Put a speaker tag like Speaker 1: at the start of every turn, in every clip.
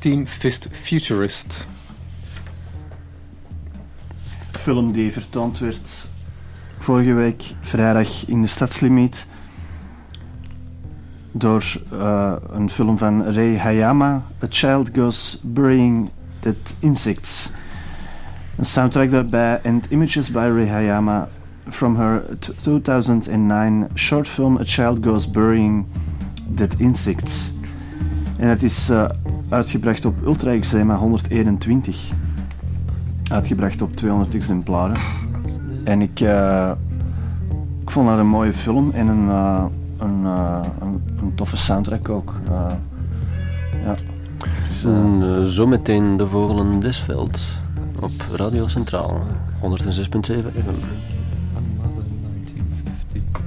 Speaker 1: Team Fist Futurist.
Speaker 2: film die vertoond werd vorige week vrijdag in de Stadslimiet door eh, een film van Rei Hayama, A Child Goes Burying Dead Insects. Een soundtrack daarbij and images by Rei Hayama from her t- 2009 short film A Child Goes Burying Dead Insects. En het is eh, uitgebracht op Ultra Exema 121 uitgebracht op 200 exemplaren. En ik, eh, ik vond dat een mooie film en een, eh, een, eh, een, een toffe soundtrack ook. Eh, ja. Dus, eh,
Speaker 3: En, eh, zometeen de Vogelen Desveld op Radio Centraal, 106.7 FM.
Speaker 4: Another 1950.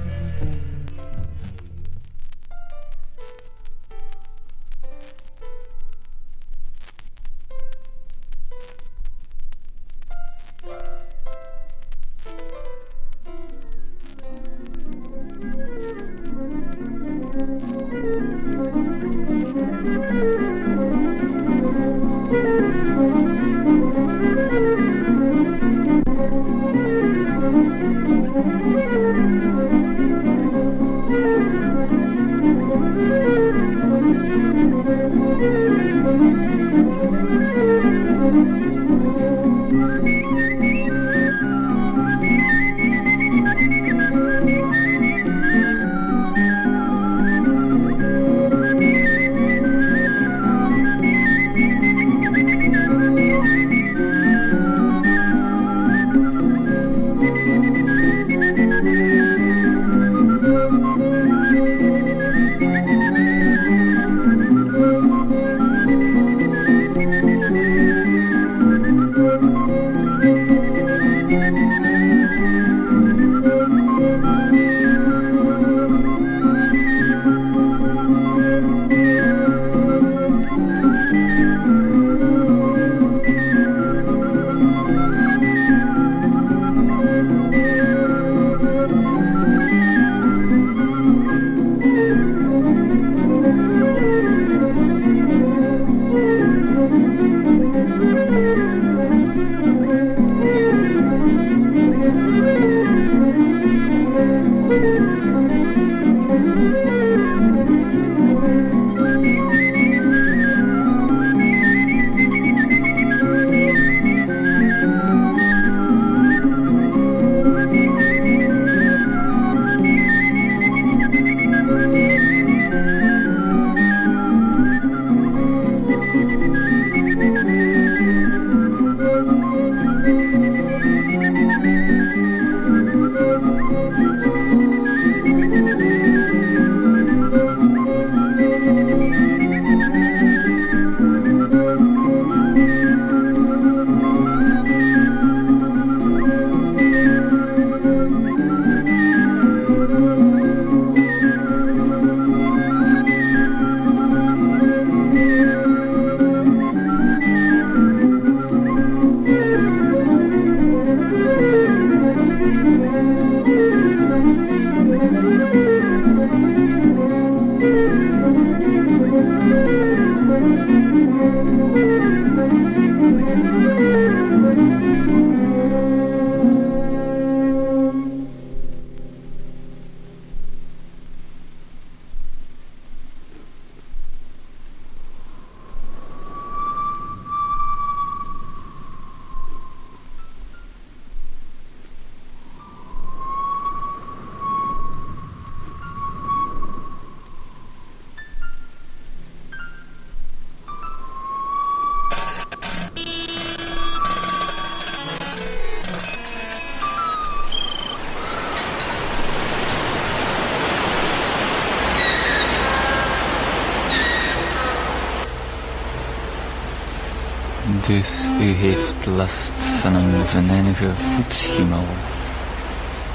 Speaker 5: Dus u heeft last van een venijnige voetschimmel.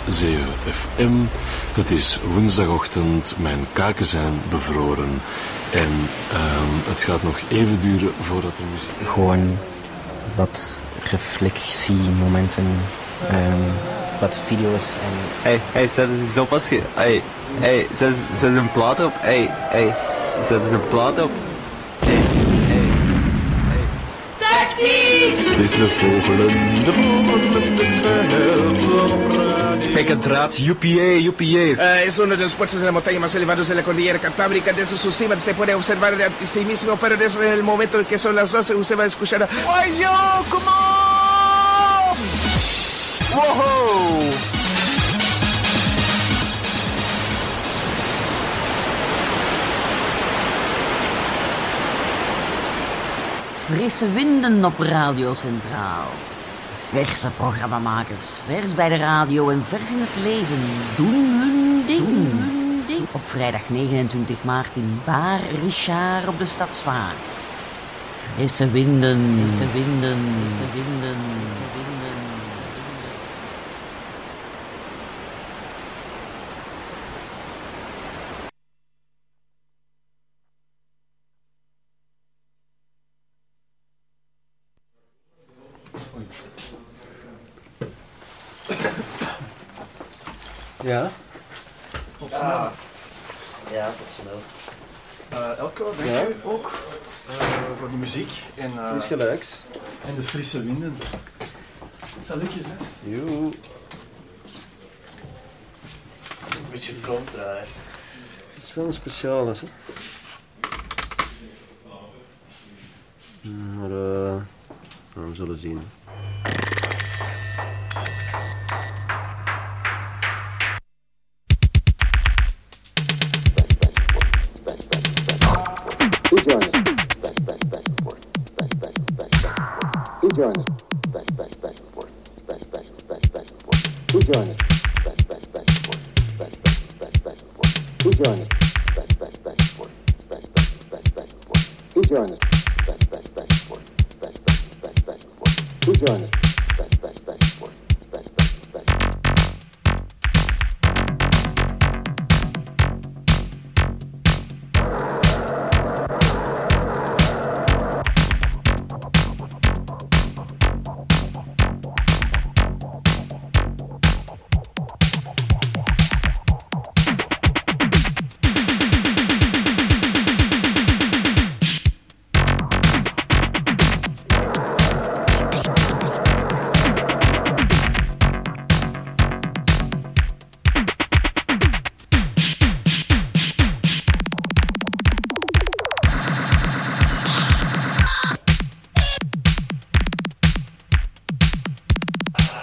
Speaker 6: 7 FM. Het is woensdagochtend, mijn kaken zijn bevroren. En ehm, het gaat nog even duren voordat er muziek...
Speaker 7: gewoon wat reflectiemomenten, ehm, wat video's en
Speaker 8: Hey, hey, zet eens iets op als je... Hey, hey, zet, é eens- zet eens een plaat op. Hey, hey, zet eens een plaat op. Hey, hey.
Speaker 6: is de volgende, volgende is verheld op radio.
Speaker 9: Kijk het draad, UPA, UPA.
Speaker 10: Ah, es uno de los puertos de la montaña más elevados de la cordillera Cantábrica. Desde su cima se puede observar a sí mismo, pero desde el momento en que son las 12 usted va a escuchar a... ¡Ay, yo! ¡Come on! ¡Wow!
Speaker 11: Frisse winden op Radio Centraal. Verse programmamakers, vers bij de radio en vers in het leven, doen hun ding. hun ding. Op vrijdag 29 maart in Bar Richard op de Stadsvaart. Frisse winden, frisse winden, frisse winden, frisse winden.
Speaker 3: Ja?
Speaker 12: Tot snel.
Speaker 13: Ja, tot snel.
Speaker 12: Eh, Elko, dank
Speaker 3: Ja.
Speaker 12: u ook eh, voor de muziek en, eh,
Speaker 3: Goed geluids.
Speaker 12: en de frisse winden. Salutjes, hè.
Speaker 3: Joe.
Speaker 13: Een beetje frontdraaien.
Speaker 3: Het is wel een speciale, hè? Maar, eh, we zullen zien.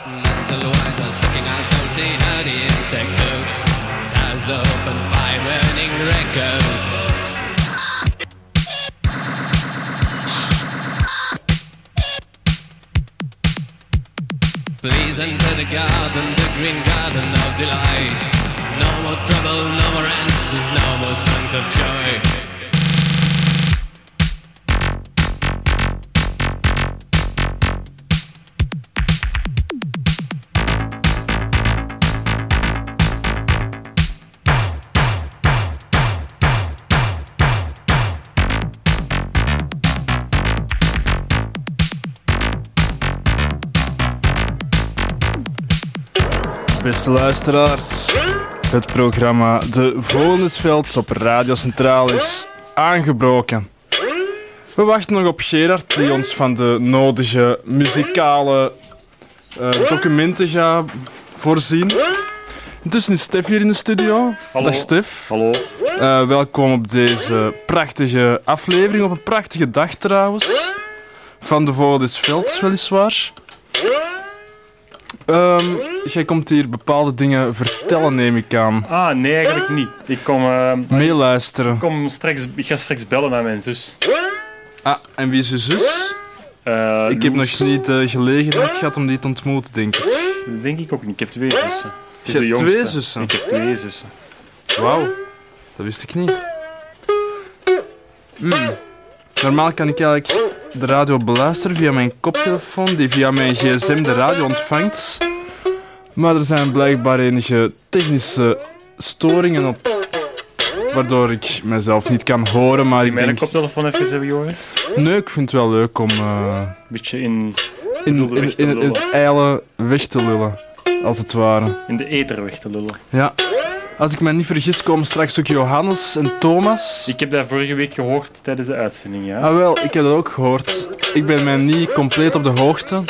Speaker 7: Mental wise are sucking on salty honey insect hooks. Ties open by burning records. Please enter the garden, the green garden of delight. No more trouble, no more answers, no more songs of joy.
Speaker 1: Beste luisteraars, het programma De Volensvelds op Radio Centraal is aangebroken. We wachten nog op Gerard die ons van de nodige muzikale eh, documenten gaat voorzien. Intussen is Stef hier in de studio. Hallo. Dag Stef. Hallo. welkom op deze prachtige aflevering, op een prachtige dag trouwens. Van de Volensvelds weliswaar. Ehm, jij komt hier bepaalde dingen vertellen, neem ik aan.
Speaker 2: Ah, nee, eigenlijk niet. Ik kom... eh,
Speaker 1: Meeluisteren.
Speaker 2: Ik, kom straks, ik ga straks bellen naar mijn zus.
Speaker 1: Ah, en wie is je zus?
Speaker 2: Eh,
Speaker 1: ik heb nog niet de gelegenheid gehad om die te ontmoeten, denk ik.
Speaker 2: Denk ik ook niet. Ik heb twee zussen. Het is
Speaker 1: Je
Speaker 2: de
Speaker 1: hebt
Speaker 2: jongste.
Speaker 1: twee zussen?
Speaker 2: Ik heb twee zussen.
Speaker 1: Wauw, dat wist ik niet. Hmm. Normaal kan ik eigenlijk de radio beluisteren via mijn koptelefoon, die via mijn gsm de radio ontvangt. Maar er zijn blijkbaar enige technische storingen op, waardoor ik mezelf niet kan horen, maar ik
Speaker 2: Mijn
Speaker 1: denk...
Speaker 2: koptelefoon even hebben, jongens.
Speaker 1: Nee, ik vind het wel leuk om... Een
Speaker 2: beetje in...
Speaker 1: In,
Speaker 2: lullen weg te
Speaker 1: in- in het
Speaker 2: lullen.
Speaker 1: eilen weg te lullen, als het ware.
Speaker 2: In de eter weg te lullen.
Speaker 1: Ja. Als ik me niet vergis, komen straks ook Johannes en Thomas.
Speaker 2: Ik heb dat vorige week gehoord tijdens de uitzending, ja.
Speaker 1: Ah wel, ik heb dat ook gehoord.
Speaker 8: Ik ben mij niet compleet op de hoogte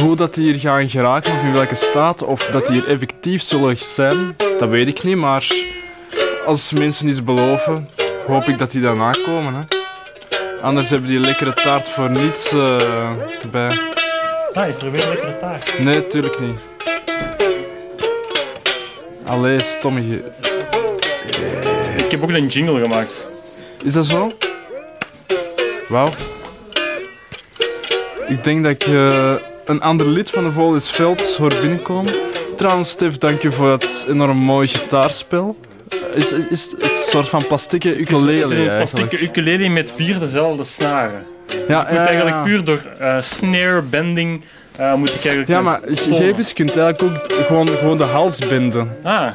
Speaker 8: hoe dat die hier gaan geraken of in welke staat of dat die hier effectief zullen zijn. Dat weet ik niet, maar als mensen iets beloven, hoop ik dat die daarna komen. Hè. Anders hebben die lekkere taart voor niets eh, bij.
Speaker 11: Ah, is er weer lekkere taart?
Speaker 8: Nee, tuurlijk niet. Allee, stomme. ge-
Speaker 2: Ik heb ook een jingle gemaakt.
Speaker 8: Is dat zo? Wauw. Ik denk dat ik eh, een ander lid van de Vol is Veld hoor binnenkomen. Trouwens, Stef, dank je voor dat enorm mooie gitaarspel. Eh, Is, is, is een soort van plastieke ukulele
Speaker 2: Het is een
Speaker 8: eigenlijk.
Speaker 2: plastieke ukulele met vier dezelfde snaren. Ja, dus ik moet
Speaker 8: ja, ja.
Speaker 2: eigenlijk puur door eh, snare bending eh, moet ik eigenlijk...
Speaker 8: Ja,
Speaker 2: eh,
Speaker 8: maar ge-
Speaker 2: tonen.
Speaker 8: geef eens, je kunt eigenlijk ook gewoon, gewoon de hals binden.
Speaker 2: Ah. Ah,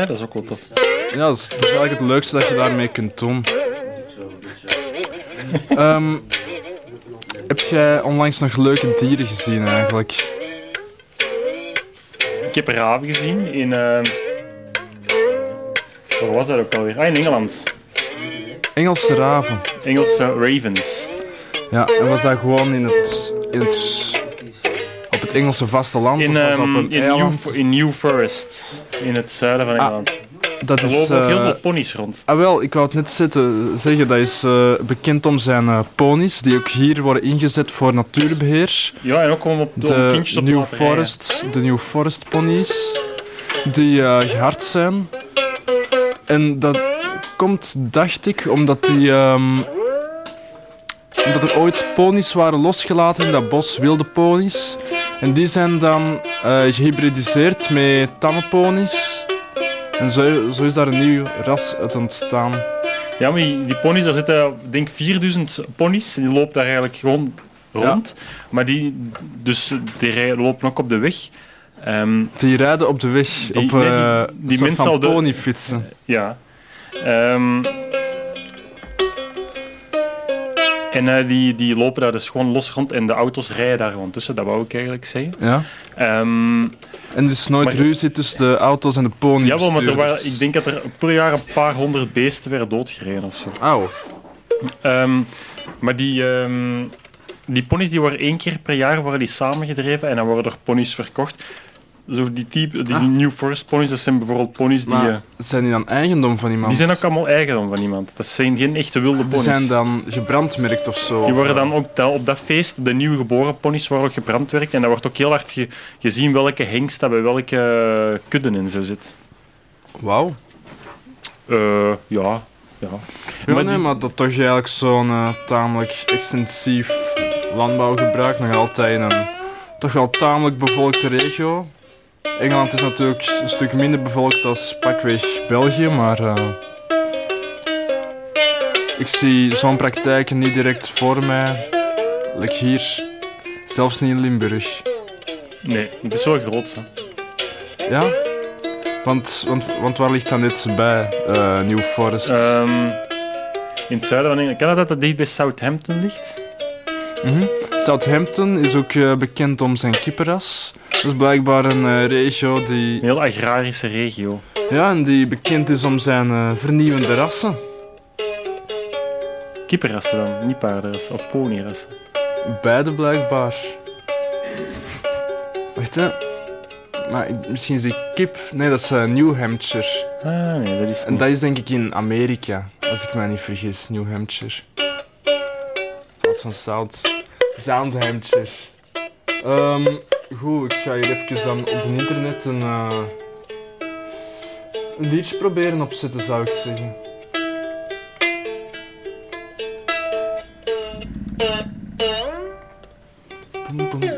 Speaker 2: ja, dat is ook wel tof.
Speaker 8: Ja, dat is, dat is eigenlijk het leukste dat je daarmee kunt doen. Ehm, heb jij onlangs nog leuke dieren gezien eigenlijk?
Speaker 2: Ik heb raven gezien in... eh, waar was dat ook alweer? Ah, in Engeland.
Speaker 8: Engelse raven.
Speaker 2: Engelse ravens.
Speaker 8: Ja, en was dat gewoon in het, in het, op het Engelse vasteland?
Speaker 2: In,
Speaker 8: of was Ah, dat
Speaker 2: ehm,
Speaker 8: op een
Speaker 2: in,
Speaker 8: eiland? Ah,
Speaker 2: New, in New Forest. In het zuiden van Engeland.
Speaker 8: dat
Speaker 2: er
Speaker 8: is,
Speaker 2: lopen ook heel
Speaker 8: eh,
Speaker 2: veel ponies rond.
Speaker 8: Ah wel, ik wou het net zitten, zeggen, dat is eh, bekend om zijn eh, ponies, die ook hier worden ingezet voor natuurbeheer.
Speaker 2: Ja, en ook om op om
Speaker 8: de
Speaker 2: kindjes op te
Speaker 8: New
Speaker 2: laten rijden.
Speaker 8: Forest, de New Forest ponies, die eh, gehard zijn. En dat komt, dacht ik, omdat die... ehm, omdat er ooit ponies waren losgelaten in dat bos, wilde ponies. En die zijn dan eh, gehybridiseerd met tamme ponies. En zo, zo is daar een nieuw ras uit ontstaan.
Speaker 2: Ja, maar die, die ponies, daar zitten ik denk 4000 ponies. En die loopt daar eigenlijk gewoon rond. Maar die, dus die rij- lopen ook op de weg. Ehm,
Speaker 8: Die rijden op de weg, op
Speaker 2: nee, die-
Speaker 8: eh, een
Speaker 2: die
Speaker 8: soort
Speaker 2: mensen
Speaker 8: van
Speaker 2: al de-
Speaker 8: ponyfietsen.
Speaker 2: ja. Ehm, en eh, die, die lopen daar dus gewoon los rond. En de auto's rijden daar gewoon tussen. Dat wou ik eigenlijk zeggen.
Speaker 8: Ja. en er is nooit
Speaker 2: Ehm, maar-
Speaker 8: ruzie tussen de auto's en de pony.
Speaker 2: Jawel, maar er waren, ik denk dat er per jaar een paar honderd beesten werden doodgereden of zo.
Speaker 8: Auw.
Speaker 2: maar die, ehm, die ponies die waren één keer per jaar worden die samengedreven en dan worden er ponies verkocht. Zo die, type, die
Speaker 8: Ah.
Speaker 2: New Forest ponies, dat zijn bijvoorbeeld ponies die...
Speaker 8: Maar
Speaker 2: eh,
Speaker 8: zijn die dan eigendom van
Speaker 2: die
Speaker 8: iemand?
Speaker 2: zijn ook allemaal eigendom van iemand. Dat zijn geen echte wilde
Speaker 8: Die
Speaker 2: ponies.
Speaker 8: zijn dan gebrandmerkt of zo?
Speaker 2: Die worden
Speaker 8: of, eh,
Speaker 2: dan ook da- op dat feest, de nieuw geboren ponies, worden ook gebrandwerkt. En daar wordt ook heel hard ge- gezien welke hengst dat bij welke eh, kudden in zo zit. Eh,
Speaker 8: Wauw.
Speaker 2: ja, ja.
Speaker 8: Ja,
Speaker 2: Maar
Speaker 8: nee,
Speaker 2: die-
Speaker 8: maar dat toch eigenlijk zo'n eh, tamelijk extensief landbouwgebruik nog altijd in een toch wel tamelijk bevolkte regio. Engeland is natuurlijk een stuk minder bevolkt als pakweg België, maar eh, ik zie zo'n praktijk niet direct voor mij. Like hier, zelfs niet in Limburg.
Speaker 2: Nee, het is wel groot.
Speaker 8: Ja? Want, want, want waar ligt dan dit bij, eh, New Forest?
Speaker 2: Ehm, in het zuiden van Engeland. Kan dat dat dat dicht bij Southampton ligt?
Speaker 8: Mhm. Southampton is ook eh, bekend om zijn kippenras. Dat is blijkbaar een eh, regio die... Een
Speaker 2: heel agrarische regio.
Speaker 8: Ja, en die bekend is om zijn eh, vernieuwende rassen.
Speaker 2: Kippenrassen dan, niet paardenrassen of ponyrassen.
Speaker 8: Beide blijkbaar. Wacht, hè. Maar ik- misschien is die kip... Nee, dat is eh, New Hampshire.
Speaker 2: Ah, nee, dat is
Speaker 8: En dat is denk ik in Amerika, als ik mij niet vergis. New Hampshire. Als van South... Sound Hampshire. Ehm, goed, ik ga hier even dan op het internet een... eh, een liedje proberen opzetten, zou ik zeggen.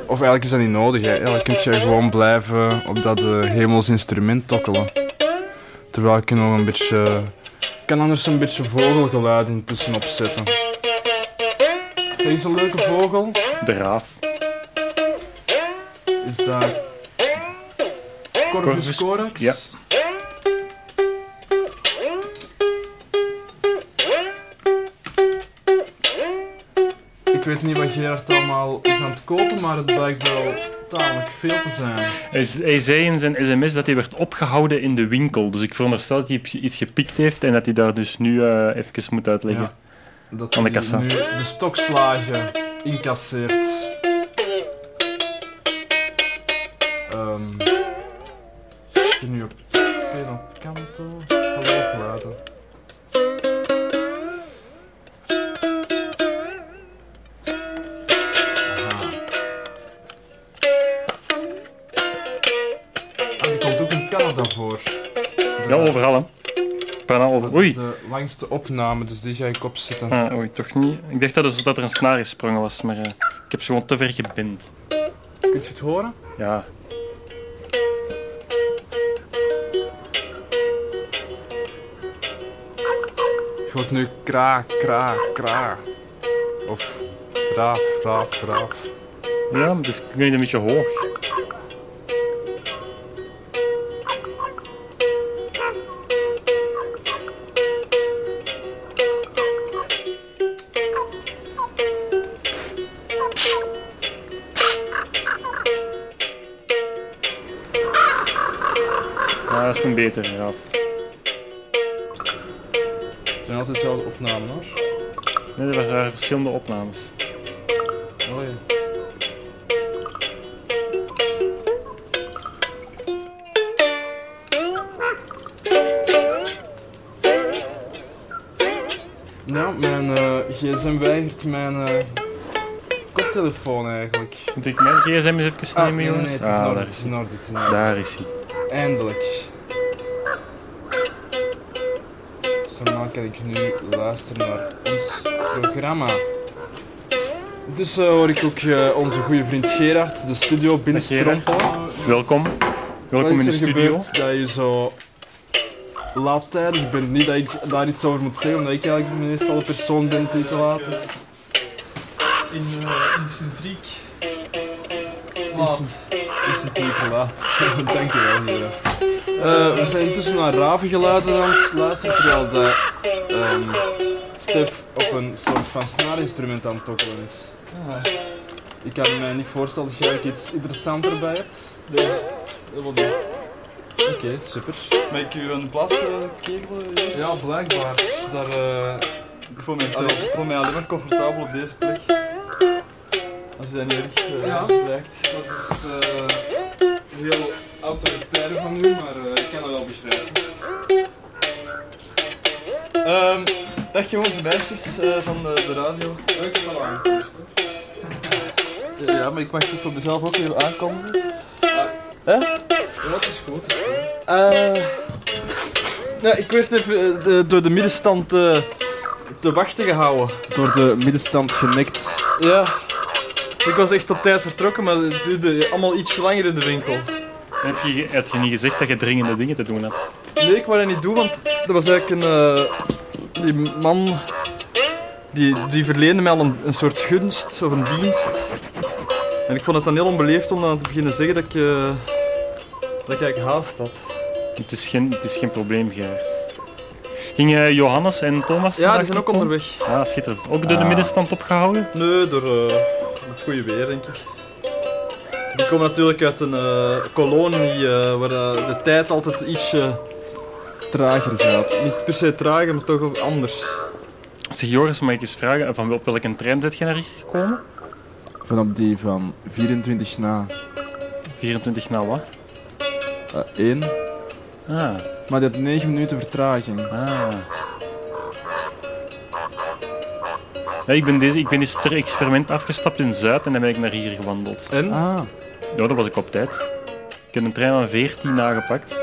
Speaker 8: Of eigenlijk is dat niet nodig. Hè. Eigenlijk kun je gewoon blijven op dat eh, hemels instrument tokkelen. Terwijl ik er nog een beetje... Ik kan anders een beetje vogelgeluid intussen opzetten. Is dat iets een leuke vogel?
Speaker 2: De raaf.
Speaker 8: Is dat... Corvus corax?
Speaker 2: Ja.
Speaker 8: Ik weet niet wat Gerard allemaal is aan het kopen, maar het blijkt wel tamelijk veel te zijn.
Speaker 2: Hij, z- hij zei in zijn sms dat hij werd opgehouden in de winkel. Dus ik veronderstel dat hij iets gepikt heeft en dat hij daar dus nu eh even moet uitleggen.
Speaker 8: Ja.
Speaker 10: dat
Speaker 2: Van de
Speaker 10: hij
Speaker 2: kassa.
Speaker 10: nu de stokslagen incasseert. Ehm zit hij nu op Zeno Kanto? Hallo opgelaten. Ah, die komt ook in Canada voor.
Speaker 2: Ja, overal hè. Bijna over. Oei.
Speaker 10: Dat is de langste opname, dus die ga ik opzetten.
Speaker 2: Ah, oei, toch niet. Ik dacht dat, er- dat er een snaar gesprongen was, maar eh, ik heb ze gewoon te ver gebind.
Speaker 10: Kunt je het horen?
Speaker 2: Ja.
Speaker 10: Je hoort nu kra, kra, kra. Of raaf, raaf, raaf.
Speaker 2: Ja, maar dus klinkt een beetje hoog. Ja, dat is een beter, ja.
Speaker 10: Het zijn altijd dezelfde opnamen hoor.
Speaker 2: Nee, er waren verschillende opnames.
Speaker 10: Oh ja. Nou, mijn eh, gsm weigert mijn eh, koptelefoon eigenlijk.
Speaker 2: Moet ik mijn gsm eens even
Speaker 10: Ah,
Speaker 2: nemen,
Speaker 10: nee, nee,
Speaker 2: jongens?
Speaker 10: nee, het is
Speaker 2: Ah,
Speaker 10: in orde,
Speaker 2: daar
Speaker 10: het is in orde, het is in orde.
Speaker 2: Daar is hij.
Speaker 10: Eindelijk. Zomaar kan ik nu luisteren naar ons programma. Dus eh, hoor ik ook eh, onze goede vriend Gerard de studio binnenstrompelen.
Speaker 2: Welkom. Welkom in
Speaker 10: Wat
Speaker 2: de
Speaker 10: is er
Speaker 2: studio.
Speaker 10: gebeurd dat je zo laat tijdens bent? Niet dat ik daar iets over moet zeggen, omdat ik eigenlijk meestal de persoon ben die te laat is.
Speaker 8: In, uh, in Centriek.
Speaker 10: Laat. Is het niet te laat? Dankjewel, Gerard. Eh, we zijn intussen naar ravengeluiden aan het luisteren, terwijl dat, ehm, Stef op een soort van snaarinstrument aan het tokkelen is.
Speaker 8: Ah.
Speaker 10: Ik kan me niet voorstellen dat jij ook iets interessanter bij hebt.
Speaker 8: Nee, helemaal niet.
Speaker 10: Oké, super.
Speaker 8: Ben ik u aan de plas, eh, kerel?
Speaker 10: Ja, blijkbaar. Daar, eh,
Speaker 8: ik, voel mij, allee, ik voel mij alleen maar comfortabel op deze plek. Als u dat niet erg eh,
Speaker 10: Ja.
Speaker 8: lijkt.
Speaker 10: Dat is eh, heel autoritair van u, maar eh, ik kan dat wel beschrijven.
Speaker 8: Ehm, dag jongens en meisjes eh, van de, de radio.
Speaker 10: Ik heb al aan.
Speaker 8: Ja, ja, maar ik mag het voor mezelf ook even aankondigen. Hè?
Speaker 10: Dat is goed.
Speaker 8: Eh, nou, ik werd even eh, de- door de middenstand eh, te wachten gehouden.
Speaker 10: Door de middenstand genekt.
Speaker 8: Ja. Ik was echt op tijd vertrokken, maar het duurde allemaal iets langer in de winkel.
Speaker 2: Heb je, heb je niet gezegd dat je dringende dingen te doen had?
Speaker 8: Nee, ik wou dat niet doen, want er was eigenlijk een... eh, die man... Die, die verleende mij al een, een soort gunst of een dienst. En ik vond het dan heel onbeleefd om dan te beginnen zeggen dat ik... eh, dat ik eigenlijk haast had.
Speaker 2: Het is geen, het is geen probleem, Gerard. Gingen Johannes en Thomas
Speaker 8: Ja, die
Speaker 2: vandaag
Speaker 8: zijn ook
Speaker 2: komen?
Speaker 8: onderweg.
Speaker 2: Ah, schitterend. Ook door de
Speaker 8: Ah.
Speaker 2: middenstand opgehouden?
Speaker 8: Nee, door eh, het goede weer, denk ik. Die komen natuurlijk uit een eh, kolonie eh, waar eh, de tijd altijd iets
Speaker 10: trager gaat.
Speaker 8: Niet per se trager, maar toch ook anders.
Speaker 2: Zeg Joris, mag ik eens vragen, eh, van wel- op welke trein zit je naar hier gekomen?
Speaker 10: Vanaf die van 24 na
Speaker 2: 24 na wat?
Speaker 10: 1.
Speaker 2: Ah.
Speaker 10: Eh, Maar die had 9 minuten vertraging.
Speaker 2: Ah. Ja, ik, ben deze, ik ben eens ter experiment afgestapt in Zuid en dan ben ik naar hier gewandeld.
Speaker 8: En?
Speaker 10: Ah.
Speaker 2: Ja, dat was ik op tijd. Ik heb een trein aan 14 nagepakt.
Speaker 8: Ah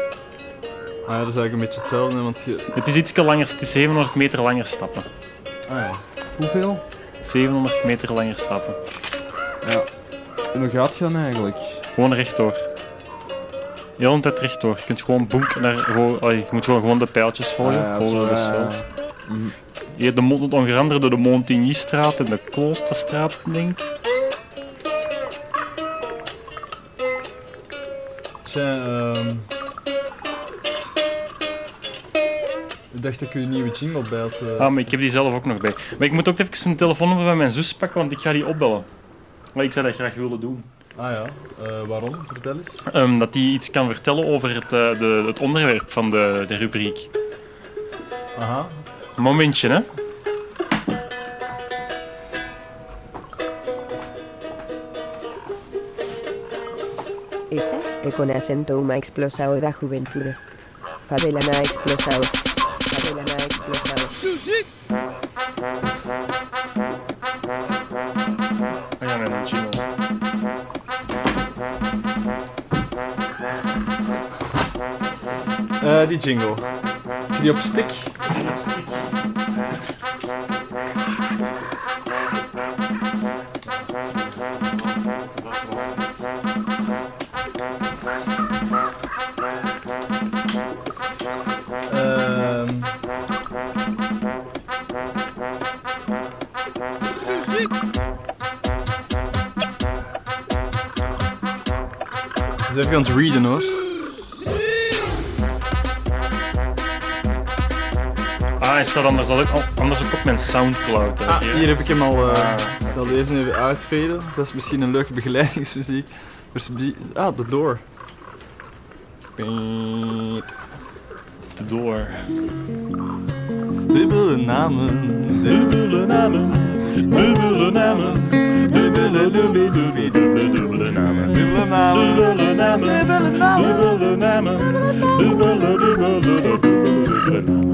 Speaker 8: ja, dat is eigenlijk een beetje hetzelfde, want je...
Speaker 2: Het is iets langer, het is 700 meter langer stappen.
Speaker 10: Ah ja. Hoeveel?
Speaker 2: 700 meter langer stappen.
Speaker 10: Ja. En hoe gaat het dan eigenlijk?
Speaker 2: Gewoon rechtdoor. Heel een tijd rechtdoor. Je kunt gewoon boek naar. Gewoon, allee, je moet gewoon, gewoon de pijltjes volgen.
Speaker 10: Ah, ja,
Speaker 2: volgen
Speaker 10: zo,
Speaker 2: de
Speaker 10: ja, ja.
Speaker 2: veld. Je hebt de, mon- onder andere door de Montignystraat en de Kloosterstraat, denk ik.
Speaker 8: Tja, ehm, Ik dacht dat ik u een nieuwe jingle bij had. eh.
Speaker 2: Ah, maar ik heb die zelf ook nog bij. Maar ik moet ook even mijn telefoonnummer van mijn zus pakken, want ik ga die opbellen. Maar ik zou dat graag willen doen.
Speaker 8: Ah ja, eh, waarom? Vertel eens.
Speaker 2: Ehm, dat die iets kan vertellen over het, eh, de, het onderwerp van de, de rubriek.
Speaker 8: Aha.
Speaker 2: Momentje, hè?
Speaker 14: artista que con acento uma explosao da juventude. Favela na explosao. Favela na explosao.
Speaker 2: I am in
Speaker 8: Eh, die jingle. Is die op stick? Ehm. Ehm. Is even aan het readen hoor.
Speaker 2: Ah, is dat anders, ook, anders ook op mijn Soundcloud? hè?
Speaker 8: Ah, hier heb ik hem al. eh, ik zal deze even uitveden. Dat is misschien een leuke begeleidingsmuziek. Dus die- Ah, The Door. The
Speaker 2: Door.
Speaker 8: Dubbele namen. Dubbele namen.
Speaker 15: Dubbele namen. Dubbele dubbele dubbele dubbele namen. Dubbele namen. Dubbele namen. Dubbele namen. Dubbele namen. Dubbele dubbele dubbele dubbele namen.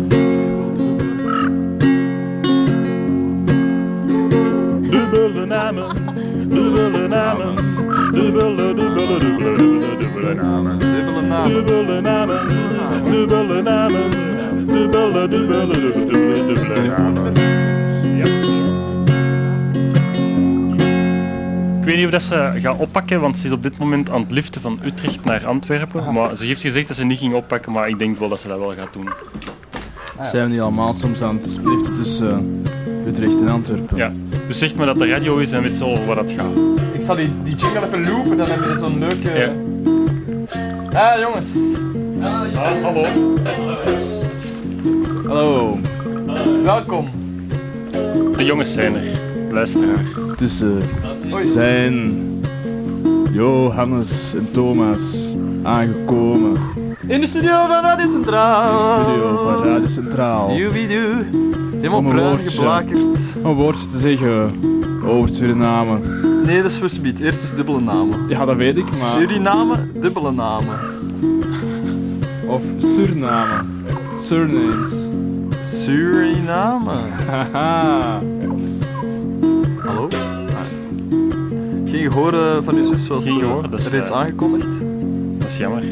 Speaker 15: Dubbele namen. Dubbele namen. Dubbele dubbele dubbele dubbele dubbele namen. Dubbele namen. Dubbele namen. Dubbele namen. Dubbele dubbele dubbele dubbele dubbele namen.
Speaker 2: Ik weet niet of dat ze gaat oppakken, want ze is op dit moment aan het liften van Utrecht naar Antwerpen. Maar ze heeft gezegd dat ze niet ging oppakken, maar ik denk wel dat ze dat wel gaat doen.
Speaker 10: Zijn we niet allemaal soms aan het liften tussen eh, Utrecht en Antwerpen?
Speaker 2: Ja. Dus zeg maar dat de radio is en weet ze over waar dat gaat.
Speaker 8: Ik zal die, die jingle even loopen, dan heb je zo'n leuke. Ah, jongens.
Speaker 2: Ah, hallo.
Speaker 10: Hallo.
Speaker 8: Welkom.
Speaker 2: De jongens zijn er. Luisteraar.
Speaker 10: Tussen zijn Johannes en Thomas aangekomen
Speaker 8: In de studio van Radio
Speaker 10: in
Speaker 8: Centraal.
Speaker 10: de studio van Radio Centraal.
Speaker 8: Joebidoe. Helemaal
Speaker 10: Om een
Speaker 8: bruin
Speaker 10: woordje-
Speaker 8: geblakerd.
Speaker 10: Een woordje te zeggen over Suriname.
Speaker 8: Nee, dat is verspied. Eerst is dubbele namen.
Speaker 10: Ja, dat weet ik, maar...
Speaker 8: Suriname, dubbele namen.
Speaker 10: Of Suriname. Surnames.
Speaker 8: Suriname.
Speaker 10: Haha.
Speaker 8: Hallo? Geen gehoor eh, van uw zus zoals
Speaker 2: Geen
Speaker 8: eh,
Speaker 2: gehoor, dat is,
Speaker 8: reeds
Speaker 2: eh,
Speaker 8: aangekondigd?
Speaker 2: Dat is jammer.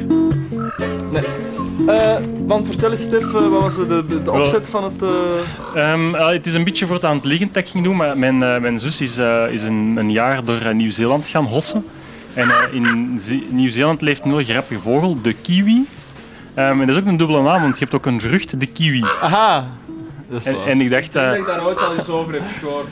Speaker 8: Nee. Eh, want vertel eens, Stef, eh, wat was de, de, de opzet van het...
Speaker 2: Ehm, eh, het is een beetje voor het aan het liggen dat ik ging doen, maar mijn, eh, mijn zus is, eh, is een, een jaar door eh, Nieuw-Zeeland gaan hossen. En eh, in Ze- Nieuw-Zeeland leeft een heel grappige vogel, de kiwi. Ehm, en dat is ook een dubbele naam, want je hebt ook een vrucht, de kiwi.
Speaker 8: Aha! Dat is
Speaker 2: en,
Speaker 8: waar.
Speaker 2: en ik dacht... eh,
Speaker 10: daar ooit al iets over heb gehoord.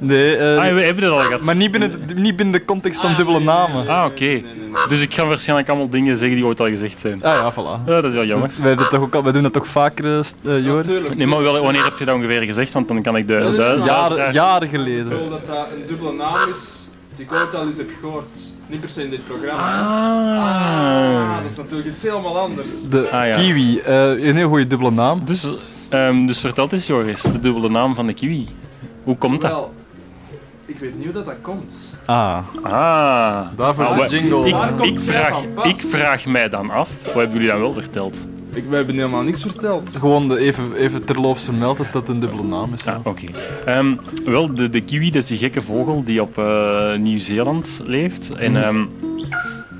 Speaker 8: Nee, eh,
Speaker 2: Ah, we hebben het al gehad.
Speaker 8: Maar niet binnen, de- niet binnen de context van dubbele namen.
Speaker 2: Ah, oké. Dus ik ga waarschijnlijk allemaal dingen zeggen die ooit al gezegd zijn.
Speaker 8: Ah ja, voilà.
Speaker 2: Ja, dat is wel jammer.
Speaker 8: Wij, hebben dat toch ook al, wij doen dat toch vaker, eh, st- eh, Joris?
Speaker 2: Nee, maar wel, wanneer heb je dat ongeveer gezegd? Want dan kan ik de... de,
Speaker 8: Jaren-
Speaker 2: luisteraar-
Speaker 8: jaren geleden.
Speaker 10: dat dat een dubbele naam is die ik ooit al eens heb gehoord. Niet per se in dit programma.
Speaker 2: Ah.
Speaker 10: dat is natuurlijk iets helemaal anders.
Speaker 8: De
Speaker 2: Ah, ja.
Speaker 8: kiwi, eh, een heel goede dubbele naam.
Speaker 2: Dus, ehm, dus vertel eens, Joris, de dubbele naam van de kiwi. Hoe komt dat?
Speaker 10: Wel, ik weet niet hoe dat, dat komt.
Speaker 8: Ah.
Speaker 2: Ah.
Speaker 8: Daarvoor
Speaker 2: Ah,
Speaker 8: is de
Speaker 2: wa-
Speaker 8: jingle. Waar
Speaker 2: Ik,
Speaker 10: komt
Speaker 2: ik,
Speaker 10: jij
Speaker 2: vraag,
Speaker 10: van pas?
Speaker 2: ik vraag mij dan af, wat hebben jullie dan wel verteld?
Speaker 10: Ik, we hebben helemaal niks verteld.
Speaker 8: Gewoon de- even, even terloops vermeld dat dat een dubbele naam is.
Speaker 2: Ah, oké. Ehm, wel, de, de kiwi, dat is die gekke vogel die op eh, Nieuw-Zeeland leeft. En ehm,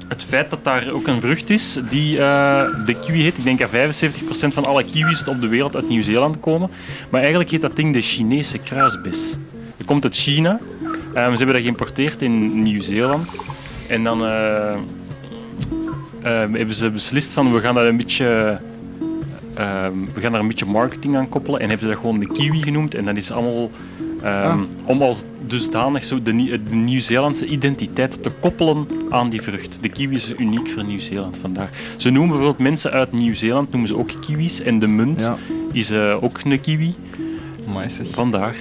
Speaker 2: het feit dat daar ook een vrucht is die eh, de kiwi heet. Ik denk dat 75% van alle kiwis op de wereld uit Nieuw-Zeeland komen. Maar eigenlijk heet dat ding de Chinese kruisbis. Dat komt uit China. Ehm, ze hebben dat geïmporteerd in Nieuw-Zeeland. En dan eh, ehm, hebben ze beslist van we gaan dat een beetje... ehm, we gaan daar een beetje marketing aan koppelen en hebben ze dat gewoon de kiwi genoemd en dat is allemaal ehm,
Speaker 10: Ah.
Speaker 2: om als dusdanig zo de, Nie- de Nieuw-Zeelandse identiteit te koppelen aan die vrucht. De kiwi is uniek voor Nieuw-Zeeland vandaag. Ze noemen bijvoorbeeld mensen uit Nieuw-Zeeland noemen ze ook kiwis en de munt
Speaker 10: Ja.
Speaker 2: is eh, ook een kiwi.
Speaker 8: Amai, zeg.
Speaker 2: Vandaar.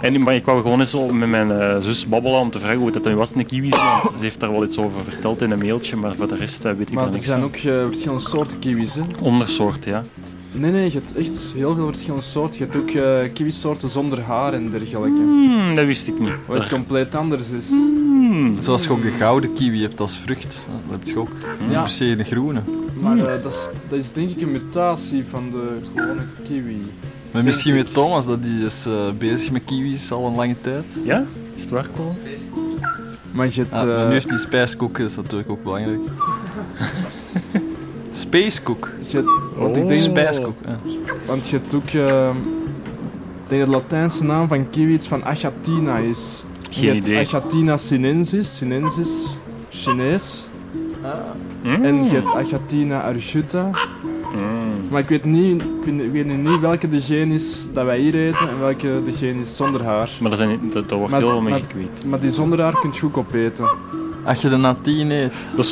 Speaker 2: En maar ik wou gewoon eens zo met mijn eh, zus babbelen om te vragen hoe dat dan was in de kiwis. want Ze heeft daar wel iets over verteld in een mailtje, maar voor de rest eh, weet ik
Speaker 10: Maar
Speaker 2: er
Speaker 10: er
Speaker 2: niks
Speaker 10: zijn
Speaker 2: van.
Speaker 10: ook eh, verschillende soorten kiwis, hè?
Speaker 2: Ondersoort, ja.
Speaker 10: Nee, nee, je hebt echt heel veel verschillende soorten. Je hebt ook eh kiwisoorten zonder haar en dergelijke.
Speaker 2: Hmm, dat wist ik niet. Hmm.
Speaker 10: Wat het compleet anders is.
Speaker 8: Zoals je ook de gouden kiwi hebt als vrucht. Dat heb je ook. Niet
Speaker 10: Ja.
Speaker 8: per se een groene.
Speaker 10: Maar eh, dat, is, dat is denk ik een mutatie van de gewone kiwi.
Speaker 8: Maar misschien met Thomas, dat die is eh, bezig met kiwis al een lange tijd.
Speaker 2: Ja? Is het waar, Paul?
Speaker 10: Maar je hebt,
Speaker 8: Ah, maar
Speaker 10: eh,
Speaker 8: Nu heeft hij spijskoek, dat is natuurlijk ook belangrijk. Spacekoek.
Speaker 10: Want
Speaker 2: Oh.
Speaker 10: ik denk,
Speaker 8: Spijskoek, ja.
Speaker 10: Want je hebt ook... eh, ik denk dat de Latijnse naam van kiwi iets van Achatina is. En
Speaker 2: Geen
Speaker 10: je hebt
Speaker 2: idee.
Speaker 10: Achatina sinensis, sinensis, Chinees.
Speaker 2: Ah.
Speaker 10: En je
Speaker 2: Mm.
Speaker 10: hebt Achatina arjuta. Maar ik weet, niet, ik, weet, ik weet nu niet welke de gene is dat wij hier eten en welke de gene is zonder haar.
Speaker 2: Maar dat, zijn, dat, dat wordt heel veel mee gekweekt.
Speaker 10: Maar die zonder haar kun je goed opeten.
Speaker 8: Als je er na tien eet.
Speaker 2: Dat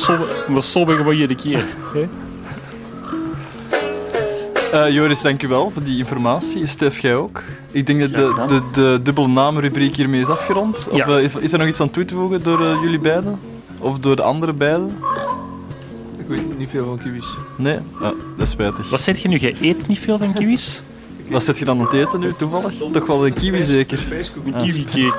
Speaker 2: is sobbig wat je de keer.
Speaker 8: Eh, Joris, dankjewel voor die informatie. Stef, jij ook? Ik denk dat de, de, de dubbele naamrubriek hiermee is afgerond. Of
Speaker 2: Ja.
Speaker 8: eh, is- is er nog iets aan toe te voegen door eh, jullie beiden? Of door de andere beiden?
Speaker 2: Ik weet niet veel van kiwis.
Speaker 8: Nee? Ah, dat is spijtig.
Speaker 2: Wat zet je nu? Jij eet niet veel van kiwis?
Speaker 8: Wat zit je dan aan het eten nu, toevallig? Toch wel een kiwi zeker?
Speaker 2: Een kiwi-cake.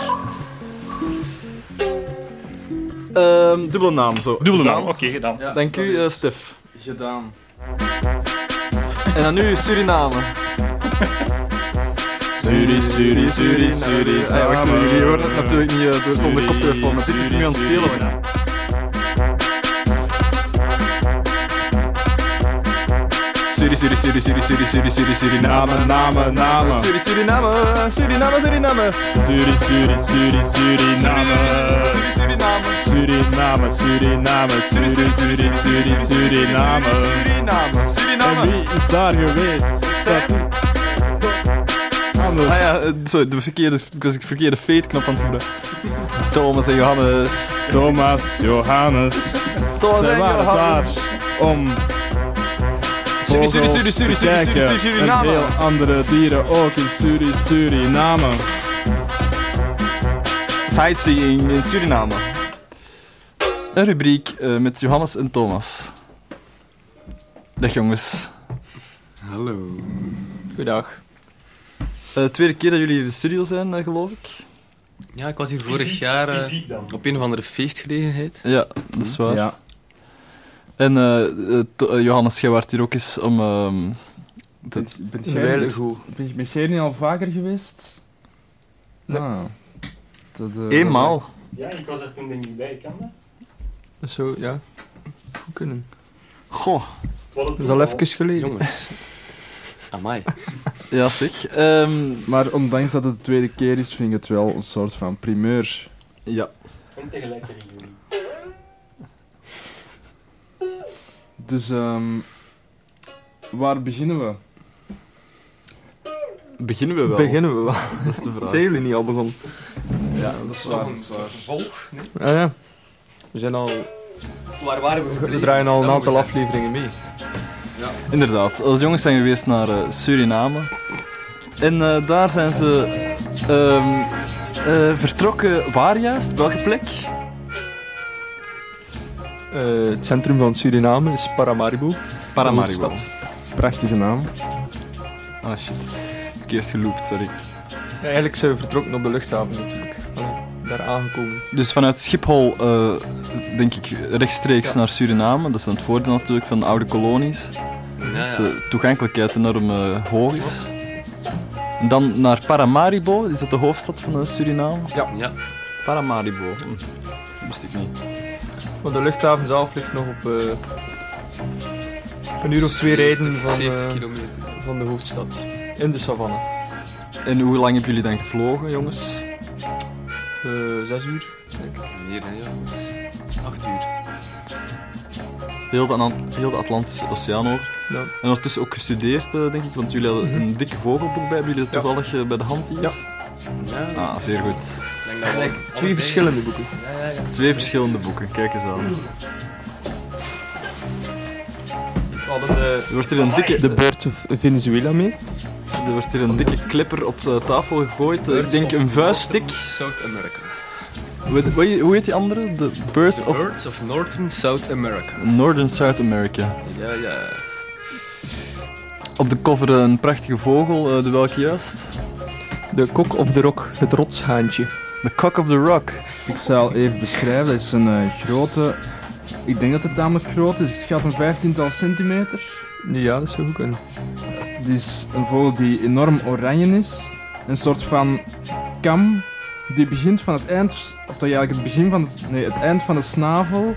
Speaker 8: Ehm, dubbele naam, zo.
Speaker 2: Dubbele naam,
Speaker 8: Gedaan.
Speaker 2: oké, gedaan. Ja,
Speaker 8: Dank u,
Speaker 2: dat is-
Speaker 8: eh, Stef.
Speaker 10: Gedaan.
Speaker 8: En dan nu Suriname. Suri, Suri, Suri, Suri. Ah, wacht, maar jullie horen het natuurlijk niet eh, door zonder koptelefoon, maar dit is nu aan het spelen. hoor. Suri, Suri, Suri, Suri, Suri, Suri, Suri, Suriname, name, name. Suri, Suriname, Suriname, Suriname.
Speaker 16: Suri, Suri, Suri, Suriname. Suriname, Suriname, Suri, Suri, Suri, Suriname.
Speaker 8: Suriname.
Speaker 16: En wie is daar geweest? Zet
Speaker 10: dus
Speaker 8: Ah ja, eh, sorry, de verkeerde, ik was de verkeerde fade-knop aan het gebruiken. Thomas en Johannes.
Speaker 10: Thomas, Johannes.
Speaker 8: Thomas
Speaker 16: Zij
Speaker 8: en
Speaker 16: waren daar
Speaker 8: Johannes.
Speaker 10: om
Speaker 16: Suri, suri,
Speaker 10: vogels
Speaker 16: suri, suri,
Speaker 10: te
Speaker 16: suri, suri,
Speaker 10: kijken
Speaker 16: suri,
Speaker 10: en
Speaker 16: Suriname.
Speaker 10: veel andere dieren ook in Suri, Suriname.
Speaker 8: Sightseeing in Suriname. Een rubriek eh, met Johannes en Thomas. Dag jongens. Hallo. Goedendag. de Eh, tweede keer dat jullie hier in de studio zijn, eh, geloof ik.
Speaker 7: Ja, ik was hier vorig jaar eh,
Speaker 2: fysiek dan.
Speaker 7: op een of andere feestgelegenheid.
Speaker 8: Ja, dat is waar.
Speaker 10: Ja.
Speaker 8: En eh, eh, To- eh, Johannes, jij werd hier ook eens om... ehm te-
Speaker 10: Bent jij- Ben, ben jij niet al vaker geweest?
Speaker 8: Nee.
Speaker 10: Ah. Dat, eh,
Speaker 8: Eenmaal.
Speaker 2: Ja, ik was er toen denk ik bij, kan dat?
Speaker 7: Zo, ja. Goed kunnen.
Speaker 8: Goh.
Speaker 7: Dat
Speaker 8: is al even geleden.
Speaker 7: Jongens. Amai.
Speaker 8: Ja, zeg. Ehm,
Speaker 10: maar ondanks dat het de tweede keer is, vind ik het wel een soort van primeur.
Speaker 8: Ja.
Speaker 2: Komt tegelijkertijd in juli.
Speaker 10: Dus, ehm, waar beginnen we?
Speaker 8: Beginnen we wel?
Speaker 10: Beginnen we wel?
Speaker 8: Dat is de vraag.
Speaker 10: Zijn
Speaker 8: jullie niet al begonnen?
Speaker 10: Ja, dat is waar. Dat is waar.
Speaker 7: Vervolg? Nee.
Speaker 8: Ah ja.
Speaker 1: We zijn al...
Speaker 7: Waar waren we
Speaker 1: We
Speaker 7: gebleven?
Speaker 1: draaien al een
Speaker 7: Dat
Speaker 1: aantal
Speaker 7: moet ik
Speaker 1: afleveringen mee.
Speaker 8: Inderdaad, als jongens zijn geweest naar eh, Suriname. En eh, daar zijn ze ehm, eh, vertrokken. Waar juist? Op welke plek?
Speaker 1: Eh, het centrum van Suriname is Paramaribo.
Speaker 8: Paramaribo.
Speaker 1: De hoofdstad.
Speaker 10: Prachtige naam.
Speaker 8: Ah shit. Verkeerd geloopt, sorry.
Speaker 1: Ja, eigenlijk zijn we vertrokken op de luchthaven natuurlijk. Allee, daar aangekomen.
Speaker 8: Dus vanuit Schiphol, eh, denk ik, rechtstreeks naar Suriname. Dat is dan het voordeel natuurlijk van de oude kolonies.
Speaker 7: Ja, ja.
Speaker 8: Dat de toegankelijkheid enorm eh, hoog is. En dan naar Paramaribo, is dat de hoofdstad van eh, Suriname?
Speaker 1: Ja.
Speaker 7: ja.
Speaker 8: Paramaribo, hm. dat wist ik niet.
Speaker 1: Maar de luchthaven zelf ligt nog op eh, een uur of twee rijden van, eh, van de hoofdstad. In de savanne.
Speaker 8: En hoe lang hebben jullie dan gevlogen, jongens?
Speaker 1: Eh, zes uur, denk ik.
Speaker 7: Meer, hè, jongens. Acht uur.
Speaker 8: Heel de, Ana- heel de Atlantische Oceaan over.
Speaker 1: Ja.
Speaker 8: En ondertussen ook gestudeerd, eh, denk ik, want jullie hadden een dikke vogelboek bij. Hebben jullie dat toevallig eh, bij de hand hier? Ja. Ah, zeer goed.
Speaker 7: denk dat we
Speaker 1: Gelijk,
Speaker 7: alle
Speaker 1: twee
Speaker 7: twee-
Speaker 1: verschillende boeken.
Speaker 7: Ja, ja, ja.
Speaker 8: Twee verschillende boeken, kijk eens aan. Er wordt hier een dikke...
Speaker 1: De Birds of Venezuela mee.
Speaker 8: Er wordt hier een dikke clipper op de tafel gegooid. Eh, Ik denk een vuiststick.
Speaker 7: South America.
Speaker 8: Wat- wat- Hoe heet die andere? De Birds
Speaker 7: The
Speaker 8: of
Speaker 7: Birds of Northern South America.
Speaker 8: Northern South America.
Speaker 7: Ja, ja.
Speaker 8: Op de cover een prachtige vogel, eh, de welke juist?
Speaker 1: De kok of de rok, het rotshaantje.
Speaker 8: De kok of the rock.
Speaker 10: Ik zal even beschrijven, dat is een eh, grote... Ik denk dat het tamelijk groot is. Het gaat om vijftiental centimeter.
Speaker 1: Ja, dat zou goed kunnen.
Speaker 10: Het is een vogel die enorm oranje is. Een soort van kam die begint van het eind... Of dat je eigenlijk het begin van... Het, nee, het eind van de snavel.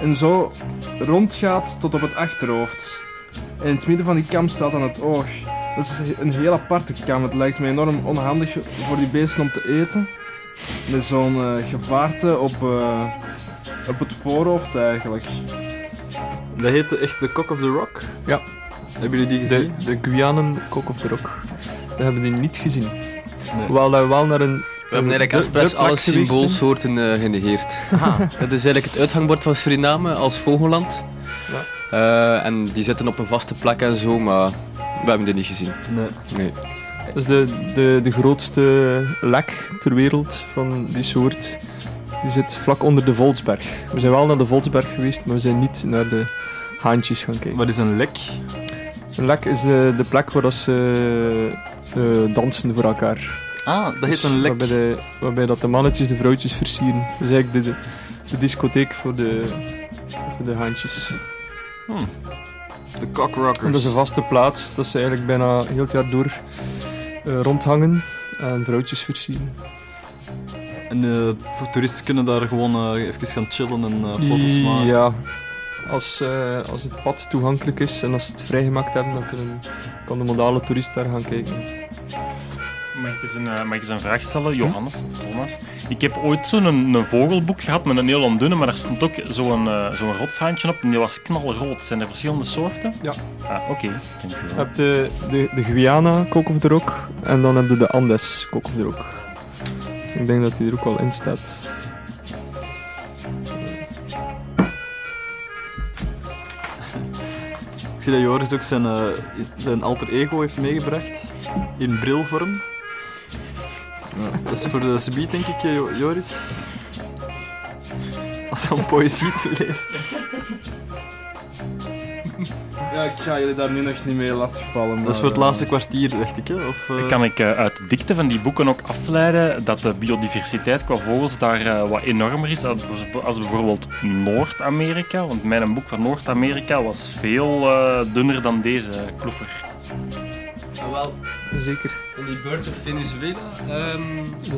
Speaker 10: En zo rondgaat tot op het achterhoofd. En in het midden van die kam staat aan het oog. Dat is een heel aparte kam. Het lijkt me enorm onhandig voor die beesten om te eten. Met zo'n eh, gevaarte op, eh, op het voorhoofd eigenlijk.
Speaker 8: Dat heette echt de Cock of the Rock.
Speaker 1: Ja.
Speaker 8: Hebben jullie die gezien?
Speaker 1: De, de Guyanen Cock of the Rock. We hebben die niet gezien. Hoewel dat we wel naar een...
Speaker 7: We hebben eigenlijk als best alle symboolsoorten eh, genegeerd. Dat is eigenlijk het uithangbord van Suriname als vogelland.
Speaker 1: Ja.
Speaker 7: Eh, en die zitten op een vaste plek en zo, maar we hebben die niet gezien.
Speaker 8: Nee.
Speaker 7: nee.
Speaker 1: Dat is de, de, de grootste lek ter wereld van die soort. Die zit vlak onder de Volksberg. We zijn wel naar de Volksberg geweest, maar we zijn niet naar de haantjes gaan kijken.
Speaker 8: Wat is een lek?
Speaker 1: Een lek is eh, de, de plek waar dat ze eh, dansen voor elkaar. Dus
Speaker 8: Ah, dat heet een lek.
Speaker 1: Waarbij, de, waarbij dat de mannetjes de vrouwtjes versieren. Dat is eigenlijk de, de, de discotheek voor de, voor de haantjes.
Speaker 8: Hmm. De Cockrockers.
Speaker 1: En dat is een vaste plaats dat ze eigenlijk bijna heel het jaar door eh, rondhangen en vrouwtjes versieren.
Speaker 8: En eh, voor toeristen kunnen daar gewoon eh, even gaan chillen en eh, foto's maken.
Speaker 1: Ja, als, eh, als het pad toegankelijk is en als ze het vrijgemaakt hebben, dan kunnen, kan de modale toerist daar gaan kijken.
Speaker 3: Mag ik, eens een, eh, mag ik eens een vraag stellen, Johannes of Thomas? Ik heb ooit zo'n een, een vogelboek gehad met een heel dunne, maar daar stond ook zo'n eh, zo'n rotshaantje op en die was knalrood. Zijn er verschillende soorten?
Speaker 1: Ja.
Speaker 3: Ah, oké. Dank u
Speaker 1: Je
Speaker 3: wel.
Speaker 1: hebt de, de, de Guyana Kok of the Rock en dan heb je de Andes Kok of the Rock. Ik denk dat die er ook wel in staat.
Speaker 8: Ik zie dat Joris ook zijn, eh, i- zijn alter ego heeft meegebracht. In brilvorm. Dat is voor de subiet, denk ik, eh, Jo- Joris. Als om poëzie te lezen.
Speaker 10: Ja, ik ga jullie daar nu nog niet mee eh, lastigvallen.
Speaker 8: Dat is voor het laatste kwartier, dacht ik. Hè? Of, eh,
Speaker 3: Kan ik eh, uit de dikte van die boeken ook afleiden dat de biodiversiteit qua vogels daar eh, wat enormer is als, als bijvoorbeeld Noord-Amerika? Want mijn boek van Noord-Amerika was veel eh, dunner dan deze kloever.
Speaker 7: Wel,
Speaker 1: Zeker.
Speaker 7: in die Birds of Venezuela ehm,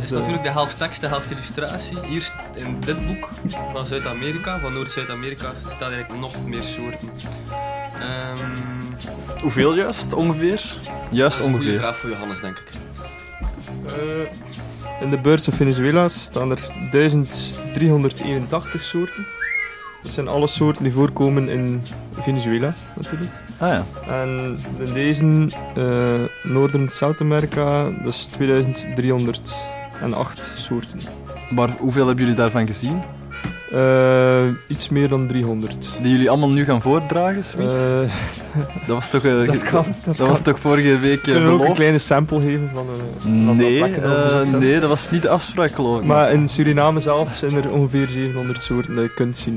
Speaker 7: is
Speaker 1: eh,
Speaker 7: natuurlijk de helft tekst, de helft illustratie. Hier st- in dit boek van Zuid-Amerika, van Noord-Zuid-Amerika, staat eigenlijk nog meer soorten. Ehm,
Speaker 8: Hoeveel juist, ongeveer?
Speaker 7: dat is
Speaker 8: Juist
Speaker 7: een goede
Speaker 8: ongeveer.
Speaker 7: vraag voor Johannes, denk ik.
Speaker 1: In de beurs of Venezuela staan er 1381 soorten. Dat zijn alle soorten die voorkomen in Venezuela, natuurlijk.
Speaker 8: Ah ja.
Speaker 1: En in deze, eh Noorden- en Zuid-Amerika, dat is 2308 soorten.
Speaker 8: Maar hoeveel hebben jullie daarvan gezien?
Speaker 1: Eh, iets meer dan 300.
Speaker 8: Die jullie allemaal nu gaan voordragen, Sweet?
Speaker 1: Eh,
Speaker 8: Dat was toch, eh,
Speaker 1: dat
Speaker 8: ge-
Speaker 1: kan, dat
Speaker 8: was
Speaker 1: kan.
Speaker 8: toch vorige week eh,
Speaker 1: Kunnen we ook een
Speaker 8: beloofd?
Speaker 1: kleine sample geven van een van
Speaker 8: Nee,
Speaker 1: dat plekje dat we
Speaker 8: eh,
Speaker 1: bezocht hebben?
Speaker 8: nee, dat was niet de afspraak, geloof ik.
Speaker 1: Maar in Suriname zelf zijn er ongeveer 700 soorten dat je kunt zien.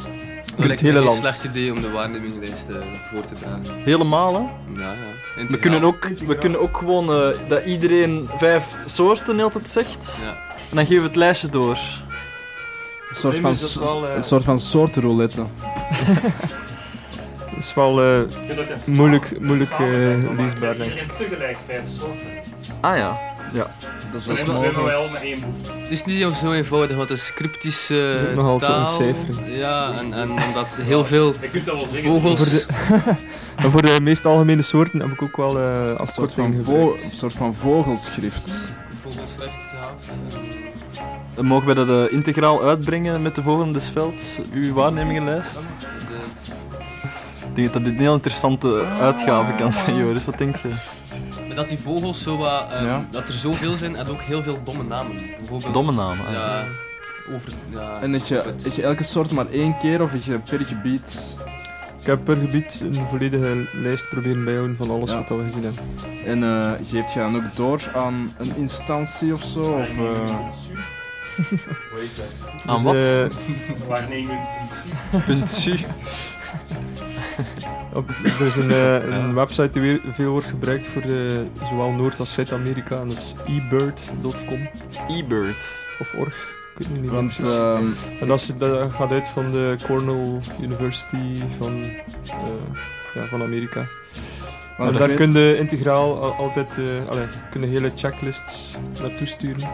Speaker 1: In het
Speaker 7: lijkt me
Speaker 1: hele
Speaker 7: geen
Speaker 1: land.
Speaker 7: slecht idee om de waarnemingslijst eh, voor te dragen.
Speaker 8: Helemaal, hè?
Speaker 7: Ja, ja.
Speaker 8: We
Speaker 7: Integraal.
Speaker 8: kunnen ook, we kunnen ook gewoon eh, dat iedereen vijf soorten altijd zegt. En dan geven we het lijstje door.
Speaker 10: Een soort van, so-
Speaker 1: eh,
Speaker 10: een soort van soortenroulette.
Speaker 1: Dat is wel eh, moeilijk, moeilijk eh, leesbaar, denk ik.
Speaker 3: Iedereen tegelijk vijf soorten.
Speaker 1: Ah ja. Ja.
Speaker 3: Dat
Speaker 1: Dat
Speaker 3: is
Speaker 1: is
Speaker 3: wel
Speaker 1: wel
Speaker 3: we
Speaker 1: mogelijk.
Speaker 3: wel met één boek.
Speaker 7: Het is niet zo eenvoudig, want het is cryptische
Speaker 1: is ook
Speaker 7: uh,
Speaker 1: nogal te
Speaker 7: taal.
Speaker 1: ontcijferen.
Speaker 7: Ja, en, en omdat heel veel
Speaker 3: Je kunt dat wel zeggen.
Speaker 7: vogels...
Speaker 1: Voor de, maar voor de meest algemene soorten heb ik ook wel eh
Speaker 10: Een soort
Speaker 1: afkorting
Speaker 10: van,
Speaker 1: gebruikt.
Speaker 10: vo- een soort van vogelschrift.
Speaker 7: Vogelschrift, ja.
Speaker 8: Dan mogen we dat eh, integraal uitbrengen met de volgende des velds, uw waarnemingenlijst. Ik denk dat dit een heel interessante uitgave kan zijn, Joris. Wat denk je?
Speaker 7: Maar dat die vogels zo wat, ehm,
Speaker 8: Ja.
Speaker 7: dat er zoveel zijn en ook heel veel domme namen. Bijvoorbeeld,
Speaker 8: Domme namen, ah.
Speaker 7: Ja, over, ja.
Speaker 10: En dat je, dat je elke soort maar één keer of dat je per gebied.
Speaker 1: Ik heb per gebied een volledige lijst proberen bijhouden van alles
Speaker 10: Ja.
Speaker 1: wat we gezien hebben.
Speaker 10: En eh, geeft je dan ook door aan een instantie of zo? Of, eh,
Speaker 1: Dus, eh,
Speaker 3: Waarnemen.
Speaker 8: Punt
Speaker 10: Op, er is een, eh, een website die weer veel wordt gebruikt voor eh, zowel Noord- als Zuid-Amerika. En dat is ebird.com.
Speaker 8: Ebird?
Speaker 10: Of org. Ik weet het niet
Speaker 1: Want,
Speaker 10: precies.
Speaker 1: ehm,
Speaker 10: En dat, is- dat gaat uit van de Cornell University van, eh, ja, van Amerika.
Speaker 1: Maar
Speaker 10: en
Speaker 1: dat
Speaker 10: daar
Speaker 1: weet-
Speaker 10: kun je integraal al- altijd eh allee, kun je hele checklists naartoe sturen.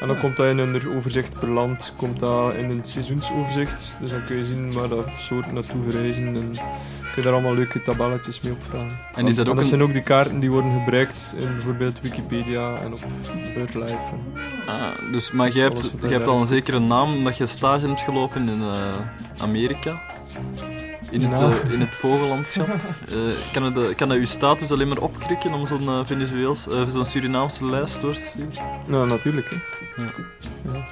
Speaker 10: En dan
Speaker 1: Ja.
Speaker 10: komt dat in een overzicht per land, komt dat in een seizoensoverzicht. Dus dan kun je zien waar dat soorten naartoe verhuizen en kun je daar allemaal leuke tabelletjes mee opvragen.
Speaker 8: En is dat ook een-
Speaker 10: zijn ook de kaarten die worden gebruikt in bijvoorbeeld Wikipedia en op BirdLife. En
Speaker 8: Ah, dus, maar jij
Speaker 10: Alles
Speaker 8: hebt,
Speaker 10: wat
Speaker 8: jij
Speaker 10: daar
Speaker 8: hebt al een
Speaker 10: is.
Speaker 8: zekere naam omdat je stage hebt gelopen in eh, Amerika. In het,
Speaker 10: Nou.
Speaker 8: eh, in het vogellandschap. Eh, kan, het, eh, kan dat je status alleen maar opkrikken om zo'n eh, Venezuels, eh, zo'n Surinaamse lijst door te zien?
Speaker 10: Nou, natuurlijk. Hè.
Speaker 8: Ja.
Speaker 10: Ja.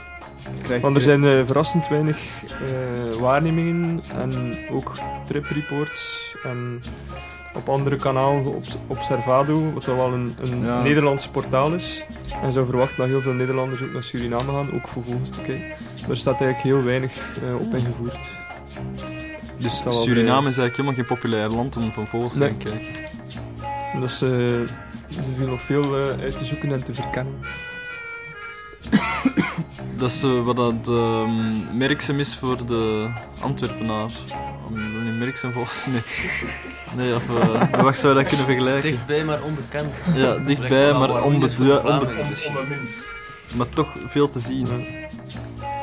Speaker 8: Krijgt-
Speaker 10: Want er zijn eh, verrassend weinig eh, waarnemingen en ook tripreports en op andere kanalen op Observado, wat dan wel een, een
Speaker 1: Ja.
Speaker 10: Nederlands portaal is. En je zou verwachten dat heel veel Nederlanders ook naar Suriname gaan, ook voor vogels te kijken. Maar er staat eigenlijk heel weinig eh, op ingevoerd.
Speaker 8: Dus
Speaker 10: Dat wel eh,
Speaker 8: Suriname is eigenlijk helemaal geen populair land om van vogels
Speaker 10: Nee.
Speaker 8: te gaan kijken.
Speaker 10: En Dat is, eh, er viel nog veel eh, uit te zoeken en te verkennen.
Speaker 8: Dat is eh, wat dat ehm merksem is voor de Antwerpenaar. Om- Niet merksem volgens nee. Nee, of eh, wat zou je dat kunnen vergelijken?
Speaker 7: Dichtbij, maar onbekend.
Speaker 8: Ja, dichtbij, maar onbeduidend.
Speaker 7: Dus- onbemind.
Speaker 8: maar toch veel te zien.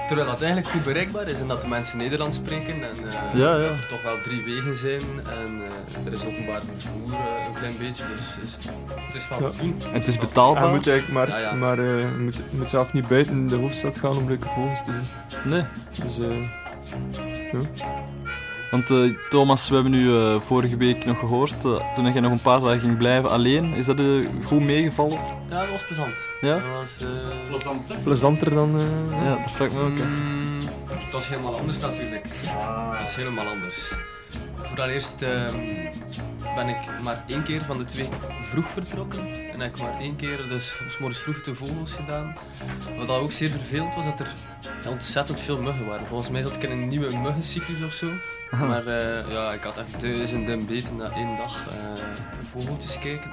Speaker 7: Terwijl dat eigenlijk goed bereikbaar is en dat de mensen Nederlands spreken en eh,
Speaker 8: Ja, ja.
Speaker 7: dat er toch wel drie wegen zijn en eh, er is openbaar vervoer eh, een klein beetje, dus is, het is wel te doen.
Speaker 10: Je moet eigenlijk maar,
Speaker 7: Ja, ja.
Speaker 10: maar eh, je moet, je moet zelf niet buiten de hoofdstad gaan om leuke vogels te zien.
Speaker 8: Nee.
Speaker 10: Dus, eh, ja.
Speaker 8: Want eh, Thomas, we hebben u eh, vorige week nog gehoord, eh, toen jij nog een paar dagen ging blijven alleen. Is dat eh, goed meegevallen?
Speaker 7: Ja, dat was plezant.
Speaker 8: Ja?
Speaker 7: Dat was, eh, plezant,
Speaker 10: Plezanter dan... eh,
Speaker 8: Ja, dat vraag ik me ook. af.
Speaker 7: Het was helemaal anders natuurlijk. Het is helemaal anders. Vooraleerst ehm ben ik maar één keer van de twee vroeg vertrokken. En heb ik maar één keer, dus s morgens vroeg, de vogels gedaan. Wat dat ook zeer vervelend was, dat er ontzettend veel muggen waren. Volgens mij zat ik in een nieuwe muggencyclus of zo.
Speaker 8: Aha.
Speaker 7: Maar eh, ja, ik had echt duizenden beten na één dag eh, vogeltjes kijken.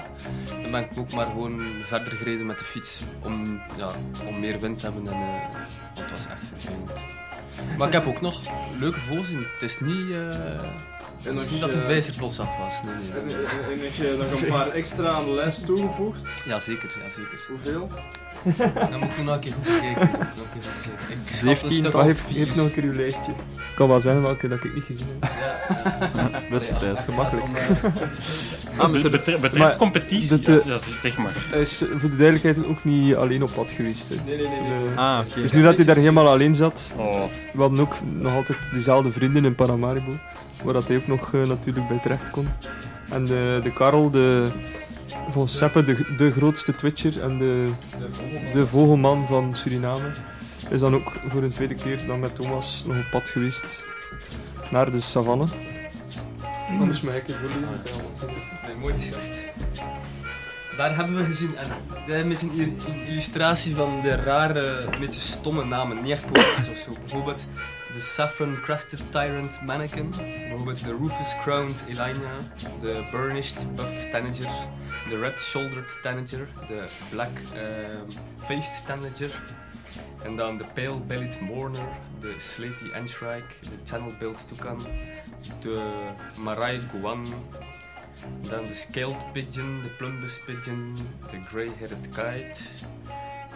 Speaker 7: Dan ben ik ook maar gewoon verder gereden met de fiets om, ja, om meer wind te hebben. En, eh, want het was echt vervelend. Maar ik heb ook nog leuke vogels zien. Het is niet, eh, het is niet dat de vijzer plots af was. Nee, nee,
Speaker 1: En,
Speaker 7: nee.
Speaker 1: en, en dat je nog een paar extra aan de lijst toegevoegd.
Speaker 7: Jazeker, jazeker.
Speaker 1: Hoeveel?
Speaker 7: Dan moet ik nog een keer goed kijken. Nog een keer goed kijken. Ik snap een stuk
Speaker 10: Maar
Speaker 7: of
Speaker 10: heeft,
Speaker 7: vier.
Speaker 10: heeft nog een keer uw lijstje. Ik kan wel zeggen welke dat ik niet gezien heb.
Speaker 8: Wedstrijd.
Speaker 10: Gemakkelijk.
Speaker 8: Mm. Ah, met de-
Speaker 6: betreft- betreft
Speaker 10: Maar
Speaker 6: competitie,
Speaker 10: dat, eh,
Speaker 6: ja, zeg maar.
Speaker 10: Hij is eh, voor de duidelijkheid ook niet alleen op pad geweest. hè.
Speaker 6: Nee, nee, nee,
Speaker 10: Eh,
Speaker 6: nee. Ah, oké.
Speaker 10: Het is nu dat hij daar helemaal alleen zat.
Speaker 6: Oh.
Speaker 10: We hadden ook nog altijd dezelfde vrienden in Paramaribo. Waar dat hij ook nog eh, natuurlijk bij terecht kon. En eh, de, de Karel, de, volgens Seppe de, de grootste Twitcher en de, de vogelman van Suriname, is dan ook voor een tweede keer dan met Thomas nog op pad geweest naar de savanne. Anders mag ik het voorlezen.
Speaker 7: Nee, mooi geschrift. Daar hebben we gezien, en dat is met een il- een illustratie van de rare, een beetje stomme namen, niet echt poëtisch of zo. Bijvoorbeeld de Saffron Crested Tyrant Mannequin, bijvoorbeeld de Rufus Crowned Elina, de Burnished Buff Tanager, de Red Shouldered Tanager, de Black ehm, Faced Tanager, en dan de Pale Bellied Mourner, de Slaty Antrike, de Channel Built Toucan, de Marai Guan, dan de Scaled Pigeon, de Plumbus Pigeon, de Grey-Headed Kite,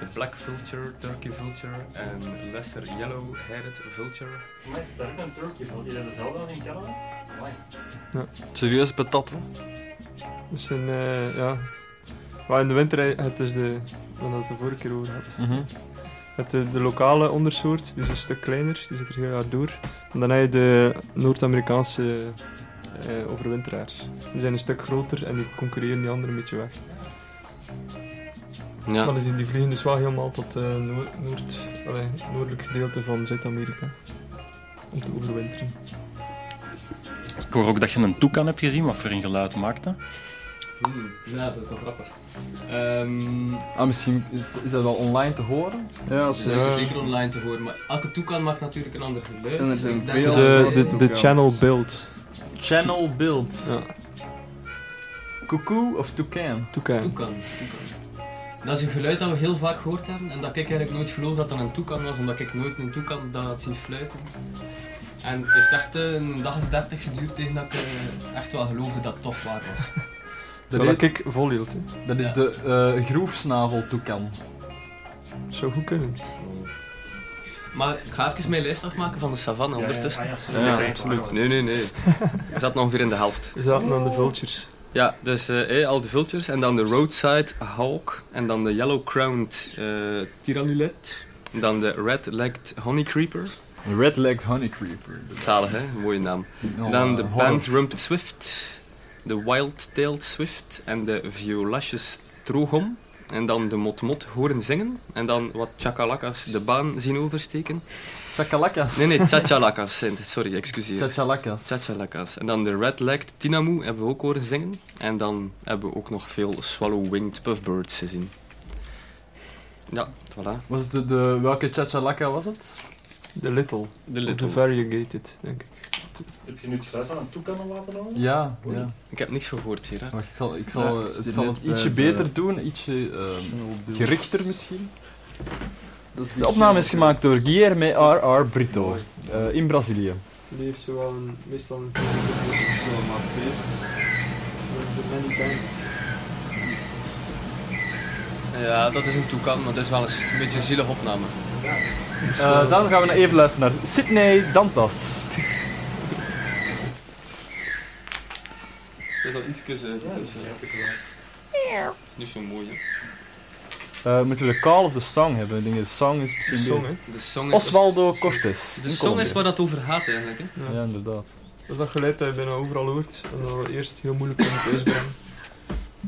Speaker 7: de Black Vulture, Turkey Vulture en Lesser Yellow-Headed Vulture.
Speaker 17: Maar is daar ook een Turkey Vulture? Die dezelfde als in Canada? Amai.
Speaker 8: Serieus patat, hè?
Speaker 10: Dus een, eh, ja. Maar in de winter, eh, het is de, wat het de vorige keer over had.
Speaker 8: Mhm.
Speaker 10: Het, eh, de lokale ondersoort, die is een stuk kleiner, die zit er heel hard door. En dan heb je de Noord-Amerikaanse eh, overwinteraars. Die zijn een stuk groter en die concurreren die anderen een beetje weg.
Speaker 7: Ja.
Speaker 10: Maar die, die vliegen dus wel helemaal tot het noord, allee, noordelijk gedeelte van Zuid-Amerika. Om te overwinteren.
Speaker 6: Ik hoor ook dat je een toekan hebt gezien, wat voor een geluid maakt dat?
Speaker 7: Hmm, ja, dat is nog grappig. Ehm,
Speaker 8: Ah, misschien is, is dat wel online te horen?
Speaker 7: dus dat is zeker online te horen, maar elke toekan maakt natuurlijk een ander geluid.
Speaker 1: En er zijn
Speaker 7: Dus Ik denk
Speaker 1: veel
Speaker 7: dat-
Speaker 10: De, de, de channel build.
Speaker 8: Channel build.
Speaker 1: Ja.
Speaker 8: Cuckoo of toucan?
Speaker 1: Toucan.
Speaker 7: Toekan. Dat is een geluid dat we heel vaak gehoord hebben en dat ik eigenlijk nooit geloof dat dat een toekan was, omdat ik nooit een toekan dat had zien fluiten. En het heeft echt eh, een dag of dertig geduurd tegen dat ik eh, echt wel geloofde dat het toch waar was.
Speaker 8: Dat
Speaker 1: Dat ik volhield. hè.
Speaker 8: Dat is de eh groefsnavel toucan.
Speaker 1: Zou goed kunnen.
Speaker 7: Maar ik ga even mijn lijst afmaken van de savanne
Speaker 8: Ja, ja.
Speaker 7: ondertussen.
Speaker 8: Ah, ja, sorry. Ja, Ja, absoluut.
Speaker 7: Nee, nee, nee. We zaten ongeveer in de helft.
Speaker 1: We zaten aan de vultures.
Speaker 7: Ja, dus eh, eh, al de vultures en dan de roadside hawk en dan de yellow-crowned eh tiranulet. En dan de red-legged honeycreeper.
Speaker 8: Red-legged honeycreeper.
Speaker 7: Zalig hè, mooie naam.
Speaker 8: Ja,
Speaker 7: En dan de
Speaker 8: eh,
Speaker 7: band rumped swift, de wild-tailed swift en de violaceous trogom. En dan de motmot horen zingen en dan wat chacalacas de baan zien oversteken.
Speaker 8: Chacalacas?
Speaker 7: Nee, nee, chachalacas. zijn het. Sorry, excuseer.
Speaker 8: Chachalacas.
Speaker 7: Chachalacas. En dan de red-legged tinamoe hebben we ook horen zingen. En dan hebben we ook nog veel swallow-winged puffbirds gezien. Ja, voilà.
Speaker 8: Was het de, de welke chachalaka was het?
Speaker 1: De little.
Speaker 7: De
Speaker 1: Of de
Speaker 7: little.
Speaker 1: variegated, denk ik.
Speaker 18: Heb je nu het geluid van een toekan laten horen?
Speaker 8: Ja,
Speaker 18: Oei.
Speaker 8: ja.
Speaker 7: Ik heb niks gehoord hier. Hè.
Speaker 8: Wacht, ik zal, ik zal,
Speaker 7: Ja,
Speaker 8: het, zal het
Speaker 7: bij
Speaker 8: ietsje
Speaker 7: het,
Speaker 8: beter
Speaker 7: eh,
Speaker 8: doen, ietsje ehm,
Speaker 7: beeld.
Speaker 8: gerichter misschien.
Speaker 1: ietsje-
Speaker 8: De opname is gemaakt door Guilherme R.R. Brito eh, in Brazilië.
Speaker 1: Die heeft zo wel een, meestal een zo maar feest.
Speaker 7: Ja, dat is een toekan, maar dat is wel eens een beetje een zielige opname.
Speaker 8: Eh, dan gaan we even luisteren naar Sydney Dantas.
Speaker 7: Dat is al iets Niet zo mooi, hè?
Speaker 8: Eh, moeten we de call of the song hebben? Ik denk dat de song is misschien...
Speaker 7: De song,
Speaker 8: de-
Speaker 7: hè? De song is- dus-
Speaker 8: Osvaldo Cortes.
Speaker 7: De song is waar dat over gaat eigenlijk. Hè?
Speaker 8: Ja, inderdaad.
Speaker 1: Dat is dat geluid dat je bijna overal hoort en dat we eerst heel moeilijk kunnen thuisbrengen.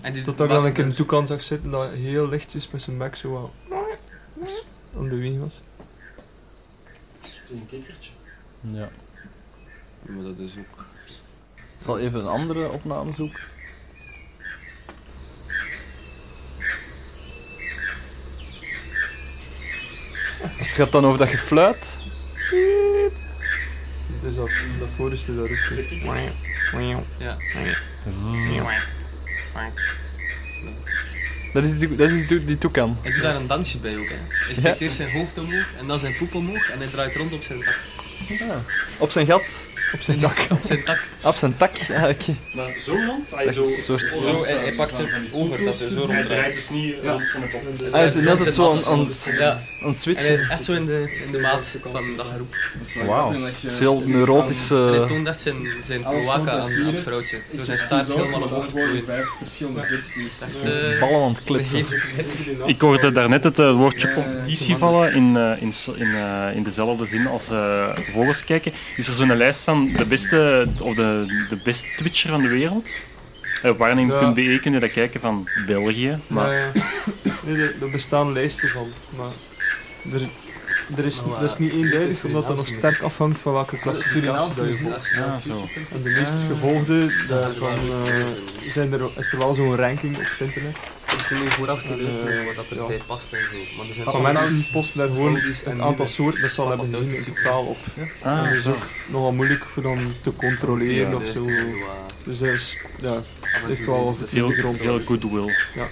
Speaker 7: En die
Speaker 1: Totdat ik dan een keer
Speaker 7: maakt-
Speaker 1: een toekant zag zitten dat heel lichtjes met zijn bek zo wel aan de wing was.
Speaker 18: Een kikkertje.
Speaker 8: Ja.
Speaker 7: Maar dat is ook...
Speaker 8: Ik zal even een andere opname zoeken. Dus het gaat dan over dat gefluit.
Speaker 1: Dus dat, dat voorste dat ook.
Speaker 7: Ja.
Speaker 8: Dat is die, dat is die, die toekan.
Speaker 7: Hij doet daar een dansje bij ook. Hè. Hij steekt eerst zijn hoofd omhoog en dan zijn poep omhoog en hij draait rond op zijn tak.
Speaker 8: Op zijn gat. Op zijn tak.
Speaker 7: Op zijn tak.
Speaker 8: Op zijn tak, ja, oké.
Speaker 18: Maar zo rond? Hij
Speaker 8: Echt
Speaker 18: zo-
Speaker 8: een soort-
Speaker 18: Zo, hij- hij pakt het over, dat hij zo rond draait. dus niet rond van het op.
Speaker 8: Ah, Hij is net het zo aan- aan het-
Speaker 7: Ja.
Speaker 8: aan het
Speaker 7: En
Speaker 8: switchen.
Speaker 7: hij is echt zo in de, in de maat van dat geroep.
Speaker 8: Wauw. Het is heel neurotische-
Speaker 7: En hij toont echt zijn, zijn
Speaker 8: Alles
Speaker 7: cloaca
Speaker 8: wat
Speaker 7: aan,
Speaker 8: dat
Speaker 7: aan
Speaker 8: hier
Speaker 7: het
Speaker 8: is,
Speaker 7: vrouwtje.
Speaker 8: ik
Speaker 7: Door zijn
Speaker 8: heb
Speaker 7: staart
Speaker 8: sinds ook
Speaker 7: helemaal
Speaker 8: nog
Speaker 7: omhoog
Speaker 8: antwoorden,
Speaker 7: groeien. eh,
Speaker 8: verschillende eh,
Speaker 7: kwesties.
Speaker 8: Ballen aan het klitsen.
Speaker 10: Ik hoorde daarnet het eh, woordje competitie vallen in, eh, in, s- in, eh, in dezelfde zin als eh, vogels kijken. Is er zo'n lijst van de beste, of de, de beste Twitcher van de wereld? Eh, Warning.be kun je dat kijken van België. Maar
Speaker 1: Maar nee, er, er bestaan lijsten van, maar er, er is,
Speaker 7: Maar,
Speaker 1: dat is niet
Speaker 7: eh,
Speaker 1: eenduidig,
Speaker 7: Surinaamse
Speaker 1: omdat dat nog
Speaker 7: muziek.
Speaker 1: sterk afhangt van welke
Speaker 7: Surinaamse
Speaker 1: klassificatie dat je
Speaker 7: muziek.
Speaker 1: volgt.
Speaker 7: Ja, zo.
Speaker 1: En de meest
Speaker 8: Eh.
Speaker 7: Ah.
Speaker 1: gevolgde, daarvan eh, zijn er, is er wel zo'n ranking op het internet.
Speaker 7: Ik heb nu vooraf gelezen
Speaker 1: Eh,
Speaker 7: wat dat
Speaker 1: ja.
Speaker 7: er bij past en zo. Maar er zijn
Speaker 1: Van mensen posten daar gewoon
Speaker 7: melodies en
Speaker 1: het aantal
Speaker 7: nieuwe-
Speaker 1: soorten dat ze al hebben gezien in totaal op.
Speaker 7: Ah,
Speaker 1: dat is
Speaker 7: zo.
Speaker 1: ook nogal moeilijk voor dan te controleren
Speaker 10: Ja.
Speaker 1: of zo. Dus dat is, ja, het heeft wel wat
Speaker 10: veel,
Speaker 1: grond.
Speaker 10: veel goodwill.
Speaker 1: Ja.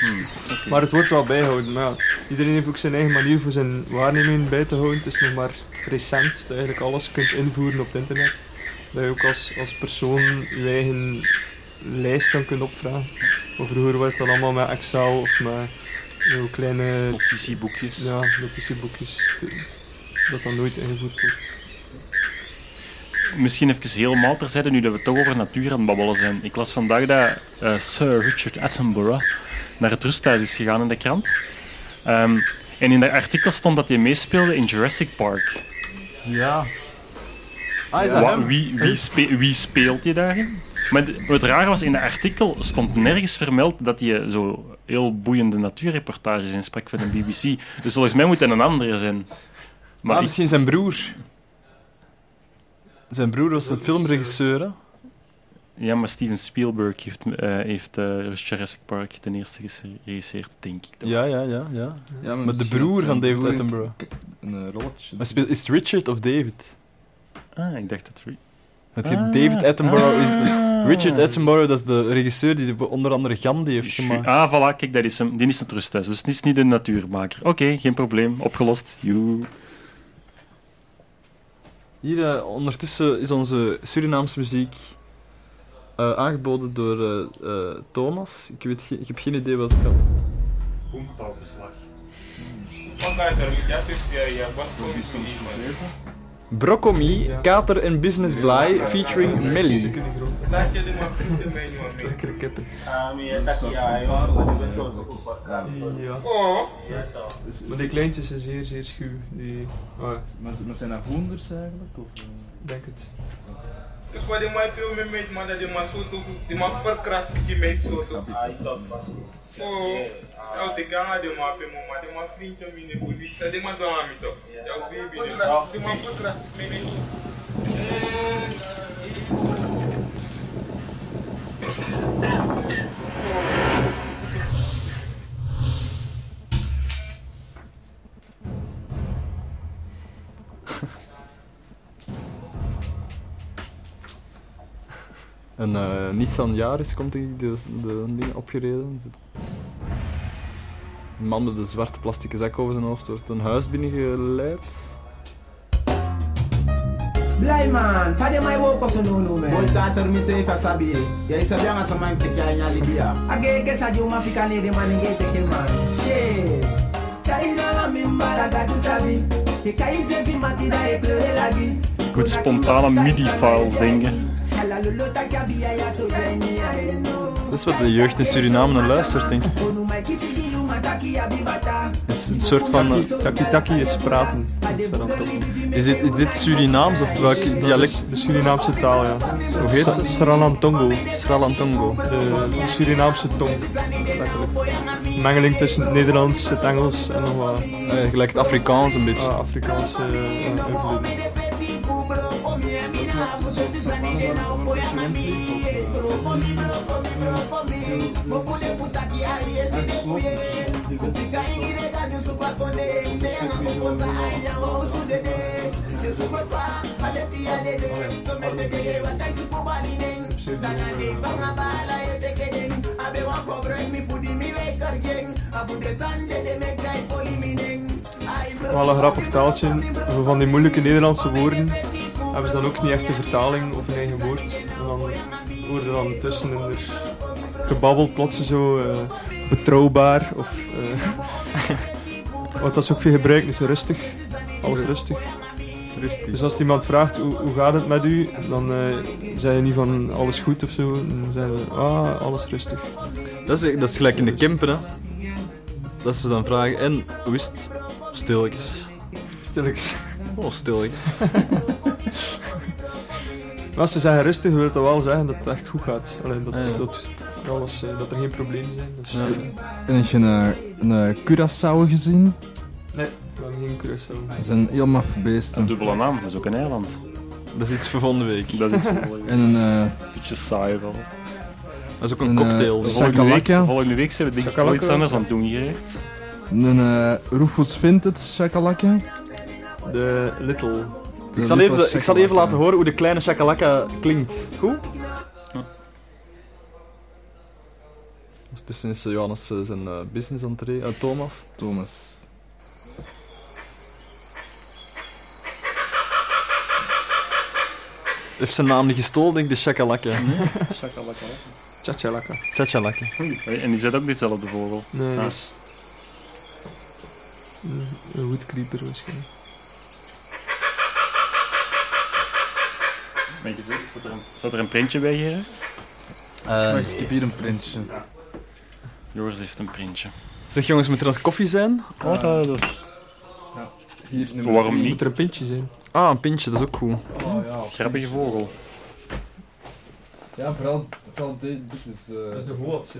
Speaker 10: Hmm, oké.
Speaker 1: Maar het wordt wel bijgehouden. Maar ja, iedereen heeft ook zijn eigen manier voor zijn waarneming bij te houden. Het is nog maar recent dat je eigenlijk alles kunt invoeren op het internet. Dat je ook als, als persoon je eigen lijst dan kunt opvragen. Maar vroeger werd dat allemaal met Excel of met heel kleine...
Speaker 10: Notitieboekjes.
Speaker 1: Ja, notitieboekjes. Dat dan nooit ingevoerd wordt.
Speaker 10: Misschien even helemaal terzijde, nu dat we toch over natuur aan het babbelen zijn. Ik las vandaag dat eh, Sir Richard Attenborough naar het rusthuis is gegaan in de krant. Ehm, en in dat artikel stond dat hij meespeelde in Jurassic Park.
Speaker 8: Ja. Ah, is dat
Speaker 10: Wa-
Speaker 8: hem?
Speaker 10: wie, wie, spe- wie speelt je daarin? Maar de- het rare was, in dat artikel stond nergens vermeld dat hij zo heel boeiende natuurreportages insprak voor de BBC. Dus volgens mij moet hij een andere zijn.
Speaker 8: Maar
Speaker 10: ik-
Speaker 8: Ah, misschien zijn broer. Zijn broer was een
Speaker 10: eh,
Speaker 8: filmregisseur, hè?
Speaker 10: Ja, maar Steven Spielberg heeft, eh, heeft eh, Jurassic Park ten eerste geregisseerd, denk ik.
Speaker 8: Ja, ja, ja. ja.
Speaker 10: Ja, maar
Speaker 8: maar de
Speaker 10: misschien
Speaker 8: broer
Speaker 10: had
Speaker 8: van David
Speaker 10: zijn broer een-
Speaker 8: Attenborough.
Speaker 10: een rolletje.
Speaker 8: Maar speelt- is het Richard of David?
Speaker 10: Ah, ik dacht dat... Ri-
Speaker 8: Het heet David Attenborough is de... Richard Attenborough, dat is de regisseur die de- onder andere Gandhi heeft gemaakt.
Speaker 2: Ah, voilà, kijk, dat is hem. Die is het rust thuis, dus die is niet de natuurmaker. Oké, geen probleem, opgelost. Joe.
Speaker 8: Hier eh, ondertussen is onze Surinaamse muziek eh, aangeboden door eh, eh, Thomas. Ik, weet ge- ik heb geen idee wat het gaat.
Speaker 19: Hoenpauwbeslag.
Speaker 8: Broccomi, Kater en Business Bly featuring Melly.
Speaker 7: Ja. Maar die kleintjes zijn zeer, zeer schuw. Die...
Speaker 1: ah,
Speaker 7: Maar, zijn dat hoenders eigenlijk?
Speaker 8: eh?
Speaker 7: Of? Denk het.
Speaker 20: Dus wat ik mij veel mee meet, man, dat je maar zo toch, die maar verkracht die meid zo toch. Oh, nou, de gang had je maar veel mama, die maar vriendje mee in de politie, dat die maar doen aan mij toch. Jouw baby, die maar- die maar verkracht die meid.
Speaker 8: Een eh, Nissan Yaris komt denk ik de, de ding opgereden. Een man met een zwarte plastic zak over zijn hoofd wordt een huis binnengeleid.
Speaker 21: Blij man, vader mij ook pas een nono man. Moet dat er misé fasabi. Jij zou bien als een man kijken naar Libya. Age ke sa juma fika ne de man nge te ke man. She. Taina la mimbara ga tu sabi. Ke kai se bi matida e pleure la vie.
Speaker 2: Goed spontane MIDI-files dingen.
Speaker 21: Ala lolo ta ka bi ya so beni ya no.
Speaker 8: Dat is wat de jeugd in Suriname naar luistert, denk ik.
Speaker 21: Onu mai kisi di yuma taki ya bi bata.
Speaker 8: Het is een soort van... eh,
Speaker 7: Taki-taki is praten.
Speaker 8: Is dit, is dit Surinaams of welk dialect?
Speaker 7: De Surinaamse taal, ja.
Speaker 8: Hoe heet het?
Speaker 7: Sralantongo.
Speaker 8: Sralantongo.
Speaker 7: De de Surinaamse tong. letterlijk. Een mengeling tussen het Nederlands, het Engels en nog wat...
Speaker 8: Eh, gelijk het Afrikaans een beetje.
Speaker 7: Ah, Afrikaanse eh, invloeden.
Speaker 21: Wel
Speaker 7: Wel een grappig taaltje. Zo van die moeilijke Nederlandse woorden hebben ze dan ook niet echt de vertaling of een eigen woord. En dan worden er dan tussen in er gebabbel plotsen zo eh, betrouwbaar of... eh, wat dat ze ook veel gebruiken is rustig. Alles rustig.
Speaker 8: Rustig.
Speaker 7: Dus als iemand vraagt hoe, hoe gaat het met u, dan zijn zeg je niet van alles goed of zo. Dan zeggen ze ah, alles rustig.
Speaker 8: Dat is, eh, dat is gelijk in de Kempen, hè. Dat ze dan vragen, en hoe is het? Stilletjes.
Speaker 7: Stilletjes.
Speaker 8: Oh, stilletjes.
Speaker 7: Maar als ze zeggen rustig, wil dat wel zeggen dat het echt goed gaat. Alleen dat,
Speaker 8: Ja, ja.
Speaker 7: dat, alles, eh, dat er geen problemen zijn. Dus,
Speaker 22: Ja.
Speaker 7: eh,
Speaker 22: En heb je een, een Curaçao gezien?
Speaker 7: Nee, we hebben geen Curaçao.
Speaker 22: Dat zijn heel maf beesten.
Speaker 2: Een dubbele naam, dat is ook een eiland.
Speaker 8: Dat is iets voor volgende week.
Speaker 2: Dat is iets voor volgende
Speaker 22: En een... eh,
Speaker 2: Beetje saai wel.
Speaker 8: Dat is ook
Speaker 22: een, eh,
Speaker 2: volgende, week,
Speaker 22: shakalaka.
Speaker 2: volgende week zijn we denk ik wel
Speaker 22: Shakalaka.
Speaker 2: iets anders aan het doen gerecht.
Speaker 22: Een eh, Rufus Vinted chakalakje.
Speaker 7: De Little.
Speaker 8: Ik zal, even, de- ik zal even laten horen hoe de kleine shakalaka klinkt. Goed? Ondertussen is eh, Johannes eh, zijn eh, business aan het re- eh, Thomas.
Speaker 22: Thomas.
Speaker 8: Heeft zijn naam niet gestolen, denk ik, de shakalaka.
Speaker 2: Shakalaka.
Speaker 7: Chachalaka.
Speaker 8: Chachalaka.
Speaker 2: En die zet ook ditzelfde vogel.
Speaker 7: Nee,
Speaker 2: Ah.
Speaker 7: dat is... eh, Een woodcreeper waarschijnlijk.
Speaker 2: Mijn gezicht, staat er een, staat er een printje bij Gerard?
Speaker 22: Wacht, ik heb hier een printje.
Speaker 2: Joris heeft een printje.
Speaker 8: Zeg jongens, moet er als koffie zijn?
Speaker 2: Oh, dat- dat is- Waarom niet?
Speaker 7: Moet er een pintje zijn?
Speaker 8: Ah, een pintje, dat is ook goed.
Speaker 22: Oh, ja.
Speaker 2: Grappige vogel.
Speaker 22: Ja, vooral, vooral dit, dit is... eh,
Speaker 7: Dat is de Hoatse.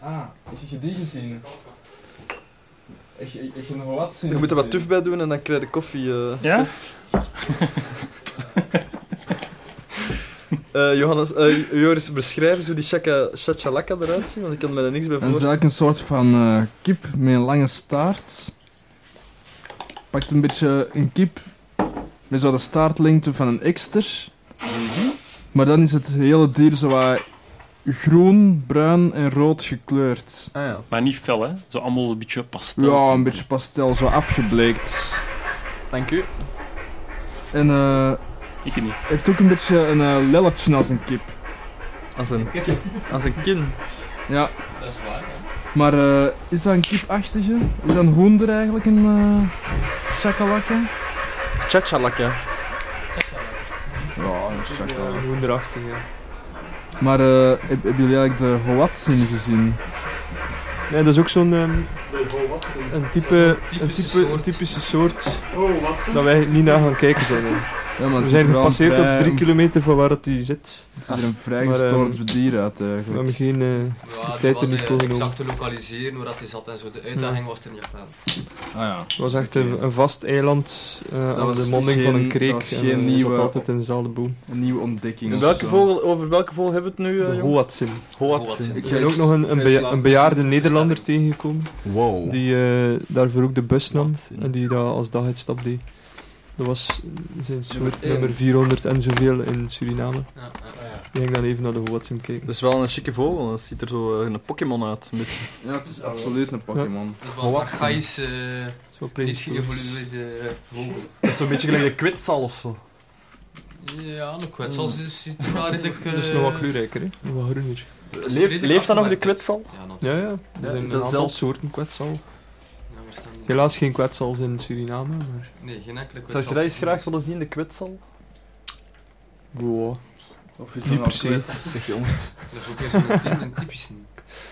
Speaker 22: Ah, heb je die gezien? Heb je, heb je nog wat zien?
Speaker 8: Je moet er wat tuf bij doen en dan krijg je koffie. eh,
Speaker 22: Ja?
Speaker 8: Eh, Johannes, eh, Joris, beschrijf eens hoe die shaka- shachalaka eruit ziet, want ik kan me er niks bij
Speaker 22: Dat is
Speaker 8: voorstellen.
Speaker 22: eigenlijk een soort van eh, kip met een lange staart. Pakt een beetje een kip met zo de staartlengte van een ekster.
Speaker 8: Mhm.
Speaker 2: Maar dan is het hele dier zo wat groen, bruin en rood gekleurd.
Speaker 8: Ah
Speaker 10: Maar niet fel, hè? Zo allemaal een beetje pastel.
Speaker 2: Ja, een beetje pastel, zo afgebleekt.
Speaker 23: Dank u.
Speaker 2: En eh.
Speaker 10: Ik niet.
Speaker 2: Heeft ook een beetje een eh, lelletje als een kip.
Speaker 8: Als een, als een kin.
Speaker 2: Ja. Dat is waar, Maar eh, is dat een kipachtige? Is dat een hoender eigenlijk, een eh chakalaka?
Speaker 8: Chachalakje.
Speaker 2: Ja, een chakalaka.
Speaker 8: Hoenderachtig, ja.
Speaker 2: Maar eh, heb- hebben jullie eigenlijk de hoatzin gezien?
Speaker 1: Nee, dat is ook zo'n ehm, een type,
Speaker 2: Zo'n typische
Speaker 1: een type,
Speaker 2: soort.
Speaker 1: een typische soort
Speaker 2: Oh, wat ze?
Speaker 1: dat wij niet naar gaan kijken zijn. hè.
Speaker 2: Ja, maar het
Speaker 1: we
Speaker 2: zit
Speaker 1: zijn
Speaker 2: er wel
Speaker 1: gepasseerd
Speaker 2: bij-
Speaker 1: op drie kilometer van waar dat die zit.
Speaker 2: Het is er een vrij
Speaker 1: Maar, ehm,
Speaker 2: gestoord dier uit
Speaker 1: We
Speaker 2: eigenlijk.
Speaker 1: hebben geen eh,
Speaker 7: Ja,
Speaker 1: tijd er
Speaker 7: was
Speaker 1: niet
Speaker 7: eh,
Speaker 1: voor genomen.
Speaker 7: exact te lokaliseren waar dat hij zat en zo. De uitdaging was er niet echt aan.
Speaker 2: Ah ja.
Speaker 1: Het was echt een, een vast eiland eh,
Speaker 2: Dat
Speaker 1: aan
Speaker 2: was
Speaker 1: de monding van een
Speaker 2: geen-
Speaker 1: kreek.
Speaker 2: dat was
Speaker 1: en,
Speaker 2: geen
Speaker 1: eh, zat
Speaker 2: nieuwe-
Speaker 1: altijd in dezelfde boom.
Speaker 2: Een nieuwe ontdekking.
Speaker 8: En
Speaker 2: of
Speaker 8: welke
Speaker 2: zo.
Speaker 8: vogel, over welke vogel hebben we het nu? eh,
Speaker 1: De
Speaker 8: jongen?
Speaker 1: Hoatzin.
Speaker 8: Hoatzin.
Speaker 1: Ik ben ook nog een, een, beja- een bejaarde Nederlander tegengekomen.
Speaker 8: Wow.
Speaker 1: Die eh, daarvoor ook de bus nam en die dat als daguitstap deed. Dat was eh, zijn soort
Speaker 8: één.
Speaker 1: nummer 400 en zoveel in Suriname.
Speaker 7: Ja, ja, ja.
Speaker 1: Die ging dan even naar de Hoatzin kijken.
Speaker 8: Dat is wel een chique vogel, dat ziet er zo eh, een Pokémon uit. Met...
Speaker 2: Ja, het is absoluut een Pokémon.
Speaker 7: Dat was een archaïs, eh niet geëvolueerde eh, vogel.
Speaker 23: Dat is zo'n beetje gelijk de kwitsal of zo.
Speaker 7: Ja, een kwetsel
Speaker 23: Hmm.
Speaker 7: dus- is ziet er wel redelijk...
Speaker 23: Dat is
Speaker 7: eh,
Speaker 23: nog wat
Speaker 1: kleurrijker, hè? Wat groener.
Speaker 7: redelijk
Speaker 23: Leeft, leeft dat nog de
Speaker 7: afgemaakt.
Speaker 23: kwitsal?
Speaker 7: Ja, nog.
Speaker 1: Ja, ja. Er
Speaker 23: Ja,
Speaker 1: zijn
Speaker 23: is
Speaker 1: een
Speaker 23: dat
Speaker 1: aantal
Speaker 23: zelfs-
Speaker 1: soorten kwetsal. Helaas geen kwetsals in Suriname, maar...
Speaker 7: Nee, geen enkele kwetsel.
Speaker 23: Zou je dat eens graag willen zien, de kwitsal?
Speaker 1: Wow.
Speaker 23: Of
Speaker 1: is dat Niet nou per se. kwets?
Speaker 23: Zeg jongens.
Speaker 7: Dat is ook eerst een, typ- een typische.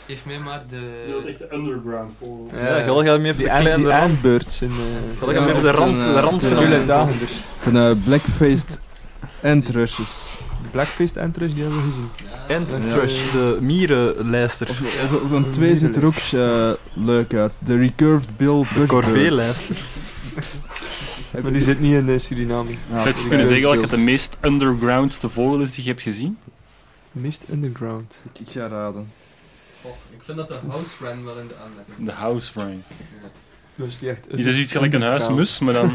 Speaker 7: Geef mij maar de...
Speaker 24: Je wilt echt de underground vogels.
Speaker 1: Ja, ik wil
Speaker 8: graag meer
Speaker 1: voor de kleine rand. Birds in, eh,
Speaker 8: Zal ik hem even de rand, de rand
Speaker 1: van
Speaker 8: van-
Speaker 2: Van eh, Blackfaced Antrushes.
Speaker 1: Blackfaced Anthrush, die hebben we gezien.
Speaker 8: Anthrush, de mierenlijster.
Speaker 2: Van twee ziet er ook eh, leuk uit. De Recurved Bill Bushbird.
Speaker 1: corvée-lijster. Maar die zit niet in eh, Suriname.
Speaker 10: Zou je kunnen zeggen dat het de meest undergroundste vogel is die je hebt gezien?
Speaker 1: Mist Underground.
Speaker 2: Ik ga raden.
Speaker 7: Oh, Ik vind dat de house ran wel in de aanmerking.
Speaker 10: De house frame.
Speaker 1: Dus die echt...
Speaker 10: Die is iets gelijk een huismus, maar dan...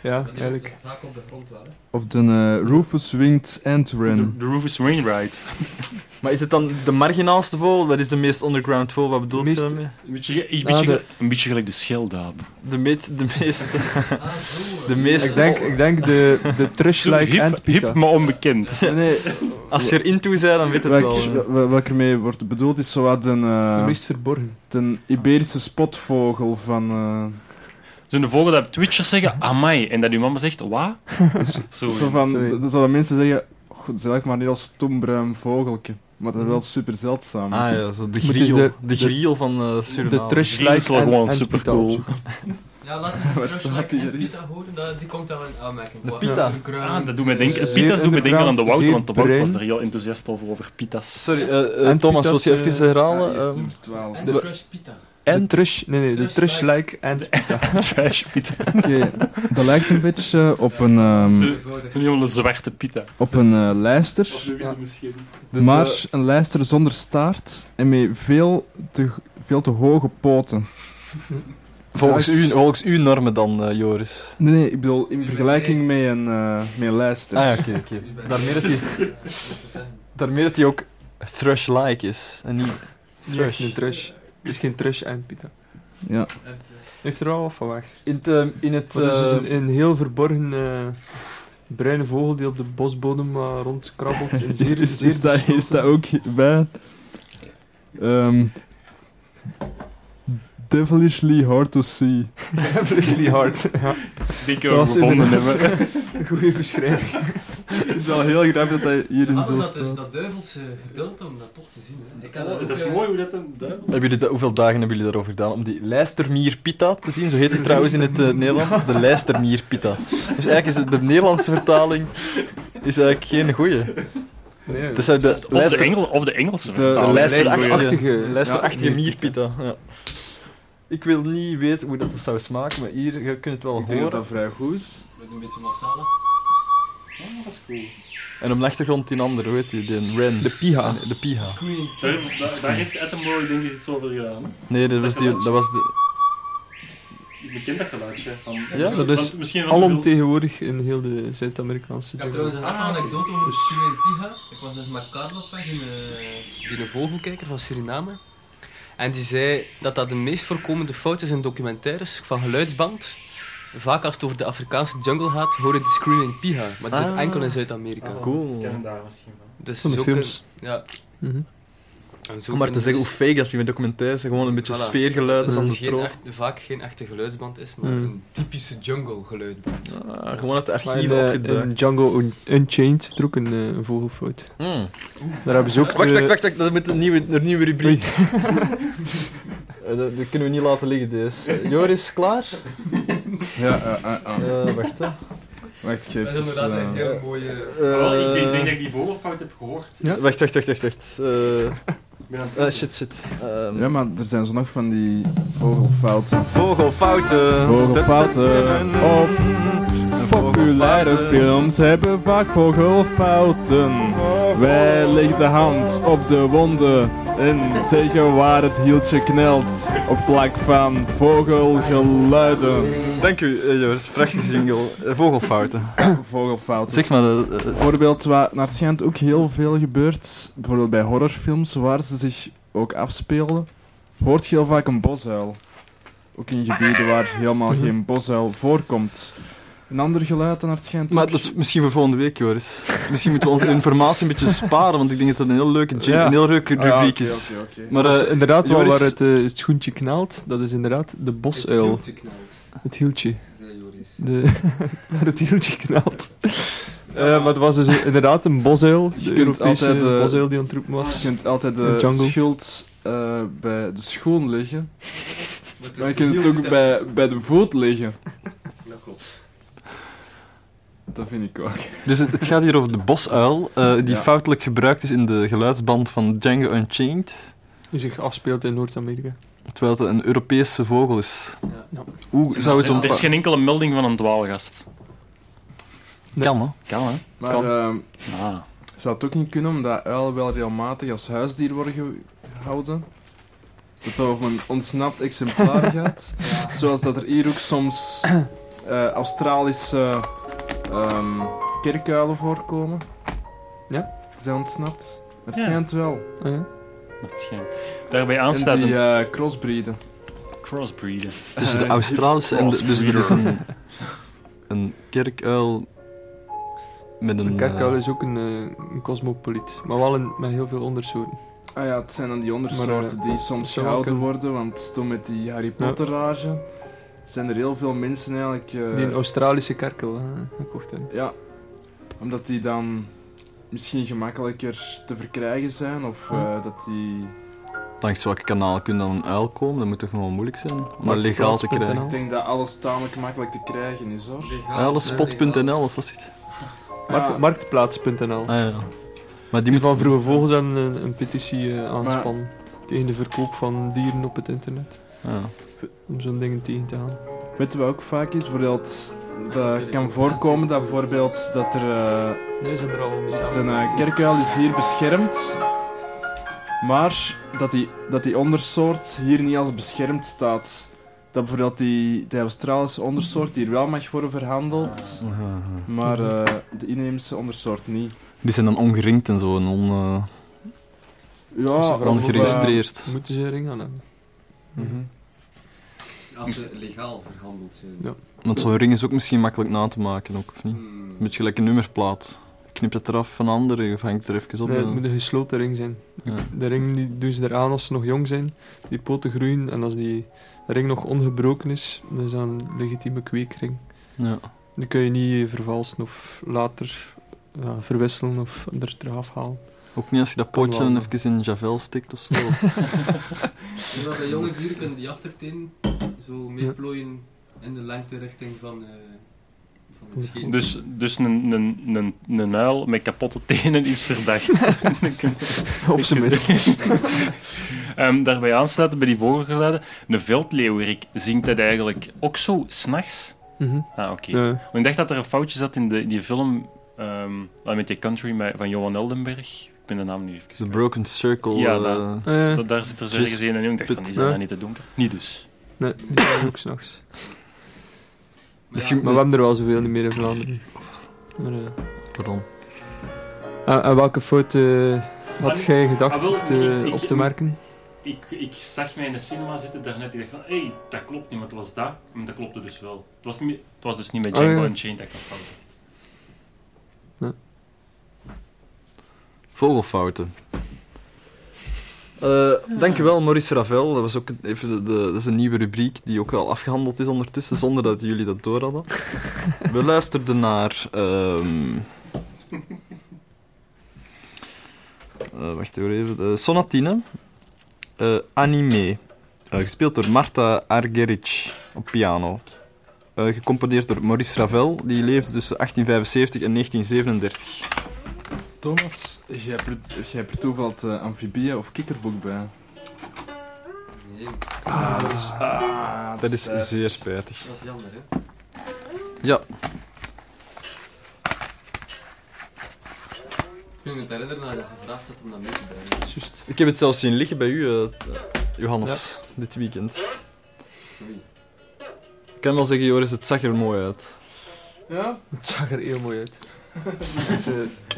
Speaker 1: ja, eigenlijk.
Speaker 7: Vaak op de grond wel, hè.
Speaker 2: Of de eh, Rufus Winged Antren.
Speaker 10: De Rufus Wainwright.
Speaker 8: Maar is het dan de marginaalste vogel? Dat is de meest underground vogel, wat bedoelt je
Speaker 10: Meest-
Speaker 8: daarmee?
Speaker 10: Een beetje,
Speaker 8: Ah,
Speaker 10: een, beetje
Speaker 8: de-
Speaker 10: gel- een beetje gelijk de scheldaap.
Speaker 8: De, meest, de meest...
Speaker 7: Ah, eh.
Speaker 8: de meest...
Speaker 1: Ik denk, ik denk de, de
Speaker 10: Zo hip-
Speaker 1: Trush-like Antpita.
Speaker 10: hip, maar onbekend.
Speaker 2: Nee.
Speaker 8: Als je erin toe bent, dan weet het
Speaker 2: Wat
Speaker 8: wel.
Speaker 2: ik- wa- Wat ermee wordt bedoeld is zo wat een... eh,
Speaker 1: De meest verborgen.
Speaker 2: Een Iberische spotvogel van... eh,
Speaker 10: Zo'n vogel dat op Twitchers zeggen, amai, en dat uw mama zegt, wat? Zo.
Speaker 2: zo van, d- d- zouden mensen zeggen... "Och, Het is eigenlijk maar een heel stombruin vogeltje. Maar dat is wel super zeldzaam.
Speaker 8: Ah ja, zo de griel. De, griel van eh Suriname.
Speaker 2: Trush-like is wel en- gewoon en supercool. pita
Speaker 7: Ja, laat eens de
Speaker 2: Waar
Speaker 7: crush
Speaker 2: staat
Speaker 7: like
Speaker 2: die
Speaker 7: en
Speaker 2: hier?
Speaker 7: pita horen, dat, die komt dan in aanmerking.
Speaker 23: De
Speaker 7: Wat-
Speaker 23: pita.
Speaker 7: underground.
Speaker 10: Ah, dat doet mij denken,
Speaker 7: Dus, eh,
Speaker 10: pita's doet mij denken aan de Wout,
Speaker 1: zeer
Speaker 10: want de Wout was
Speaker 1: brein.
Speaker 10: er heel enthousiast over, over pita's.
Speaker 8: Sorry, eh, eh, Thomas, wil je even herhalen? ehm,
Speaker 7: En
Speaker 8: de-
Speaker 7: crush pita.
Speaker 1: En Trush... Nee, nee, de Trush-like Antpita.
Speaker 2: Oké, dat lijkt een beetje op een, ehm,
Speaker 10: Zo'n jongen, een zwarte pita.
Speaker 2: op een eh, lijster.
Speaker 10: Of de witte misschien.
Speaker 1: Dus
Speaker 2: maar
Speaker 1: de-
Speaker 2: een lijster zonder staart en met veel te, veel te hoge poten.
Speaker 8: Volgens, u, volgens uw normen dan, eh, Joris.
Speaker 2: Nee, nee, ik bedoel in vergelijking met een, eh, met een lijster.
Speaker 8: Ah ja, oké, oké. Daarmee dat die- Daarmee dat hij ook thrush-like is. En niet
Speaker 1: Niet echt
Speaker 8: thrush.
Speaker 1: een Trush. Het is geen Trush-Antpita.
Speaker 2: Ja.
Speaker 1: Heeft er wel wat van weg.
Speaker 23: In het... ehm, in het
Speaker 1: Maar dus is
Speaker 23: eh,
Speaker 1: een, een heel verborgen eh, bruine vogel die op de bosbodem eh, rondkrabbelt. En
Speaker 2: Is,
Speaker 1: zeer,
Speaker 2: is,
Speaker 1: zeer
Speaker 2: dat, is dat ook bij? Ehm, devilishly hard to see.
Speaker 1: Fleshly hard. Ja.
Speaker 10: Dikke
Speaker 1: Dat was
Speaker 10: gevonden
Speaker 1: inderdaad
Speaker 10: hebben.
Speaker 1: een Goede beschrijving.
Speaker 2: Het is wel heel grappig dat hij hierin
Speaker 7: Anders
Speaker 2: zo
Speaker 7: dat is
Speaker 2: staat.
Speaker 7: dat duivelse gedeelte om dat toch te zien. Hè. Ik kan
Speaker 10: Oh,
Speaker 7: ook,
Speaker 10: dat is
Speaker 7: eh,
Speaker 10: mooi hoe dat een duivel...
Speaker 8: Hebben jullie dat, hoeveel dagen hebben jullie daarover gedaan om die lijstermier pita te zien? Zo heet het trouwens in het eh, Nederlands, de lijstermier pita. Dus eigenlijk is het- de Nederlandse vertaling is eigenlijk geen goeie.
Speaker 1: Nee.
Speaker 8: Het is uit de
Speaker 10: Of de,
Speaker 8: lijster...
Speaker 10: Engel, of de Engelse.
Speaker 8: de
Speaker 1: Nou,
Speaker 10: vertaling.
Speaker 8: lijsterachtige, lijsterachtige
Speaker 1: Ja,
Speaker 8: mierpita. Ja. Ik wil niet weten hoe dat zou smaken, maar hier, je kunt het wel
Speaker 2: denk dat
Speaker 8: horen.
Speaker 2: dat vrij goed is.
Speaker 7: Met een beetje masala. Oh, dat is cool.
Speaker 8: En op de achtergrond die andere, hoe heet die? De Ren. De Piha. de Piha.
Speaker 10: Daar, daar- daar heeft Attenborough denk ik iets over gedaan. hè.
Speaker 8: Nee, dat was, die, dat was de...
Speaker 10: Ik
Speaker 2: bekend dat geluidje. Van,
Speaker 7: Ja, dat is alomtegenwoordig in heel de Zuid-Amerikaanse
Speaker 1: Ik heb trouwens een
Speaker 8: Ah,
Speaker 1: anekdote over
Speaker 8: dus-
Speaker 1: Sué Piga. Ik was dus met Karel op weg in, eh, in een vogelkijker van Suriname. En die zei dat dat de meest voorkomende fout is in documentaires van geluidsband. Vaak als het over de Afrikaanse jungle gaat, hoor je de screaming piga. Maar die zit
Speaker 2: Ah.
Speaker 1: enkel in Zuid-Amerika.
Speaker 2: Ah, Cool. ik ken hem daar misschien van.
Speaker 1: Dus
Speaker 8: Van de
Speaker 1: zo kun-
Speaker 8: films.
Speaker 1: Ja.
Speaker 7: Mhm.
Speaker 1: En zo
Speaker 8: Om maar
Speaker 1: kunnen
Speaker 8: te zeggen hoe
Speaker 1: dus-
Speaker 8: fake dat is in documentaires zijn, gewoon een beetje
Speaker 1: Voilà.
Speaker 8: sfeergeluiden
Speaker 1: Dat
Speaker 8: van
Speaker 1: het
Speaker 8: de
Speaker 1: geen
Speaker 8: troon. Mhm.
Speaker 1: echt- vaak geen echte geluidsband is, maar
Speaker 7: Hmm.
Speaker 1: een typische jungle geluidsband.
Speaker 8: Ah, gewoon het archief
Speaker 7: Maar in, eh, in Django Un- Unchained zit er ook een, eh, een vogelfout.
Speaker 8: Hmm.
Speaker 7: Daar hebben ze ook eh,
Speaker 8: Wacht,
Speaker 7: de-
Speaker 8: wacht, wacht, wacht, dat moet een nieuwe, een nieuwe rubriek. Eh, dat, dat kunnen we niet laten liggen, deze. Eh, Joris, klaar?
Speaker 10: Ja, eh, eh, eh.
Speaker 8: Eh, wacht, hè.
Speaker 10: Wacht, ik geef Dat is even, inderdaad eh, een
Speaker 2: heel mooie- Wel, ik denk- denk dat ik die vogelfout heb gehoord.
Speaker 8: Ja? Wacht, wacht, wacht, wacht, wacht. Eh,
Speaker 2: ben aan het
Speaker 8: eh, shit, shit. Ehm,
Speaker 10: Ja, maar er zijn zo nog van die vogelfouten.
Speaker 8: Vogelfouten.
Speaker 10: Vogelfouten Oh. op. Populaire films hebben vaak vogelfouten. Wij leggen de hand op de wonden en zeggen waar het hieltje knelt. Op vlak van vogelgeluiden.
Speaker 8: Dank u, eh, Joris. Prachtige jingle. Eh, vogelfouten.
Speaker 10: vogelfouten.
Speaker 8: Zeg maar, eh, eh,
Speaker 10: Bijvoorbeeld, wat naar het schijnt ook heel veel gebeurt, bijvoorbeeld bij horrorfilms waar ze zich ook afspelen, hoort je heel vaak een bosuil. Ook in gebieden waar helemaal
Speaker 8: Mhm.
Speaker 10: geen bosuil voorkomt. Een ander geluid naar het schijnt
Speaker 8: Maar
Speaker 10: ook-
Speaker 8: dat is misschien voor volgende week, Joris. Misschien moeten we onze informatie een beetje sparen, want ik denk dat het een heel leuke, jing-
Speaker 7: Ja.
Speaker 8: een heel leuke
Speaker 7: Ah, ja,
Speaker 8: rubriek
Speaker 7: oké,
Speaker 8: is.
Speaker 7: oké, oké.
Speaker 8: Maar
Speaker 7: Dus
Speaker 8: eh,
Speaker 7: inderdaad, wel
Speaker 8: Joris,
Speaker 7: waar het, eh, het schoentje knelt, dat is inderdaad de bosuil.
Speaker 1: Het hieltje knelt.
Speaker 7: Het hieltje. De, waar het hieltje knelt. Eh, maar het was dus inderdaad een bosuil.
Speaker 10: Je
Speaker 7: de
Speaker 10: kunt
Speaker 7: Europese
Speaker 10: altijd, eh,
Speaker 7: bosuil die aan het roepen was.
Speaker 10: Je kunt altijd
Speaker 7: In
Speaker 10: de
Speaker 7: jungle.
Speaker 10: schuld eh, bij de schoen leggen.
Speaker 1: is
Speaker 10: Maar
Speaker 1: de
Speaker 10: je kunt het
Speaker 1: hiel
Speaker 10: ook
Speaker 1: die
Speaker 10: bij, bij de voet leggen.
Speaker 1: Dat klopt.
Speaker 10: Dat vind ik ook.
Speaker 8: Dus het, het gaat hier over de bosuil, eh, die
Speaker 10: Ja.
Speaker 8: foutelijk gebruikt is in de geluidsband van Django Unchained,
Speaker 7: Die zich afspeelt in Noord-Amerika.
Speaker 8: terwijl het een Europese vogel is. Hoe zou zo'n...
Speaker 2: Er is geen enkele melding van een dwaalgast.
Speaker 8: Kan, hè?
Speaker 2: Kan, hè?
Speaker 10: Maar ehm,
Speaker 2: Ah.
Speaker 10: zou het ook niet kunnen omdat uilen wel regelmatig als huisdier worden gehouden? Dat dat over een ontsnapt exemplaar gaat. Zoals dat er hier ook soms eh, Australische ehm kerkuilen voorkomen.
Speaker 7: Ja?
Speaker 10: Die zijn ontsnapt. Het
Speaker 2: Ja.
Speaker 10: schijnt wel.
Speaker 2: Dat schijnt. Daarbij aanstaat
Speaker 10: En die
Speaker 2: een
Speaker 10: eh, crossbreeden.
Speaker 2: crossbreeden.
Speaker 8: Tussen
Speaker 7: Eh,
Speaker 8: de Australische en de... Dus er is een, een kerkuil met een...
Speaker 7: Een kerkuil
Speaker 8: eh,
Speaker 7: is ook een, eh, een cosmopoliet, maar wel een, met heel veel ondersoorten.
Speaker 10: Ah ja, het zijn dan die
Speaker 7: Maar,
Speaker 10: ondersoorten
Speaker 7: eh,
Speaker 10: die
Speaker 7: dat
Speaker 10: soms
Speaker 7: zou wel
Speaker 10: gehouden
Speaker 7: kunnen.
Speaker 10: worden, want toen met die Harry
Speaker 7: Ja.
Speaker 10: Potter rage zijn er heel veel mensen eigenlijk... eh,
Speaker 7: Die een Australische kerkel eh, gekocht hebben.
Speaker 10: Ja, omdat die dan misschien gemakkelijker te verkrijgen zijn of eh, dat die...
Speaker 8: Langs welke kanalen kun je dan een uil komen? Dat moet toch nog wel moeilijk zijn om dat legaal te krijgen.
Speaker 10: Ik denk dat alles tamelijk makkelijk te krijgen is hoor.
Speaker 8: Uilenspot.nl of wat is het?
Speaker 7: Mark-
Speaker 10: Ja.
Speaker 7: Marktplaats.nl.
Speaker 8: Ah, ja. Maar
Speaker 7: die van Vroege Vogels hebben een, een petitie eh, aanspannen tegen de verkoop van dieren op het internet.
Speaker 8: Ja.
Speaker 7: Om zo'n dingen tegen te gaan.
Speaker 10: Weet je wat ook vaak is? Bijvoorbeeld, dat kan voorkomen dat bijvoorbeeld dat er... eh,
Speaker 7: Nee, zijn er al mee
Speaker 10: dat
Speaker 7: samen.
Speaker 10: een eh, kerkuil is hier beschermd, maar dat die, dat die ondersoort hier niet als beschermd staat. Dat bijvoorbeeld die, die Australische ondersoort hier wel mag worden verhandeld, maar eh, de inheemse ondersoort niet.
Speaker 8: Die zijn dan ongeringd en zo. En on, eh,
Speaker 10: Ja, eh,
Speaker 7: Ze veranderen-
Speaker 8: ongeregistreerd.
Speaker 7: Moeten ze een ring aan hebben.
Speaker 10: Mhm.
Speaker 1: Als ze legaal verhandeld zijn.
Speaker 7: Ja.
Speaker 8: Want zo'n ring is ook misschien makkelijk na te maken, ook, of niet?
Speaker 7: Hmm.
Speaker 8: Een beetje gelijk een nummerplaat. Knip het eraf van anderen of hangt er even op.
Speaker 7: Nee, het
Speaker 8: eh.
Speaker 7: moet een gesloten ring zijn.
Speaker 8: Ja.
Speaker 7: De ring die doen ze eraan als ze nog jong zijn. Die poten groeien en als die ring nog ongebroken is, dan is dat een legitieme kweekring.
Speaker 8: Ja.
Speaker 7: Die kun je niet vervalsen of later ja, verwisselen of er eraf halen.
Speaker 8: Ook niet als je dat
Speaker 7: Kan
Speaker 8: pootje
Speaker 7: wel,
Speaker 8: dan even in Javel stikt of zo.
Speaker 1: Dus als een jonge dier kunnen die achterteen zo meeplooien in de lengte richting van, eh van het scheen.
Speaker 2: Dus, dus een, een, een, een uil met kapotte tenen is verdacht.
Speaker 7: Op zijn minst.
Speaker 2: Ehm, daarbij aansluiten bij die vogelgeluiden. Een veldleeuwerik zingt dat eigenlijk ook zo s'nachts?
Speaker 7: Mhm.
Speaker 2: Ah, oké.
Speaker 7: Ja.
Speaker 2: Want Ik dacht dat er een foutje zat in, de, in die film ehm, ah, met die country met- van Johan Eldenberg. Ik ben de naam nu even
Speaker 8: The Broken Circle.
Speaker 2: Ja,
Speaker 8: eh,
Speaker 2: dat-
Speaker 7: Eh,
Speaker 2: dat- daar zit er zo
Speaker 8: Chris
Speaker 2: ergens een en ik dacht van,
Speaker 8: Pitt.
Speaker 2: is dat dan niet te donker? Niet dus.
Speaker 7: Nee, die zijn ook s'nachts. Misschien, maar we hebben er wel zoveel niet meer in Vlaanderen. Maar, eh,
Speaker 25: Pardon.
Speaker 7: aan, aan Ah, welke fout eh, had
Speaker 2: Maar-
Speaker 7: jij
Speaker 2: ah,
Speaker 7: gedacht
Speaker 2: wel,
Speaker 7: op te,
Speaker 2: ik-
Speaker 7: op
Speaker 2: ik-
Speaker 7: te merken?
Speaker 2: Ik, ik zag mij in de cinema zitten daarnet. Ik dacht van, hé, hey, dat klopt niet, maar het was dat. En dat klopte dus wel. Het was, niet, meer- het was dus niet met
Speaker 7: Oh,
Speaker 2: Django
Speaker 7: ja.
Speaker 2: Unchained dat ik dat van.
Speaker 8: Vogelfouten. Eh, dankjewel, Maurice Ravel. Dat, was ook even de, de- dat is een nieuwe rubriek die ook al afgehandeld is ondertussen, zonder dat jullie dat door hadden. We luisterden naar. ehm, eh, wacht even. eh, Sonatine. Eh, anime. Eh, gespeeld door Marta Argerich op piano. Eh, gecomponeerd door Maurice Ravel. Die leefde tussen 1875 en 1937.
Speaker 10: Thomas, jij hebt er- jij hebt er toeval eh, amfibieën of kikkerboek bij. Ah, dat is, ah,
Speaker 8: Dat is eh,
Speaker 10: spijtig.
Speaker 8: zeer spijtig.
Speaker 1: Dat is jammer, hè?
Speaker 8: Ja,
Speaker 1: Kun je het herinneren dat je gevraagd had om dat mee te brengen?
Speaker 8: Juist. Ik heb het zelfs zien liggen bij u, eh, Johannes, dit weekend.
Speaker 1: Oei.
Speaker 8: Ik kan wel zeggen, Joris, het zag er mooi uit.
Speaker 25: Ja?
Speaker 7: Het zag er heel mooi uit.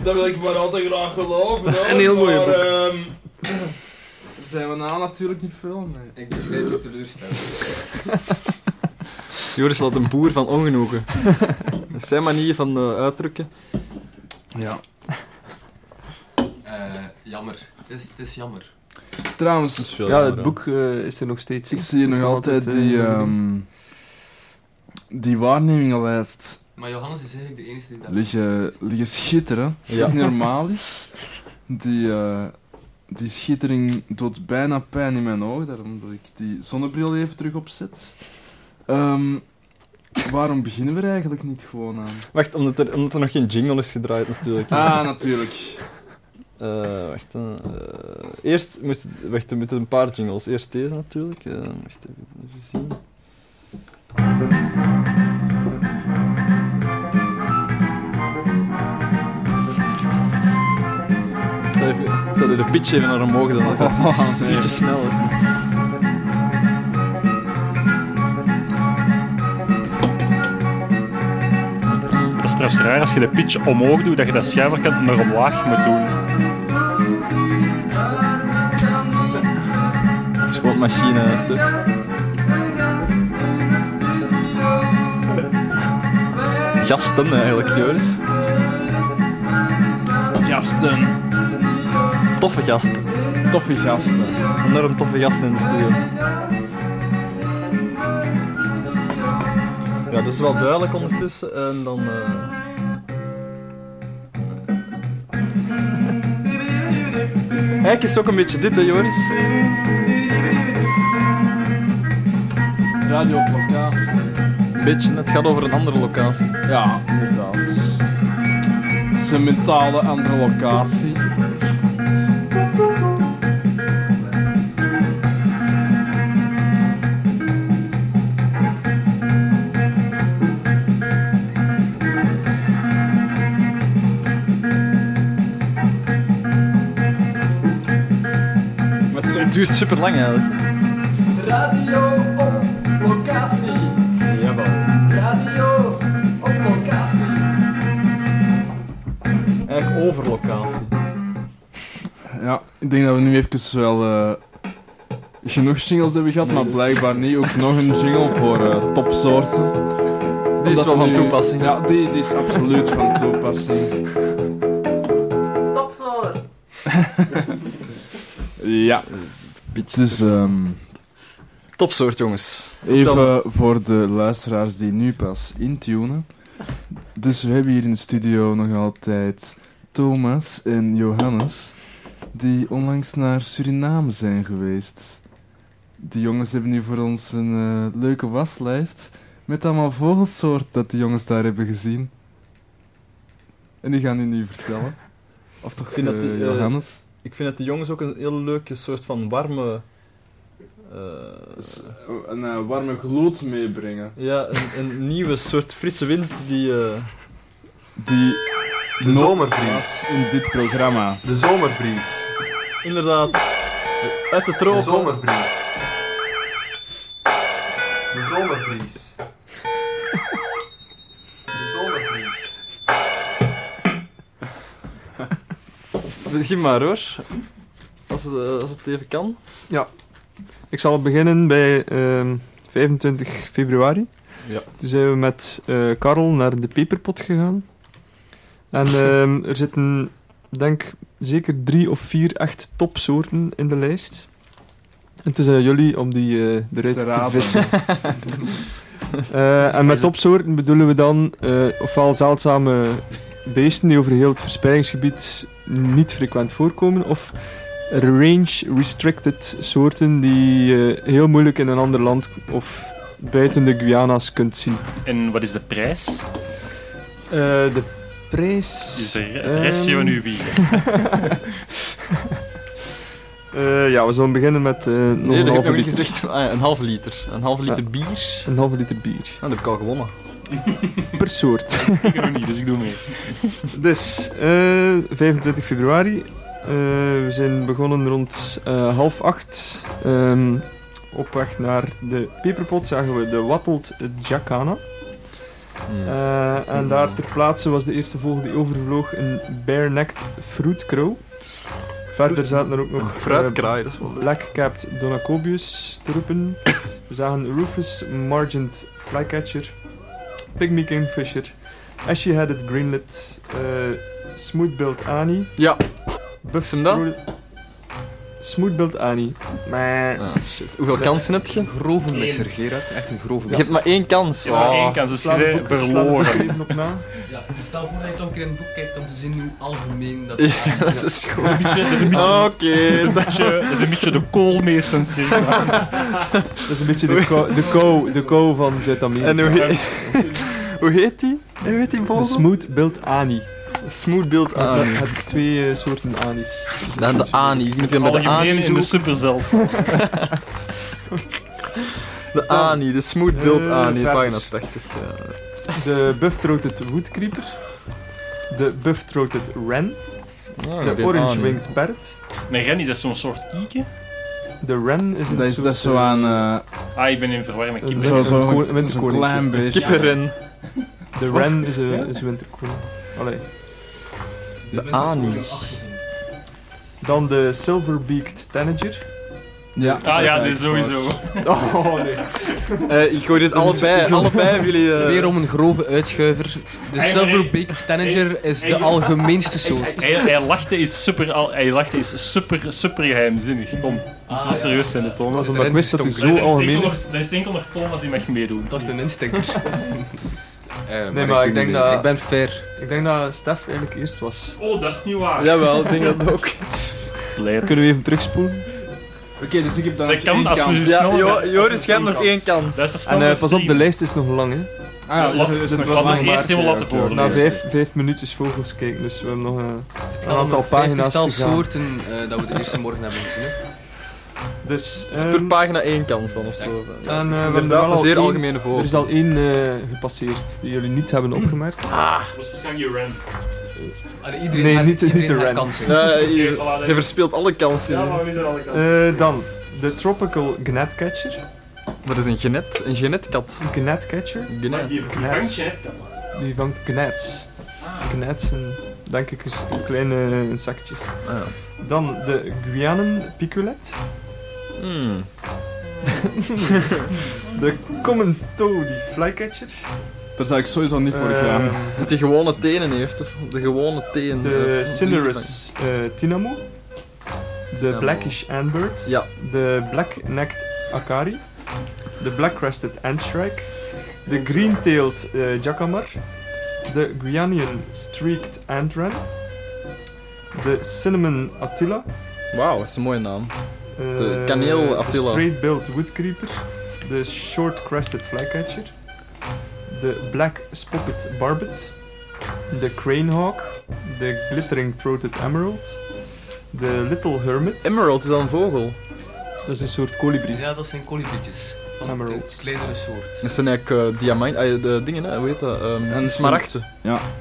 Speaker 25: Dat wil ik maar altijd graag geloven. hoor,
Speaker 22: Een heel mooie
Speaker 25: maar,
Speaker 22: boek.
Speaker 25: ehm,
Speaker 22: Daar zijn we nou natuurlijk niet veel mee.
Speaker 1: Ik begrijp je teleurstelling.
Speaker 8: Joris laat een boer van ongenoegen. Dat is zijn manier van eh, uitdrukken.
Speaker 10: Ja.
Speaker 1: Eh, jammer. Het is, het is jammer.
Speaker 10: Trouwens,
Speaker 7: Ja, het boek eh, is er nog steeds.
Speaker 10: Ik zie nog altijd die,
Speaker 7: eh,
Speaker 10: ehm die waarnemingenlijst
Speaker 1: Maar Johannes is eigenlijk de enige die dat...
Speaker 10: liggen, liggen schitteren.
Speaker 1: Ja.
Speaker 10: Wat normaal is. Die, eh, die schittering doet bijna pijn in mijn ogen, daarom dat ik die zonnebril even terug opzet. Ehm, waarom beginnen we er eigenlijk niet gewoon aan?
Speaker 8: Wacht, omdat er, omdat er nog geen jingle is gedraaid natuurlijk.
Speaker 10: Ah, natuurlijk.
Speaker 8: Eh, wacht, eh, eh, eerst moet, wacht, er moeten een paar jingles. Eerst deze natuurlijk. eh, wacht even, even zien. Ik zal even- Ik zal de pitch even naar omhoog doen, dat gaat iets, iets, ietsje sneller.
Speaker 2: Dat is trouwens raar als je de pitch omhoog doet, dat je dat schuiverkant naar omlaag moet doen.
Speaker 8: Het is gewoon machine stuk. Gasten eigenlijk, Joris.
Speaker 10: Gasten.
Speaker 8: Toffe gasten.
Speaker 10: Toffe gasten.
Speaker 8: Enorm toffe gasten in de studio. Ja, dat is wel duidelijk ondertussen. En dan... eh, Eigenlijk is het ook een beetje dit, hè, Joris?
Speaker 22: Radio op locatie.
Speaker 8: Een beetje, het gaat over een andere locatie.
Speaker 22: Ja, inderdaad. Het is een mentale andere locatie.
Speaker 8: Maar het duurt super lang eigenlijk.
Speaker 15: Radio op locatie.
Speaker 8: Jawel.
Speaker 15: Radio op locatie.
Speaker 8: Eigenlijk over locatie.
Speaker 10: Ja, ik denk dat we nu even wel eh, genoeg singles hebben gehad, maar blijkbaar niet. Ook nog een jingle voor eh, topsoorten.
Speaker 8: Die is
Speaker 10: Omdat
Speaker 8: wel van
Speaker 10: nu-
Speaker 8: toepassing.
Speaker 10: Ja, die, die is absoluut van toepassing.
Speaker 15: Topsoort.
Speaker 10: Ja. Dus ehm
Speaker 8: Topsoort, jongens.
Speaker 10: even
Speaker 8: Vertel.
Speaker 10: voor de luisteraars die nu pas intunen. Dus we hebben hier in de studio nog altijd Thomas en Johannes, die onlangs naar Suriname zijn geweest. Die jongens hebben nu voor ons een eh, leuke waslijst met allemaal vogelsoorten dat die jongens daar hebben gezien. En die gaan die nu vertellen. Of toch
Speaker 8: Ik vind, dat die,
Speaker 10: eh,
Speaker 8: eh,
Speaker 10: Johannes?
Speaker 8: ik vind dat de jongens ook een heel leuke soort van warme... eh,
Speaker 10: een eh, warme gloed meebrengen.
Speaker 8: ja, een, een nieuwe soort frisse wind die... eh,
Speaker 10: Die
Speaker 8: de zomerbries.
Speaker 10: In dit programma.
Speaker 8: De zomerbries. Inderdaad. Uit de tropen. De zomerbries. De zomerbries. Begin maar hoor. Als het, eh, als het even kan.
Speaker 7: Ja. Ik zal beginnen bij ehm, 25 februari.
Speaker 8: Ja.
Speaker 7: Toen zijn we met eh, Karel naar de peperpot gegaan. En ehm, er zitten, denk zeker drie of vier echt topsoorten in de lijst. En toen zijn jullie om die eh, eruit
Speaker 22: Te
Speaker 7: te,
Speaker 22: rapen.
Speaker 7: vissen. Eh, en met topsoorten bedoelen we dan eh, ofwel zeldzame beesten die over heel het verspreidingsgebied niet frequent voorkomen, of range-restricted soorten die je heel moeilijk in een ander land of buiten de Guyana's kunt zien.
Speaker 2: En wat is de prijs?
Speaker 7: Eh, de prijs...
Speaker 2: Dus de- het restje van uw bier.
Speaker 7: Eh, ja, we zullen beginnen met eh, nog
Speaker 8: Nee,
Speaker 7: een
Speaker 8: dat heb ik
Speaker 7: halve
Speaker 8: nog niet
Speaker 7: liter.
Speaker 8: gezegd. Ah, ja, een halve liter. Een halve liter
Speaker 7: Ja.
Speaker 8: bier.
Speaker 7: Een halve liter bier.
Speaker 8: Ah, dat heb ik al gewonnen.
Speaker 7: Per soort.
Speaker 2: Ik heb hem niet, dus ik doe mee.
Speaker 7: Dus, eh, 25 februari. Eh, we zijn begonnen rond eh, half acht. Ehm, op weg naar de peperpot zagen we de Wattelt Jacana.
Speaker 8: Mm.
Speaker 7: Eh, en daar ter plaatse was de eerste vogel die overvloog een bare-necked fruitkrow. Verder zaten er ook nog... eh,
Speaker 8: Een fruitkraai, dat is wel leuk.
Speaker 7: Black-capped Donacobius te roepen. We zagen Rufus Margent Flycatcher, Pygmy Kingfisher, Ashy-headed Greenlet, eh Smooth-billed Ani.
Speaker 8: Ja.
Speaker 7: Buff Smooth-billed Ani. Maar shit.
Speaker 8: Hoeveel kansen heb je? Een
Speaker 7: grove
Speaker 8: messer,
Speaker 7: Gerard. Echt een grove
Speaker 8: Je hebt maar één kans.
Speaker 7: Je hebt maar één kans, dus je bent verloren. op na.
Speaker 1: Ja, stel voor dat je toch een keer in het boek kijkt om te zien hoe algemeen dat
Speaker 8: Ja, dat is goed.
Speaker 1: Ja.
Speaker 2: Een beetje- dat is een beetje-
Speaker 8: Oké,
Speaker 2: dat is een beetje- dat is een beetje de koolmeesters. zeg maar.
Speaker 7: Dat is een beetje de kou, de kou, de kou van Zuid-Amerika.
Speaker 8: En hoe heet, hoe heet die? Hoe heet die
Speaker 7: De
Speaker 8: vogel?
Speaker 7: Smooth Built Ani.
Speaker 8: Smooth Built
Speaker 2: Ah,
Speaker 8: Ani.
Speaker 7: Het, het twee eh, soorten Anis.
Speaker 8: Dan de Ani. Ik moet hem bij de
Speaker 2: Algemeen
Speaker 8: Ani
Speaker 2: in de
Speaker 8: zoeken.
Speaker 2: superzeld.
Speaker 8: De Ani, de Smooth Built
Speaker 7: Eh,
Speaker 8: Ani,
Speaker 7: verder.
Speaker 8: pagina 80. ja.
Speaker 7: De Buff-throated Woodcreeper. De Buff-throated Wren.
Speaker 8: Nou,
Speaker 2: Ah,
Speaker 7: de
Speaker 2: dit Ani.
Speaker 7: Orange-winged Parrot.
Speaker 2: Mijn Ren is dat zo'n soort kieken?
Speaker 7: De Wren is een
Speaker 10: Dat is-
Speaker 7: soort... eh,
Speaker 10: dat is zo aan, eh,
Speaker 2: ah, ik ben in verwarring met kippen.
Speaker 10: Zo, zo,
Speaker 7: ko-
Speaker 10: een-
Speaker 7: winterkoning.
Speaker 10: zo'n klein beestje.
Speaker 7: Kippenren. De
Speaker 10: Wat?
Speaker 7: Wren is
Speaker 10: Ja?
Speaker 7: een is een winterkoning. Allee.
Speaker 8: De Ani.
Speaker 7: Dan de Silver-beaked Tanager.
Speaker 10: Ja.
Speaker 2: Ah ja, nee, sowieso.
Speaker 7: Oh nee.
Speaker 8: Eh, ik gooi dit allebei, allebei hebben jullie... eh,
Speaker 1: Weer om een grove uitschuiver. De
Speaker 2: Hey,
Speaker 1: Silverbeak Tanager is de algemeenste soort.
Speaker 2: Hij, hij lachte is super, al- hij lachte is super, super geheimzinnig. Kom, ik moet serieus zijn, de Thomas.
Speaker 7: omdat ik wist dat hij zo
Speaker 2: Er is enkel
Speaker 7: algemeen
Speaker 2: nog-
Speaker 7: is.
Speaker 2: Er is enkel nog Thomas die mag meedoen.
Speaker 1: Dat is een instinker.
Speaker 7: Nee, maar ik denk dat...
Speaker 1: Eh, Ik ben fair.
Speaker 7: Ik denk dat Stef eigenlijk eerst was.
Speaker 2: Oh, dat is niet waar.
Speaker 7: Jawel, ik denk dat ook. Kunnen we even terugspoelen?
Speaker 22: Oké, dus ik heb dan
Speaker 2: Dat kan als we zo
Speaker 7: Ja,
Speaker 2: snel...
Speaker 7: Jo-
Speaker 2: Dus dat- dat
Speaker 7: Joris,
Speaker 2: is
Speaker 7: jij hebt
Speaker 2: één
Speaker 7: nog één kans.
Speaker 2: Dat is er snel
Speaker 7: En eh,
Speaker 2: een
Speaker 7: pas op, de
Speaker 2: stream.
Speaker 7: lijst is nog lang, hè?
Speaker 2: Ah ja, dus er is nog- laat me eerst helemaal laten
Speaker 7: oké, oké.
Speaker 10: Nou,
Speaker 7: Na
Speaker 2: voorlezen.
Speaker 7: vijf, vijf minuutjes vogels kijken, dus we hebben nog eh, een
Speaker 1: Al
Speaker 7: aantal
Speaker 1: een
Speaker 7: pagina's
Speaker 1: vijftigtal
Speaker 7: te gaan.
Speaker 1: soorten eh, dat we de eerste morgen hebben gezien. hè.
Speaker 7: Dus,
Speaker 8: Dus
Speaker 7: ehm,
Speaker 8: per pagina één kans dan of zo.
Speaker 7: En, eh, we hebben er
Speaker 8: Inderdaad,
Speaker 7: wel
Speaker 8: een
Speaker 7: al
Speaker 8: zeer
Speaker 7: één-
Speaker 8: algemene vogel.
Speaker 7: Er is al één eh, gepasseerd die jullie niet hebben opgemerkt.
Speaker 8: Ah.
Speaker 2: Was zijn je Ren?
Speaker 1: Allee, iedereen
Speaker 7: nee,
Speaker 1: had-
Speaker 7: niet, niet de
Speaker 1: iedereen had
Speaker 7: Ren.
Speaker 1: kansen.
Speaker 8: Je verspeelt alle kansen.
Speaker 2: Ja, maar wie zijn alle kansen?
Speaker 7: Eh, dan, de Tropical Gnatcatcher.
Speaker 8: Dat is een genet, een genetkat.
Speaker 7: Een gnatcatcher?
Speaker 8: Gnet.
Speaker 2: Die vangt genetkat,
Speaker 7: Die vangt gnats. Gnats zijn, denk ik, is- kleine insectjes.
Speaker 8: Ah,
Speaker 7: Dan de Guianen piculet.
Speaker 8: Hmm.
Speaker 7: de Commento, die flycatcher. eh,
Speaker 10: Daar zou ik sowieso niet
Speaker 8: Eh,
Speaker 10: voor gaan.
Speaker 8: Dat hij gewone tenen heeft, of? De gewone tenen.
Speaker 7: De
Speaker 8: eh, van
Speaker 7: Cinerus eh tinamo. De
Speaker 8: Tinamo.
Speaker 7: Blackish Antbird.
Speaker 8: Ja.
Speaker 7: De Black-necked Akari. De Black-crested Antshrike. De Green-tailed eh, Jacamar. De Guyanian Streaked Antran. De Cinnamon Attila.
Speaker 8: Wauw, dat is een mooie naam.
Speaker 7: eh,
Speaker 8: De kaneel Attila.
Speaker 7: De Straight-billed Woodcreeper. De Short-crested Flycatcher. De Black-spotted Barbet. De Cranehawk. De Glittering-throated Emerald. De Little Hermit.
Speaker 8: Emerald is dan een vogel.
Speaker 7: Dat is een soort kolibrie.
Speaker 1: Ja, dat zijn kolibrietjes. Van
Speaker 7: Emeralds.
Speaker 1: Een kleinere soort.
Speaker 8: Dat zijn eigenlijk eh diamant, eh, de dingen, hè, hoe heet dat? Ehm,
Speaker 10: En
Speaker 8: smaragden.
Speaker 10: soort-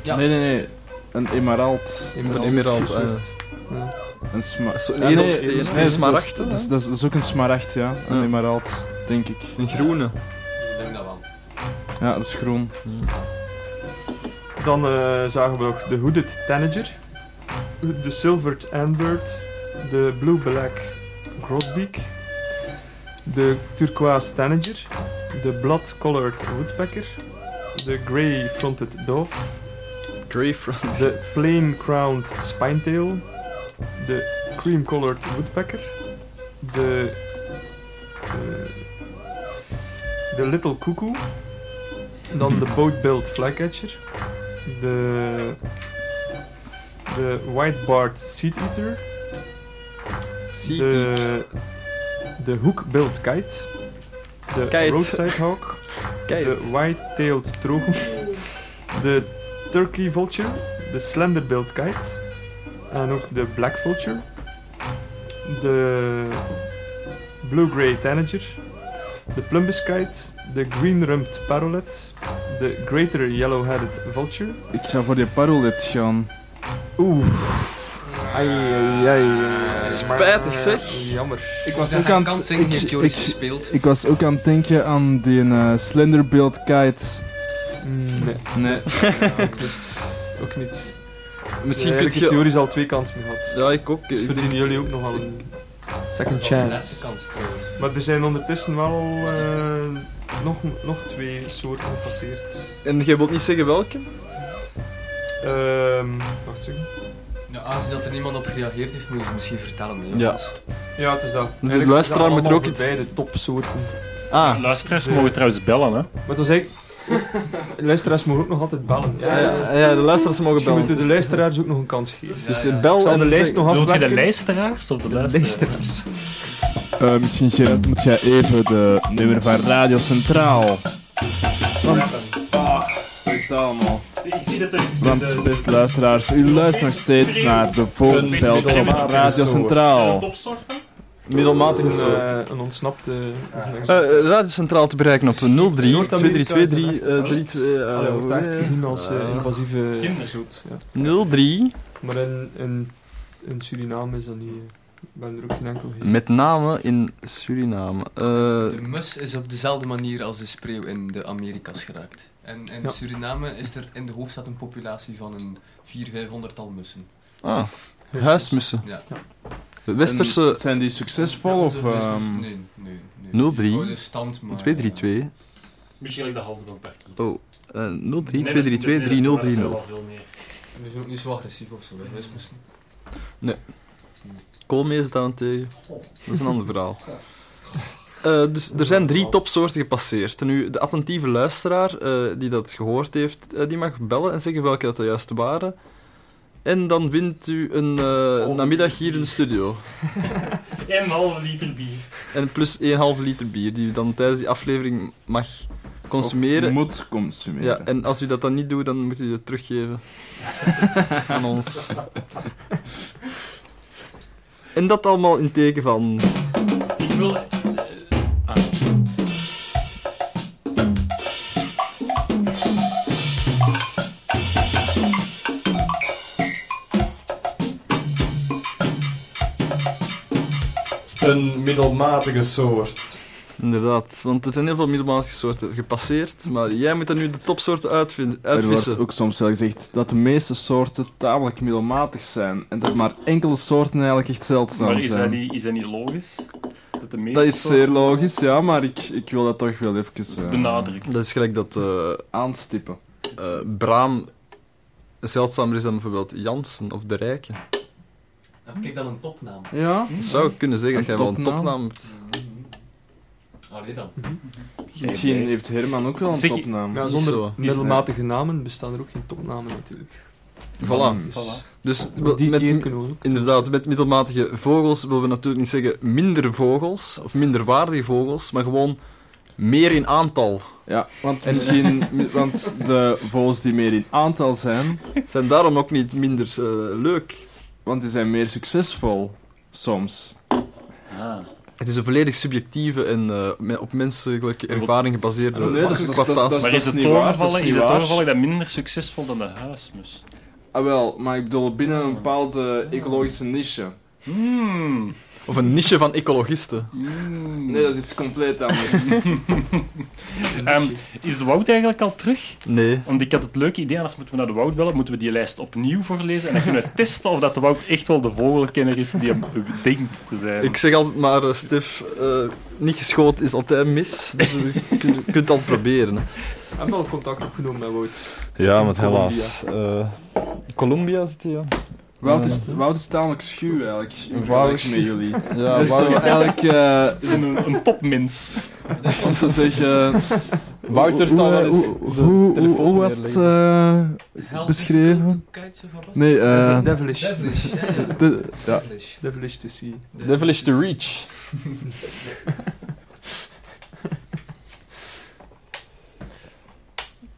Speaker 10: Ja. Nee, nee, nee. Een emerald.
Speaker 8: Emerald. Emerald, eh,
Speaker 10: Een soort-
Speaker 7: ja.
Speaker 10: Een sma-
Speaker 8: Zo'n
Speaker 10: Ja, nee,
Speaker 8: edelsteen,
Speaker 10: nee,
Speaker 8: een
Speaker 10: dat is-
Speaker 8: smaragd,
Speaker 10: Dat
Speaker 8: hè?
Speaker 10: is, dat, is, dat is ook een smaragd, ja. Een
Speaker 8: Ja.
Speaker 10: emerald, denk ik.
Speaker 8: Een groene.
Speaker 1: Ik denk dat wel.
Speaker 10: Ja, dat is groen.
Speaker 7: Dan eh, zagen we nog de Hooded Tanager. de Silvered Ambert, de Blue Black Grosbeak, de Turquoise Tanager, de Blood Colored Woodpecker, de Grey Fronted Dove,
Speaker 8: Grey Front.
Speaker 7: de Plain Crowned Spinetail, de Cream Colored Woodpecker, de. eh, de Little Cuckoo, dan de Boat-billed Flycatcher, de. de White-barred Seed Eater, de. de Hook-billed Kite, de
Speaker 8: Kite.
Speaker 7: Roadside Hawk,
Speaker 8: Kite.
Speaker 7: de White-tailed Trogon, de Turkey Vulture, de Slender-billed Kite, en ook de Black Vulture, de Blue-Grey Tanager, de Plumbus Kite, de Green-Rumped Parolet, de Greater Yellow-Headed Vulture.
Speaker 22: Ik ga voor die parolet gaan.
Speaker 7: Oeh. Ai, ai, ai, ai. eh,
Speaker 8: Spijtig, zeg.
Speaker 7: Jammer.
Speaker 1: Ik
Speaker 8: was
Speaker 1: Ja,
Speaker 8: ook
Speaker 1: hij
Speaker 8: aan
Speaker 1: kan
Speaker 8: het-
Speaker 1: zingen,
Speaker 8: ik-
Speaker 1: je hebt Joris
Speaker 8: ik-
Speaker 1: gespeeld.
Speaker 22: Ik was ook aan het denken aan die eh, Slenderbeeld kite.
Speaker 7: Nee.
Speaker 22: Nee.
Speaker 7: ook niet. Ook niet.
Speaker 8: Misschien
Speaker 7: kunt
Speaker 8: kunt je-
Speaker 7: Joris al twee kansen gehad.
Speaker 8: Ja, ik ook.
Speaker 7: Dus
Speaker 8: Ik-
Speaker 7: verdienen jullie ook nog al een second
Speaker 1: Ja, de
Speaker 7: chance.
Speaker 1: laatste kans trouwens.
Speaker 7: Maar er zijn ondertussen wel eh, nog, nog twee soorten gepasseerd.
Speaker 8: En jij wilt niet zeggen welke?
Speaker 7: Ehm, wacht even.
Speaker 1: Nou, aangezien dat er niemand op gereageerd heeft, moet je ze misschien vertellen. hè,
Speaker 8: Ja.
Speaker 1: jongens.
Speaker 7: Ja, het is dat.
Speaker 8: De luisteraar moet er ook iets-
Speaker 7: Beide topsoorten.
Speaker 8: Ah.
Speaker 2: Luisteraars mogen trouwens bellen, hè.
Speaker 7: Maar toen zei ik... De luisteraars mogen ook nog altijd bellen.
Speaker 8: Ja, ja, de luisteraars mogen
Speaker 7: Misschien
Speaker 8: bellen.
Speaker 7: moeten we de luisteraars ook nog een kans geven.
Speaker 8: Dus, eh, bel
Speaker 7: Ik zal
Speaker 8: en
Speaker 7: de lijst
Speaker 8: zeg-
Speaker 7: nog
Speaker 8: Bedoelt je de
Speaker 7: afwerken.
Speaker 2: luisteraars of de
Speaker 7: luisteraars?
Speaker 10: Eh, misschien Gerard, moet jij even de nummer van Radio Centraal. Want, ah, dat is allemaal.
Speaker 2: Ik zie dat er...
Speaker 10: Want beste luisteraars, u luistert nog steeds naar de Volksveld op Radio Centraal.
Speaker 8: Middelmatig
Speaker 7: een,
Speaker 8: is zo.
Speaker 7: eh, een ontsnapte...
Speaker 8: Eh, eh, Radio Centraal te bereiken op 03 2323 eh, drie- eh,
Speaker 7: Allee, wordt daar echt
Speaker 8: eh,
Speaker 7: gezien als eh,
Speaker 8: eh,
Speaker 7: invasieve
Speaker 8: kinderzoet.
Speaker 7: Ja.
Speaker 8: 03
Speaker 7: Maar in, in, in Suriname is dat niet... eh, Ik ben er ook geen enkel gezien.
Speaker 8: Met name in Suriname. Eh,
Speaker 1: De mus is op dezelfde manier als de spreeuw in de Amerika's geraakt. En in
Speaker 7: Ja.
Speaker 1: Suriname is er in de hoofdstad een populatie van een 400, 500-tal mussen.
Speaker 8: ah, huismussen.
Speaker 1: Ja.
Speaker 8: Westerse...
Speaker 10: En zijn die succesvol of... ehm,
Speaker 1: Nee, nee, nee.
Speaker 8: 03
Speaker 1: Oh, de stand, maar,
Speaker 8: 232.
Speaker 1: Misschien like de Hansbandpark.
Speaker 8: Oh, eh, 03
Speaker 1: Nee, dat is- nee, dat is-
Speaker 8: 232 3030.
Speaker 1: We zijn ook niet zo agressief of zo, hè, huismussen.
Speaker 8: Nee. Koolmees daarentegen. Dat is een ander verhaal. Eh, dus er zijn drie topsoorten gepasseerd. En nu, de attentieve luisteraar eh, die dat gehoord heeft, eh, die mag bellen en zeggen welke dat de juiste waren. En dan wint u een eh, namiddag hier in de studio.
Speaker 2: En een halve liter bier.
Speaker 8: En plus 1,5 liter bier, die u dan tijdens die aflevering mag consumeren.
Speaker 10: Of moet consumeren.
Speaker 8: Ja, en als u dat dan niet doet, dan moet u het teruggeven aan ons. En dat allemaal in teken van.
Speaker 2: Ik wil... eh, ah.
Speaker 8: Een middelmatige soort. Inderdaad, want er zijn heel veel middelmatige soorten gepasseerd, maar jij moet er nu de topsoorten uitvin-
Speaker 10: Er wordt
Speaker 8: uitvissen.
Speaker 10: ook soms wel gezegd dat de meeste soorten tamelijk middelmatig zijn en dat maar enkele soorten eigenlijk echt zeldzaam
Speaker 2: Maar is
Speaker 10: zijn.
Speaker 2: dat, niet, is dat niet logisch? Dat, de meeste
Speaker 10: Dat is
Speaker 2: soorten-
Speaker 10: zeer logisch, ja, maar ik, ik wil dat toch wel even... eh,
Speaker 2: Benadrukken.
Speaker 8: Dat is gelijk dat... eh,
Speaker 10: Aanstippen.
Speaker 8: Braam zeldzamer is dan Eh, bijvoorbeeld Jansen of De Rijke.
Speaker 1: Dan heb ik Ah, dan een topnaam.
Speaker 10: Ja.
Speaker 8: Dat zou ik kunnen zeggen dat jij wel een
Speaker 10: topnaam.
Speaker 8: topnaam hebt.
Speaker 1: Allee dan.
Speaker 10: Misschien heeft Herman ook wel een
Speaker 7: Zeg je-
Speaker 10: topnaam.
Speaker 7: Ja, zonder middelmatige namen bestaan er ook geen topnamen natuurlijk.
Speaker 8: Voilà.
Speaker 7: Voilà.
Speaker 8: Dus
Speaker 7: Op die
Speaker 8: met,
Speaker 7: eer kunnen we ook.
Speaker 8: inderdaad, met middelmatige vogels willen we natuurlijk niet zeggen minder vogels of minderwaardige vogels, maar gewoon meer in aantal.
Speaker 10: Ja, want misschien- mi- want de vogels die meer in aantal zijn...
Speaker 8: Zijn daarom ook niet minder eh, leuk.
Speaker 10: Want die zijn meer succesvol, soms. Ah.
Speaker 8: Het is een volledig subjectieve en eh, me- op menselijke ervaring gebaseerde
Speaker 10: Nee, dat is- dat is- dat is-
Speaker 8: kwartaas.
Speaker 10: dat
Speaker 2: Maar is het
Speaker 10: niet waar, dat is
Speaker 2: doorvallen is
Speaker 10: niet
Speaker 2: het
Speaker 10: waar.
Speaker 2: doorvallen dat minder succesvol dan de huismus?
Speaker 10: Ah wel, maar ik bedoel binnen een bepaalde ecologische niche.
Speaker 2: Hmm.
Speaker 8: Of een niche van ecologisten.
Speaker 10: Nee, dat is iets compleet anders.
Speaker 2: Ehm, is de Wout eigenlijk al terug?
Speaker 8: Nee.
Speaker 2: Want ik had het leuke idee, anders moeten we naar de Wout bellen, moeten we die lijst opnieuw voorlezen en dan kunnen we testen of dat de Wout echt wel de vogelkenner is die hem denkt te zijn.
Speaker 8: Ik zeg altijd maar, eh, Stef, eh, niet geschoten is altijd mis. Dus je kunt, je kunt het altijd proberen. hè.
Speaker 7: Ik heb wel contact opgenomen met Wout.
Speaker 8: Ja, maar
Speaker 7: Colombia.
Speaker 8: helaas. eh, Colombia zit hij, ja.
Speaker 10: Wout
Speaker 8: Eh,
Speaker 10: is, Wout is tamelijk schuw eigenlijk. In
Speaker 8: Wout is
Speaker 10: vergelijking met
Speaker 8: schuw.
Speaker 10: jullie.
Speaker 8: Ja,
Speaker 10: Dus
Speaker 8: Wout
Speaker 10: zo
Speaker 8: is-
Speaker 10: eigenlijk. eh,
Speaker 2: een, een topmens.
Speaker 10: Om te zeggen.
Speaker 8: Wouter
Speaker 10: hoe-
Speaker 8: zal wel
Speaker 10: hoe-
Speaker 8: eens
Speaker 10: hoe-
Speaker 8: de
Speaker 10: hoe- hoe-
Speaker 8: telefoon
Speaker 10: Hoe was het eh, beschreven? Nee, eh.
Speaker 7: Devil- Devilish.
Speaker 10: Devilish, ja, ja.
Speaker 7: De- ja.
Speaker 10: Devilish.
Speaker 7: Devilish to see.
Speaker 8: Devilish to reach.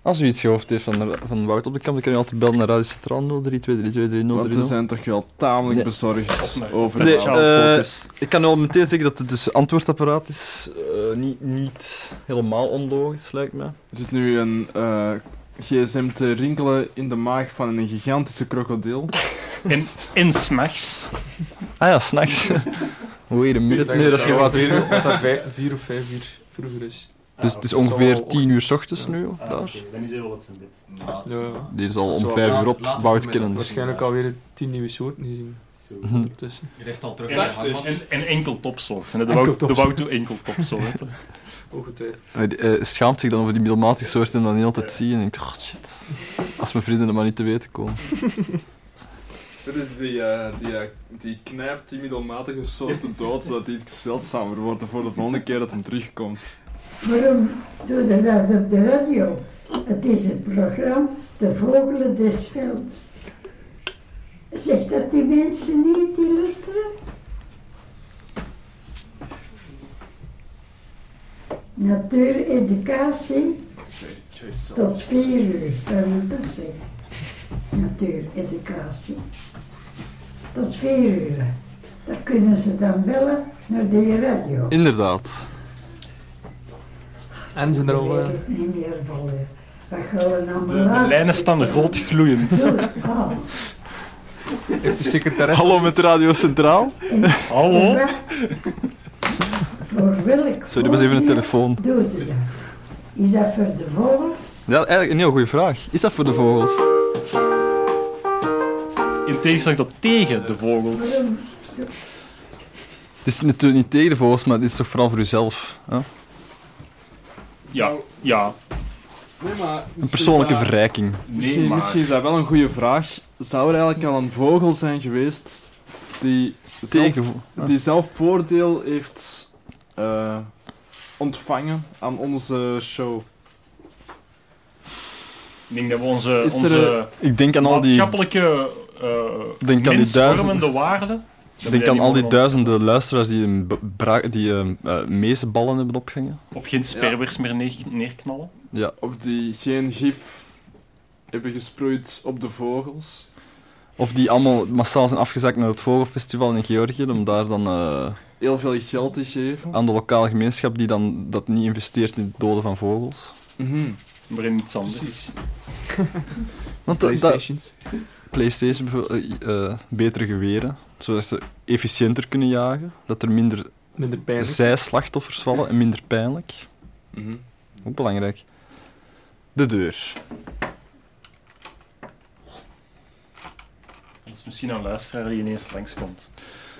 Speaker 8: Als u iets gehoord heeft van, van Wout op de kamp, dan kan u altijd bellen naar Radio Centraal 0323230330.
Speaker 10: Want we zijn toch wel tamelijk bezorgd over
Speaker 8: Nee,
Speaker 10: Charles
Speaker 8: eh,
Speaker 10: Focus.
Speaker 8: ik kan wel meteen zeggen dat het dus antwoordapparaat is. eh, niet, niet helemaal onlogisch, lijkt mij.
Speaker 10: Er zit nu een eh, gsm te rinkelen in de maag van een gigantische krokodil.
Speaker 2: En, en s'nachts.
Speaker 8: Ah ja, s'nachts. Wait a minute. Nee, dat is wat is nu.
Speaker 7: Dat is vij- vier of vijf uur vroeger is.
Speaker 8: Dus het is ongeveer 10 uur s ochtends nu,
Speaker 26: Ah,
Speaker 8: daar.
Speaker 26: oké, dan is hij wel wat zijn bed.
Speaker 7: Ja.
Speaker 8: Die is al om
Speaker 7: Zo,
Speaker 8: 5 uur
Speaker 7: laat-
Speaker 8: op,
Speaker 7: later
Speaker 8: Wout
Speaker 7: vanmiddag.
Speaker 8: kennen.
Speaker 7: Waarschijnlijk alweer tien nieuwe soorten gezien.
Speaker 8: Mhm.
Speaker 7: Ondertussen.
Speaker 27: Je legt al terug
Speaker 2: En,
Speaker 27: naar de hangmat.
Speaker 2: en, en enkel topsoort. En de
Speaker 7: Enkel
Speaker 2: Wout de
Speaker 7: topsoort.
Speaker 2: Wout doet enkel topsoort.
Speaker 7: Ongetwijfeld.
Speaker 8: Hij eh, schaamt zich dan over die middelmatige soorten en dan niet altijd zien. En ik dacht, oh shit. Als mijn vrienden het maar niet te weten komen.
Speaker 10: Dit is die, eh, die, eh, die knijpt die middelmatige soorten dood, zodat die iets zeldzamer wordt voor de volgende keer dat hem terugkomt.
Speaker 11: Waarom doe je dat op de radio? Het is het programma De Vogelen des Velds. Zeg dat die mensen niet, die luisteren? Natuureducatie tot vier uur, dat wil dat zeggen. Natuureducatie. Tot vier uur. Dan kunnen ze dan bellen naar de radio.
Speaker 8: Inderdaad.
Speaker 7: En zijn er al... eh,
Speaker 11: Niet meer vallen. Wat gaan we nou
Speaker 2: De, de lijnen staan rood gloeiend.
Speaker 8: Heeft de secretaris... Hallo met Radio Centraal.
Speaker 11: Hallo? Voor welk
Speaker 8: Sorry, dat was even een
Speaker 11: voordeel
Speaker 8: telefoon.
Speaker 11: Doe je dat? Is dat voor de vogels?
Speaker 8: Ja, eigenlijk een heel goede vraag. Is dat voor de vogels?
Speaker 2: In tegenstelling tot tegen de vogels.
Speaker 11: Waarom?
Speaker 8: Het is natuurlijk niet tegen de vogels, maar het is toch vooral voor uzelf. Hè?
Speaker 2: Ja, ja.
Speaker 10: Nee, maar
Speaker 8: Een persoonlijke verrijking.
Speaker 10: Misschien, misschien is dat wel een goede vraag. Zou er eigenlijk al een vogel zijn geweest die zelf,
Speaker 8: Tegenvo- ah.
Speaker 10: die zelf voordeel heeft eh, ontvangen aan onze show?
Speaker 2: Ik denk dat we onze,
Speaker 10: Is er
Speaker 2: onze
Speaker 8: een- Ik denk aan al die-
Speaker 2: maatschappelijke eh,
Speaker 8: Ik denk aan die
Speaker 2: mensvormende
Speaker 8: duizenden...
Speaker 2: waarden.
Speaker 8: Ik denk aan al die duizenden luisteraars die, een b- bra- die eh, eh, meesballen hebben opgehangen.
Speaker 2: Of geen sperwers meer neer- neerknallen.
Speaker 8: Ja.
Speaker 10: Of die geen gif hebben gesproeid op de vogels?
Speaker 8: Of die allemaal massaal zijn afgezakt naar het Vogelfestival in Georgië, om daar dan eh,
Speaker 10: Heel veel geld te geven?
Speaker 8: aan de lokale gemeenschap die dan dat niet investeert in het doden van vogels.
Speaker 10: Mhm.
Speaker 2: Maar in iets anders.
Speaker 8: Want da- da- Playstation bijvoorbeeld, eh, eh, betere geweren, zodat ze efficiënter kunnen jagen, dat er minder,
Speaker 7: Minder pijnlijk.
Speaker 8: zij-slachtoffers vallen en minder pijnlijk.
Speaker 10: Mhm.
Speaker 8: Ook belangrijk. De deur.
Speaker 2: Dat is misschien een luisteraar die ineens langskomt.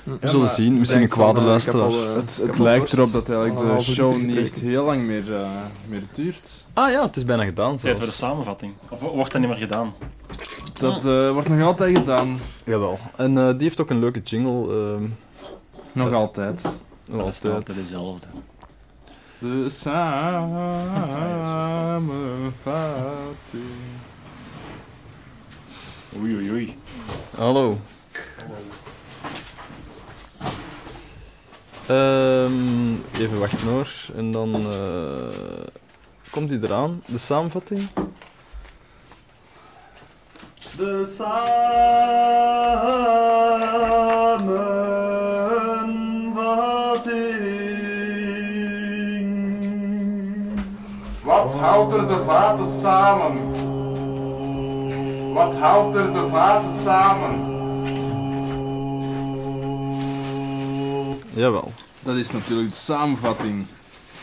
Speaker 10: Ja,
Speaker 8: zullen
Speaker 10: maar
Speaker 8: zien, misschien een
Speaker 10: ik denk
Speaker 8: kwade
Speaker 10: dat, eh, ik heb
Speaker 8: luisteraar.
Speaker 10: al, eh,
Speaker 8: Het-
Speaker 10: ik
Speaker 8: het
Speaker 10: heb al
Speaker 8: lijkt
Speaker 10: dorst.
Speaker 8: erop dat eigenlijk
Speaker 10: Al
Speaker 8: de
Speaker 10: een halve
Speaker 8: show
Speaker 10: liter
Speaker 8: niet
Speaker 10: gekregen.
Speaker 8: echt
Speaker 10: heel lang meer, eh, meer duurt.
Speaker 8: Ah ja, het is bijna gedaan
Speaker 2: Tijd voor de
Speaker 8: zelfs.
Speaker 2: samenvatting. Of wordt dat niet meer gedaan?
Speaker 10: Dat eh, wordt nog altijd gedaan.
Speaker 8: Jawel. En eh, die heeft ook een leuke jingle. ehm.
Speaker 10: Nog
Speaker 8: Eh,
Speaker 10: altijd.
Speaker 8: Nog
Speaker 2: Dat is nog
Speaker 8: altijd.
Speaker 2: altijd dezelfde.
Speaker 10: De samenvatting.
Speaker 2: Oei, oei, oei.
Speaker 8: Hallo. Ehm, even wachten hoor. En dan eh, komt hij eraan, de samenvatting.
Speaker 6: De samenvatting.
Speaker 10: Wat houdt er de vaten samen? Wat houdt er de vaten samen?
Speaker 8: Jawel.
Speaker 10: Dat is natuurlijk de samenvatting.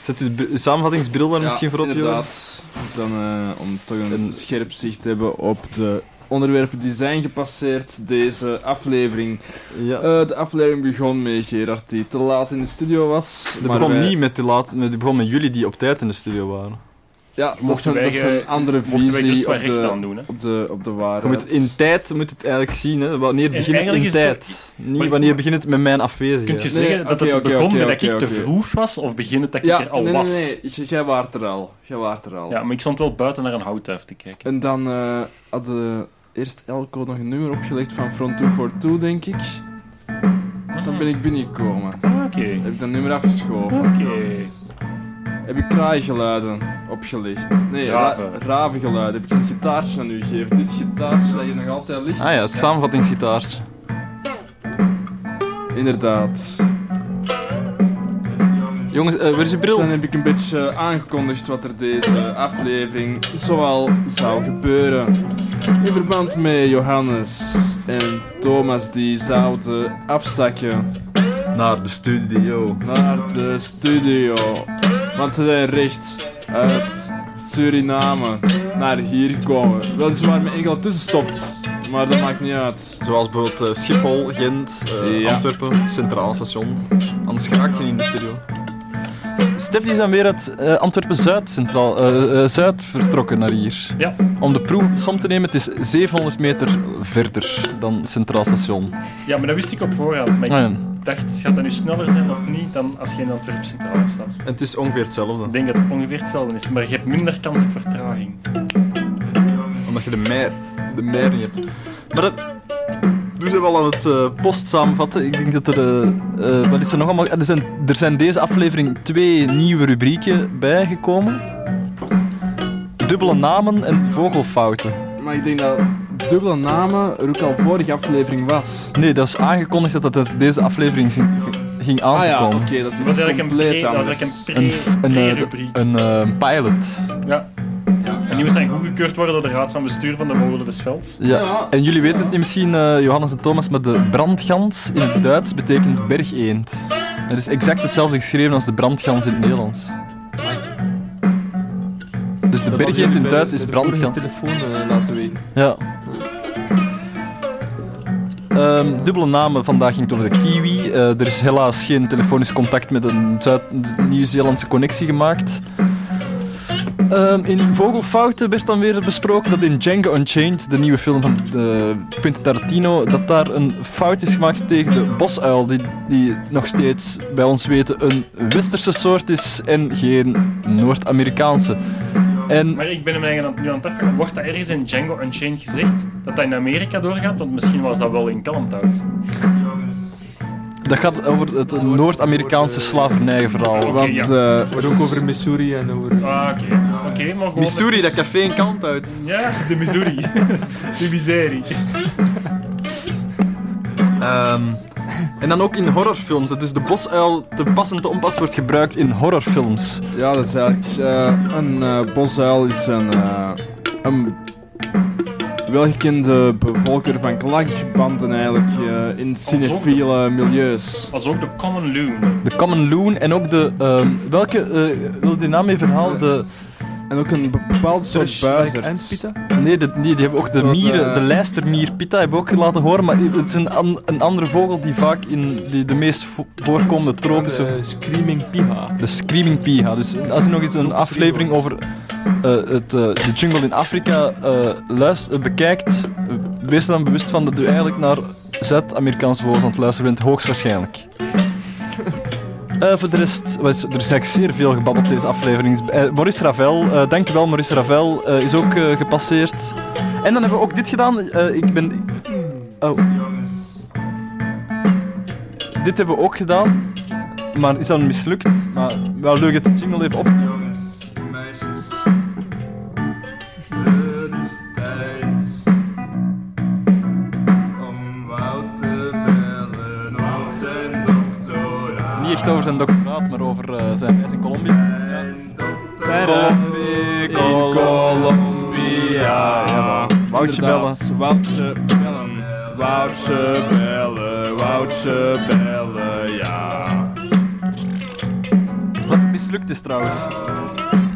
Speaker 8: Zet u de br- uw samenvattingsbril daar misschien voor op, Johan?
Speaker 10: inderdaad. Dan, eh, om toch een, scherp zicht te hebben op de onderwerpen die zijn gepasseerd deze aflevering. Eh, de aflevering begon met Gerard die te laat in de studio was.
Speaker 8: Dat
Speaker 10: maar
Speaker 8: begon
Speaker 10: wij-
Speaker 8: niet met die laat, met- die begon met jullie die op tijd in de studio waren.
Speaker 10: Ja, dat is
Speaker 8: Mochten
Speaker 10: een, dat
Speaker 8: wij
Speaker 10: is
Speaker 8: ge-
Speaker 10: een andere
Speaker 8: mochten wij
Speaker 10: visie
Speaker 8: gerust
Speaker 10: op
Speaker 8: wat recht
Speaker 10: de,
Speaker 8: aan doen, hè?
Speaker 10: op, de, op de
Speaker 8: Je moet
Speaker 10: waarheid.
Speaker 8: het in tijd moet het eigenlijk zien, hè. wanneer
Speaker 10: En
Speaker 8: begint het
Speaker 10: eigenlijk
Speaker 8: in
Speaker 10: is het
Speaker 8: tijd. Niet wanneer begint het met mijn afwezigheid.
Speaker 2: Kun je zeggen dat het begon met dat ik te vroeg was, of begin het dat
Speaker 10: Ja,
Speaker 2: ik er al
Speaker 10: nee, nee,
Speaker 2: was?
Speaker 10: nee, J- jij waart er al. Jij waart er al.
Speaker 2: Ja, maar ik stond wel buiten naar een houtduif te kijken.
Speaker 10: En dan eh had eh, eerst Elko nog een nummer opgelegd van Front 242, denk ik. Dan ben ik binnengekomen.
Speaker 2: Ah, Oké.
Speaker 10: Heb ik dat nummer afgeschoven.
Speaker 2: Oké.
Speaker 10: Heb ik kraaigeluiden opgelegd. Nee,
Speaker 8: Raven.
Speaker 10: raven. ravengeluiden. Heb ik een gitaartje aan u gegeven. Dit gitaartje dat hier nog altijd ligt.
Speaker 8: Ah ja, het samenvattingsgitaartje.
Speaker 10: Inderdaad.
Speaker 8: Jongens, eh, waar is je bril?
Speaker 10: Dan heb ik een beetje eh, aangekondigd wat er deze aflevering zoal zou gebeuren. In verband met Johannes en Thomas die zouden afzakken.
Speaker 8: Naar de studio.
Speaker 10: Naar de studio. Want ze zijn recht uit Suriname naar hier komen. Weliswaar met enkel tussenstopt, maar dat maakt niet uit.
Speaker 8: Zoals bijvoorbeeld eh, Schiphol, Gent, eh,
Speaker 10: Ja.
Speaker 8: Antwerpen, Centraal Station. Anders raakt je niet in de studio. Stef die is dan weer uit eh, Antwerpen-Zuid centraal, eh, eh, Zuid vertrokken naar hier.
Speaker 2: Ja.
Speaker 8: Om de proef som te nemen, het is 700 meter verder dan Centraal Station.
Speaker 2: Ja, maar dat wist ik op voorhand. Maar ik
Speaker 8: Ah, ja.
Speaker 2: dacht, gaat dat nu sneller zijn of niet dan als je in Antwerpen Centraal stapt?
Speaker 8: Het is ongeveer hetzelfde.
Speaker 2: Ik denk dat het ongeveer hetzelfde is, maar je hebt minder kans op vertraging.
Speaker 8: Omdat je de meer, de meer niet hebt. Maar dat... Nu zijn we al aan het eh, post samenvatten. Ik denk dat er... eh, eh, wat is er nog allemaal? Ah, Er zijn, er zijn deze aflevering twee nieuwe rubrieken bijgekomen. Dubbele namen en vogelfouten.
Speaker 10: Maar ik denk dat dubbele namen er ook al vorige aflevering was.
Speaker 8: Nee, dat is aangekondigd dat dat er deze aflevering zing- ging aan
Speaker 10: Ah
Speaker 8: te
Speaker 10: ja,
Speaker 8: komen.
Speaker 10: oké, dat is iets Dat is eigenlijk een compleet pre- dat is anders. eigenlijk een pre-
Speaker 8: f- een, eh,
Speaker 2: pre-rubriek.
Speaker 8: een, eh, pilot.
Speaker 2: Ja. En die moest dan goedgekeurd worden door de raad van bestuur van de Molen des Velds.
Speaker 8: Ja. En jullie weten het niet misschien, eh, Johannes en Thomas, maar de brandgans in het Duits betekent bergeend. Dat is exact hetzelfde geschreven als de brandgans in het Nederlands. Dus de
Speaker 7: Dat hadden
Speaker 8: bergeend
Speaker 7: jullie
Speaker 8: in
Speaker 7: bij
Speaker 8: het Duits is
Speaker 7: de vorige
Speaker 8: brandgans.
Speaker 7: telefoon eh, laten weten.
Speaker 8: Ja. Ehm, dubbele namen vandaag ging het over de Kiwi. Eh, er is helaas geen telefonisch contact met een Zuid- Nieuw-Zeelandse connectie gemaakt. Ehm, in Vogelfouten werd dan weer besproken dat in Django Unchained, de nieuwe film van eh, Quentin Tarantino, dat daar een fout is gemaakt tegen de bosuil, die, die nog steeds bij ons weten een westerse soort is en geen Noord-Amerikaanse. En
Speaker 2: Maar ik ben hem eigenlijk aan- nu aan het afvragen, wordt dat ergens in Django Unchained gezegd? Dat dat in Amerika doorgaat? Want misschien was dat wel in Kalmthout.
Speaker 8: dat gaat over het Noord-Amerikaanse slavernijverhaal.
Speaker 2: Want, ja.
Speaker 8: Eh,
Speaker 7: Maar ook over Missouri en over...
Speaker 2: Ah, oké. Oké, maar gewoon...
Speaker 8: Missouri, dat café in kant uit.
Speaker 2: Ja, de Missouri. de miserie.
Speaker 8: Ehm, en dan ook in horrorfilms. hè. Dus de bosuil te pas en te onpas wordt gebruikt in horrorfilms.
Speaker 10: Ja, dat is eigenlijk eh, een eh, bosuil is een, eh, een welgekende bevolker van klankbanden eigenlijk eh, in cinefiele milieus.
Speaker 2: Als ook de Common Loon.
Speaker 8: De Common Loon en ook de... ehm, welke... eh, wil die naam even halen? De...
Speaker 10: En ook een bepaald soort buizerd.
Speaker 8: en pita? Nee, de- nee, die hebben ook de
Speaker 10: Zo'n,
Speaker 8: mieren,
Speaker 10: eh,
Speaker 8: de lijstermier pita, hebben we ook laten horen. Maar het is een, an- een andere vogel die vaak in die, de meest vo- voorkomende tropische...
Speaker 7: De Screaming Piha.
Speaker 8: De Screaming Piha. Dus als je nog eens een aflevering over eh, het, eh, de jungle in Afrika eh luist- eh, bekijkt, eh, wees er dan bewust van dat u eigenlijk naar Zuid-Amerikaans woord aan het luisteren bent, hoogstwaarschijnlijk. Eh, voor de rest, wat is- er is eigenlijk zeer veel gebabbeld deze aflevering. Eh, Maurice Ravel, eh, dankjewel Maurice Ravel, eh, is ook eh, gepasseerd. En dan hebben we ook dit gedaan. eh, ik ben... Oh. Dit hebben we ook gedaan, maar is dan mislukt. Maar wel leuk dat de jingle even op...
Speaker 10: Meisjes, het is tijd om Wout te bellen over zijn doctoraat.
Speaker 8: Niet echt over zijn doctoraat, maar over eh, zijn reis in Colombia. Colombia,
Speaker 10: Colombia.
Speaker 8: Ja, Woutje bellen.
Speaker 10: Inderdaad, Woutje bellen. Woutje bellen, Woutje bellen, ja.
Speaker 8: mislukt is trouwens.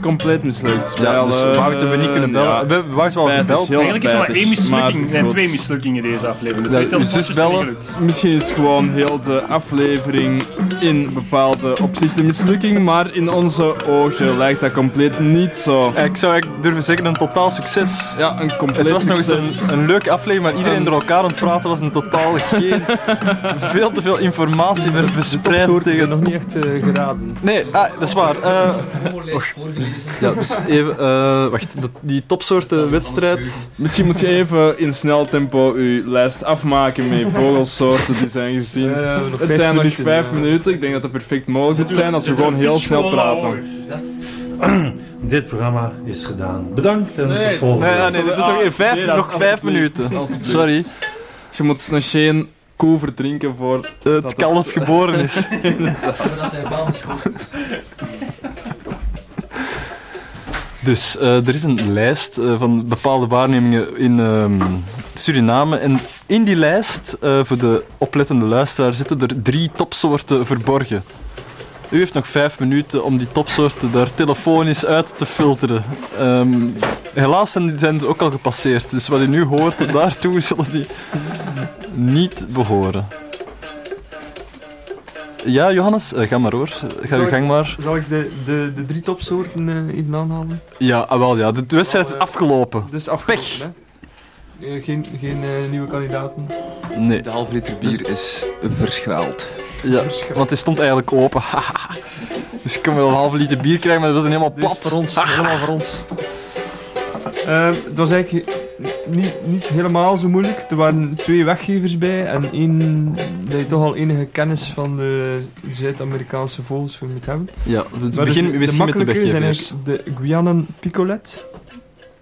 Speaker 10: compleet mislukt.
Speaker 8: Ja, dus Wout hebben we niet kunnen bellen. We hebben Wout wel gebeld.
Speaker 28: Eigenlijk is er maar één mislukking, nee, twee mislukkingen deze aflevering. De
Speaker 10: Ja,
Speaker 28: twee
Speaker 10: je
Speaker 28: telefoontjes
Speaker 10: zus
Speaker 28: zijn niet
Speaker 10: bellen.
Speaker 28: gelukt.
Speaker 10: Misschien is gewoon heel de aflevering in bepaalde opzichten een mislukking, maar in onze ogen lijkt dat compleet niet zo.
Speaker 8: Eh, Ik zou eigenlijk durven zeggen een totaal succes.
Speaker 10: Ja, een compleet
Speaker 8: Het was nog eens
Speaker 10: succes.
Speaker 8: een, een leuke aflevering, maar iedereen
Speaker 10: Een-
Speaker 8: door elkaar aan het praten was een totaal geen... veel te veel informatie werd verspreid tegen... nog niet echt eh, geraden. Nee, ah, dat is waar. Eh, ja, dus even... eh, wacht, dat- die topsoorten wedstrijd...
Speaker 10: Misschien moet je even in snel tempo je lijst afmaken met vogelsoorten die zijn gezien.
Speaker 7: Eh,
Speaker 8: nog
Speaker 10: het
Speaker 8: vijf
Speaker 10: zijn
Speaker 8: minuten,
Speaker 10: nog vijf
Speaker 8: ja.
Speaker 10: minuten, ik denk dat dat perfect mogelijk moet zijn als we gewoon heel snel praten.
Speaker 29: Dit programma is gedaan. Bedankt en
Speaker 10: Nee,
Speaker 29: tot volgende
Speaker 10: nee, nee,
Speaker 29: week.
Speaker 10: nee, dit is nog geen vijf-
Speaker 8: Nee, dat-
Speaker 10: nog vijf
Speaker 8: alsjeblieft.
Speaker 10: minuten.
Speaker 8: Alsjeblieft.
Speaker 10: Sorry. Dus Je moet nog geen koe verdrinken voor... Het
Speaker 8: eh, kalf geboren is.
Speaker 30: Dat zijn wel
Speaker 8: Dus eh, er is een lijst eh, van bepaalde waarnemingen in ehm, Suriname. En in die lijst, eh, voor de oplettende luisteraar, zitten er drie topsoorten verborgen. U heeft nog vijf minuten om die topsoorten daar telefonisch uit te filteren. Ehm, helaas zijn die zijn ze ook al gepasseerd. Dus wat u nu hoort tot daartoe zullen die niet behoren. Ja, Johannes, eh, ga maar hoor. Ga uw
Speaker 7: Zal ik-
Speaker 8: gang maar.
Speaker 7: Zal ik de, de, de drie topsoorten eh, even aanhalen?
Speaker 8: Ja, ah, wel ja. De wedstrijd is afgelopen.
Speaker 7: Dus afgelopen, hè? Eh, Geen, geen eh, nieuwe kandidaten.
Speaker 8: Nee.
Speaker 1: De halve liter bier is verschraald.
Speaker 8: Ja, want het stond eigenlijk open. dus ik kon wel een halve liter bier krijgen, maar dat was dan helemaal plat. Ah,
Speaker 7: voor ons, helemaal voor ons. Eh, het was eigenlijk niet, niet helemaal zo moeilijk. Er waren twee weggevers bij en één dat je toch al enige kennis van de Zuid-Amerikaanse vogels voor moet hebben.
Speaker 8: Ja, we
Speaker 7: Maar dus
Speaker 8: beginnen
Speaker 7: de
Speaker 8: misschien met de
Speaker 7: makkelijke zijn
Speaker 8: weggevers.
Speaker 7: eigenlijk de Guianan Picolet.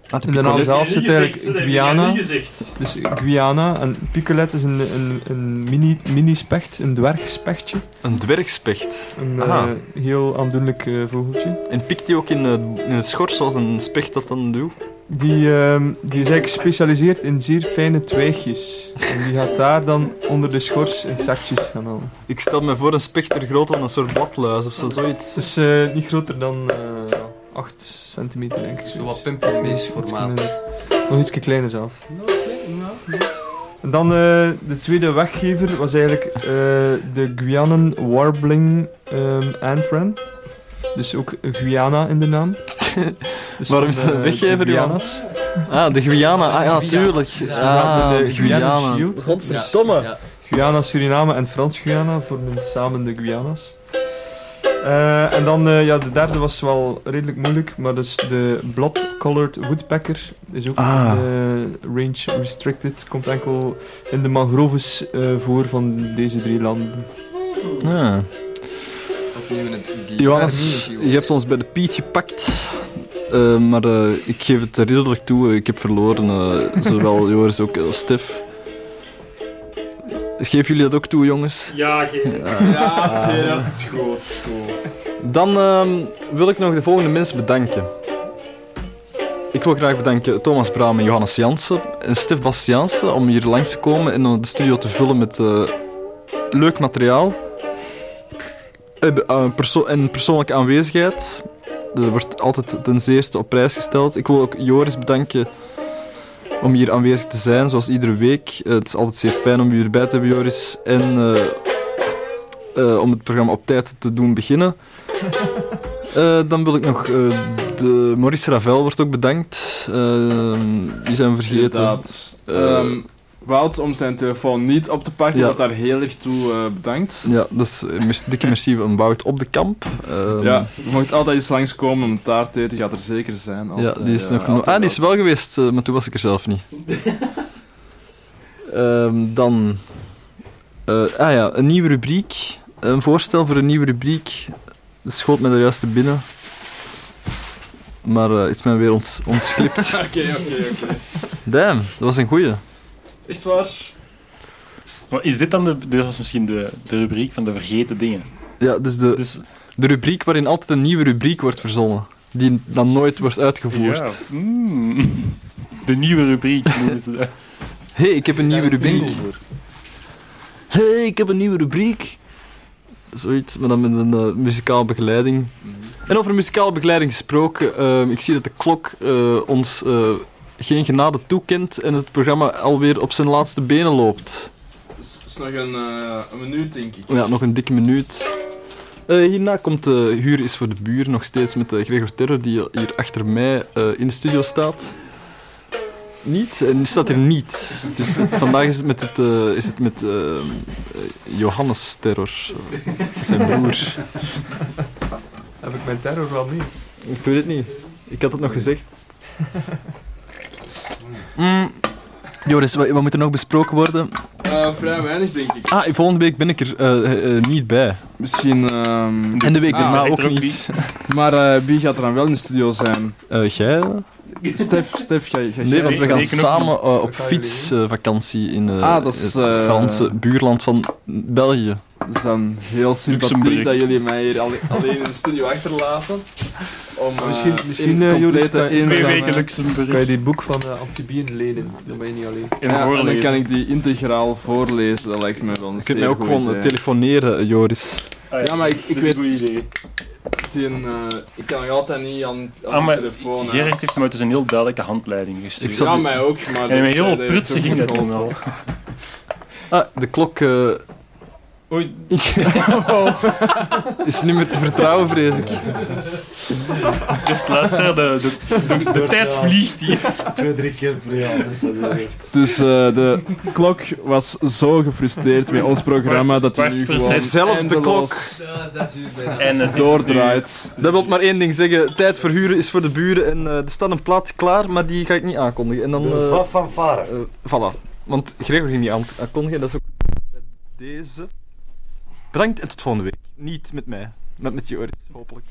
Speaker 8: de
Speaker 7: In de naam
Speaker 8: Picolet.
Speaker 7: zelf zit
Speaker 8: Niet gezegd,
Speaker 7: eigenlijk
Speaker 8: dat heb ik nog
Speaker 7: Guyana.
Speaker 8: niet gezegd.
Speaker 7: Dus Guyana en Picolet is een, een, een mini, mini-specht, een dwergspechtje.
Speaker 8: Een dwergspecht.
Speaker 7: Een eh,
Speaker 8: Aha.
Speaker 7: heel aandoenlijk eh, vogeltje.
Speaker 8: En pikt die ook in, eh, in het schors zoals een specht dat dan doet?
Speaker 7: Die, ehm, die is eigenlijk gespecialiseerd in zeer fijne twijgjes. En die gaat daar dan onder de schors insectjes gaan halen.
Speaker 8: Ik stel me voor een specht ter grootte van een soort bladluis of zo, zoiets.
Speaker 7: Dus eh, niet groter dan eh, ja, 8 centimeter, denk ik. Zo wat
Speaker 30: pimpermees formaat.
Speaker 7: Nog ietsje kleiner zelf. En dan eh, de tweede weggever was eigenlijk eh, de Guianan Warbling ehm Antran. Dus ook Guyana in de naam. Dus
Speaker 8: Waarom is
Speaker 7: van,
Speaker 8: dat een
Speaker 7: eh,
Speaker 8: weggever,
Speaker 7: de Guyana's.
Speaker 8: Johannes? Ah, de Guyana. Ah ja, tuurlijk. Ah,
Speaker 7: de,
Speaker 8: de
Speaker 7: Guyana
Speaker 8: Guyana.
Speaker 7: Shield.
Speaker 8: Godverdomme.
Speaker 7: Ja. Guyana, Suriname en Frans-Guyana vormen samen de Guyana's. Eh, en dan, eh, ja, de derde was wel redelijk moeilijk, maar dat is de Blood-Colored Woodpecker. Is ook
Speaker 8: Ah.
Speaker 7: eh, range restricted, komt enkel in de mangroves eh, voor van deze drie landen.
Speaker 8: Ah. Johannes,
Speaker 7: Ja,
Speaker 8: je hebt ons bij de Piet gepakt. Eh, maar eh, ik geef het ridderlijk toe, eh, ik heb verloren. eh, zowel Joris ook als Stef. Geef jullie dat ook toe, jongens?
Speaker 31: Ja, geef.
Speaker 8: Ah.
Speaker 31: Ja, dat is goed.
Speaker 8: Dan ehm, wil ik nog de volgende mensen bedanken. Ik wil graag bedanken Thomas Braam en Johannes Jansen en Stef Bastiaanse om hier langs te komen en om de studio te vullen met eh, leuk materiaal. En, eh, perso- en persoonlijke aanwezigheid. Dat wordt altijd ten zeerste op prijs gesteld. Ik wil ook Joris bedanken om hier aanwezig te zijn, zoals iedere week. Eh, het is altijd zeer fijn om u erbij te hebben, Joris. En eh, eh, om het programma op tijd te doen beginnen. Eh, dan wil ik nog... eh, de Maurice Ravel wordt ook bedankt. Eh, die zijn we vergeten.
Speaker 10: Inderdaad.
Speaker 8: Eh,
Speaker 10: Ehm, Wout om zijn telefoon niet op te pakken,
Speaker 8: Ja.
Speaker 10: wordt daar heel erg toe eh, bedankt.
Speaker 8: ja, dat is een dikke merci van Wout op de kamp. Ehm,
Speaker 10: Ja, je mocht altijd eens langskomen om taart te eten, gaat er zeker zijn. altijd,
Speaker 8: ja, die is
Speaker 10: eh,
Speaker 8: nog
Speaker 10: altijd
Speaker 8: Ah, die is wel geweest, eh, maar toen was ik er zelf niet. Ehm, dan. eh, ah ja, een nieuwe rubriek. Een voorstel voor een nieuwe rubriek. Dat schoot me daar juist te binnen. Maar eh is mij weer ont ontslipt.
Speaker 10: Oké, oké, oké.
Speaker 8: Damn, dat was een goeie.
Speaker 10: Echt waar?
Speaker 28: Maar is dit dan de, dit was misschien de, de rubriek van de vergeten dingen?
Speaker 8: Ja, dus de, de rubriek waarin altijd een nieuwe rubriek wordt verzonnen. Die dan nooit wordt uitgevoerd.
Speaker 28: Ja. Mm. De nieuwe rubriek noemen ze dat.
Speaker 8: Hé, hey, ik heb een nieuwe rubriek. Hé, hey, ik heb een nieuwe rubriek. Zoiets, maar dan met een eh, muzikaal begeleiding. En over muzikale begeleiding gesproken, ehm, ik zie dat de klok eh, ons eh, geen genade toekent en het programma alweer op zijn laatste benen loopt.
Speaker 10: Dus is nog een, eh, een minuut, denk ik.
Speaker 8: Ja, nog een dikke minuut. Eh, hierna komt de Huur is voor de buur, nog steeds met eh, Gregor Terror, die hier achter mij eh, in de studio staat. Niet, en die staat er niet. Dus het- vandaag is het met, het, eh, is het met ehm, eh, Johannes Terror, eh, zijn broer.
Speaker 7: Heb ik mijn terror wel niet?
Speaker 8: Ik weet het niet. Ik had het nog gezegd. Mm. Joris, wat, wat moet er nog besproken worden?
Speaker 10: Eh, vrij weinig, denk ik.
Speaker 8: Ah, volgende week ben ik er eh, eh, niet bij.
Speaker 10: Misschien... ehm,
Speaker 8: En de week
Speaker 10: ah,
Speaker 8: daarna
Speaker 10: ik er
Speaker 8: ook niet.
Speaker 10: Maar eh, wie gaat er dan wel in de studio zijn?
Speaker 8: Eh, jij? dan?
Speaker 10: Stef, Stef, ga, ga
Speaker 8: Nee,
Speaker 10: jij-
Speaker 8: want we gaan samen eh, op fietsvakantie in eh,
Speaker 10: Ah, dat is,
Speaker 8: het
Speaker 10: eh,
Speaker 8: Franse buurland van België.
Speaker 10: Het is dan heel sympathiek
Speaker 8: Luxemburg.
Speaker 10: dat jullie mij hier alle- alleen in de studio achterlaten. Om, eh,
Speaker 7: misschien,
Speaker 10: in
Speaker 7: misschien eh, Joris,
Speaker 10: complete
Speaker 7: kan,
Speaker 10: eenzame-
Speaker 7: kan je die boek van de amfibieën lenen? Dan ben je niet alleen.
Speaker 10: Ja, en dan kan ik die integraal voorlezen, dat lijkt me wel een
Speaker 8: Je kunt mij ook gewoon eh,
Speaker 10: telefoon.
Speaker 8: telefoneren, eh, Joris.
Speaker 10: Ja, maar ik,
Speaker 2: Dat
Speaker 10: ik
Speaker 2: is
Speaker 10: weet...
Speaker 2: een goed idee.
Speaker 10: Die, eh, ik kan nog altijd niet aan, aan
Speaker 2: Ah,
Speaker 10: de
Speaker 2: maar
Speaker 10: telefoon. hè.
Speaker 2: Gerrit heeft me dus een heel duidelijke handleiding gestuurd.
Speaker 10: Ik zat- Ja, mij ook, maar dus, eh,
Speaker 2: En met
Speaker 10: dat-
Speaker 2: heel
Speaker 10: dat-
Speaker 2: prutsen
Speaker 10: dat-
Speaker 2: ging dat
Speaker 10: dat-
Speaker 2: toen wel.
Speaker 8: Ah, de klok... eh,
Speaker 2: Oei.
Speaker 8: is niet meer te vertrouwen, vrees ik.
Speaker 2: Dus luister, de, de, de, de tijd vliegt hier.
Speaker 32: Twee, drie keer per jaar.
Speaker 10: Dus eh, de klok was zo gefrustreerd met ons programma dat hij nu gewoon
Speaker 8: Zelfs de klok.
Speaker 10: eindeloos
Speaker 2: En het
Speaker 10: doordraait.
Speaker 8: Dat wil maar één ding zeggen. Tijd verhuren is voor de buren. En eh, er staat een plaat klaar, maar die ga ik niet aankondigen. En dan,
Speaker 32: De
Speaker 8: eh,
Speaker 32: va- fanfare.
Speaker 8: eh, voilà. Want Gregor ging niet aan- aankondigen. Dat is ook bij deze. Bedankt en tot volgende week. Niet met mij, maar met Joris, hopelijk.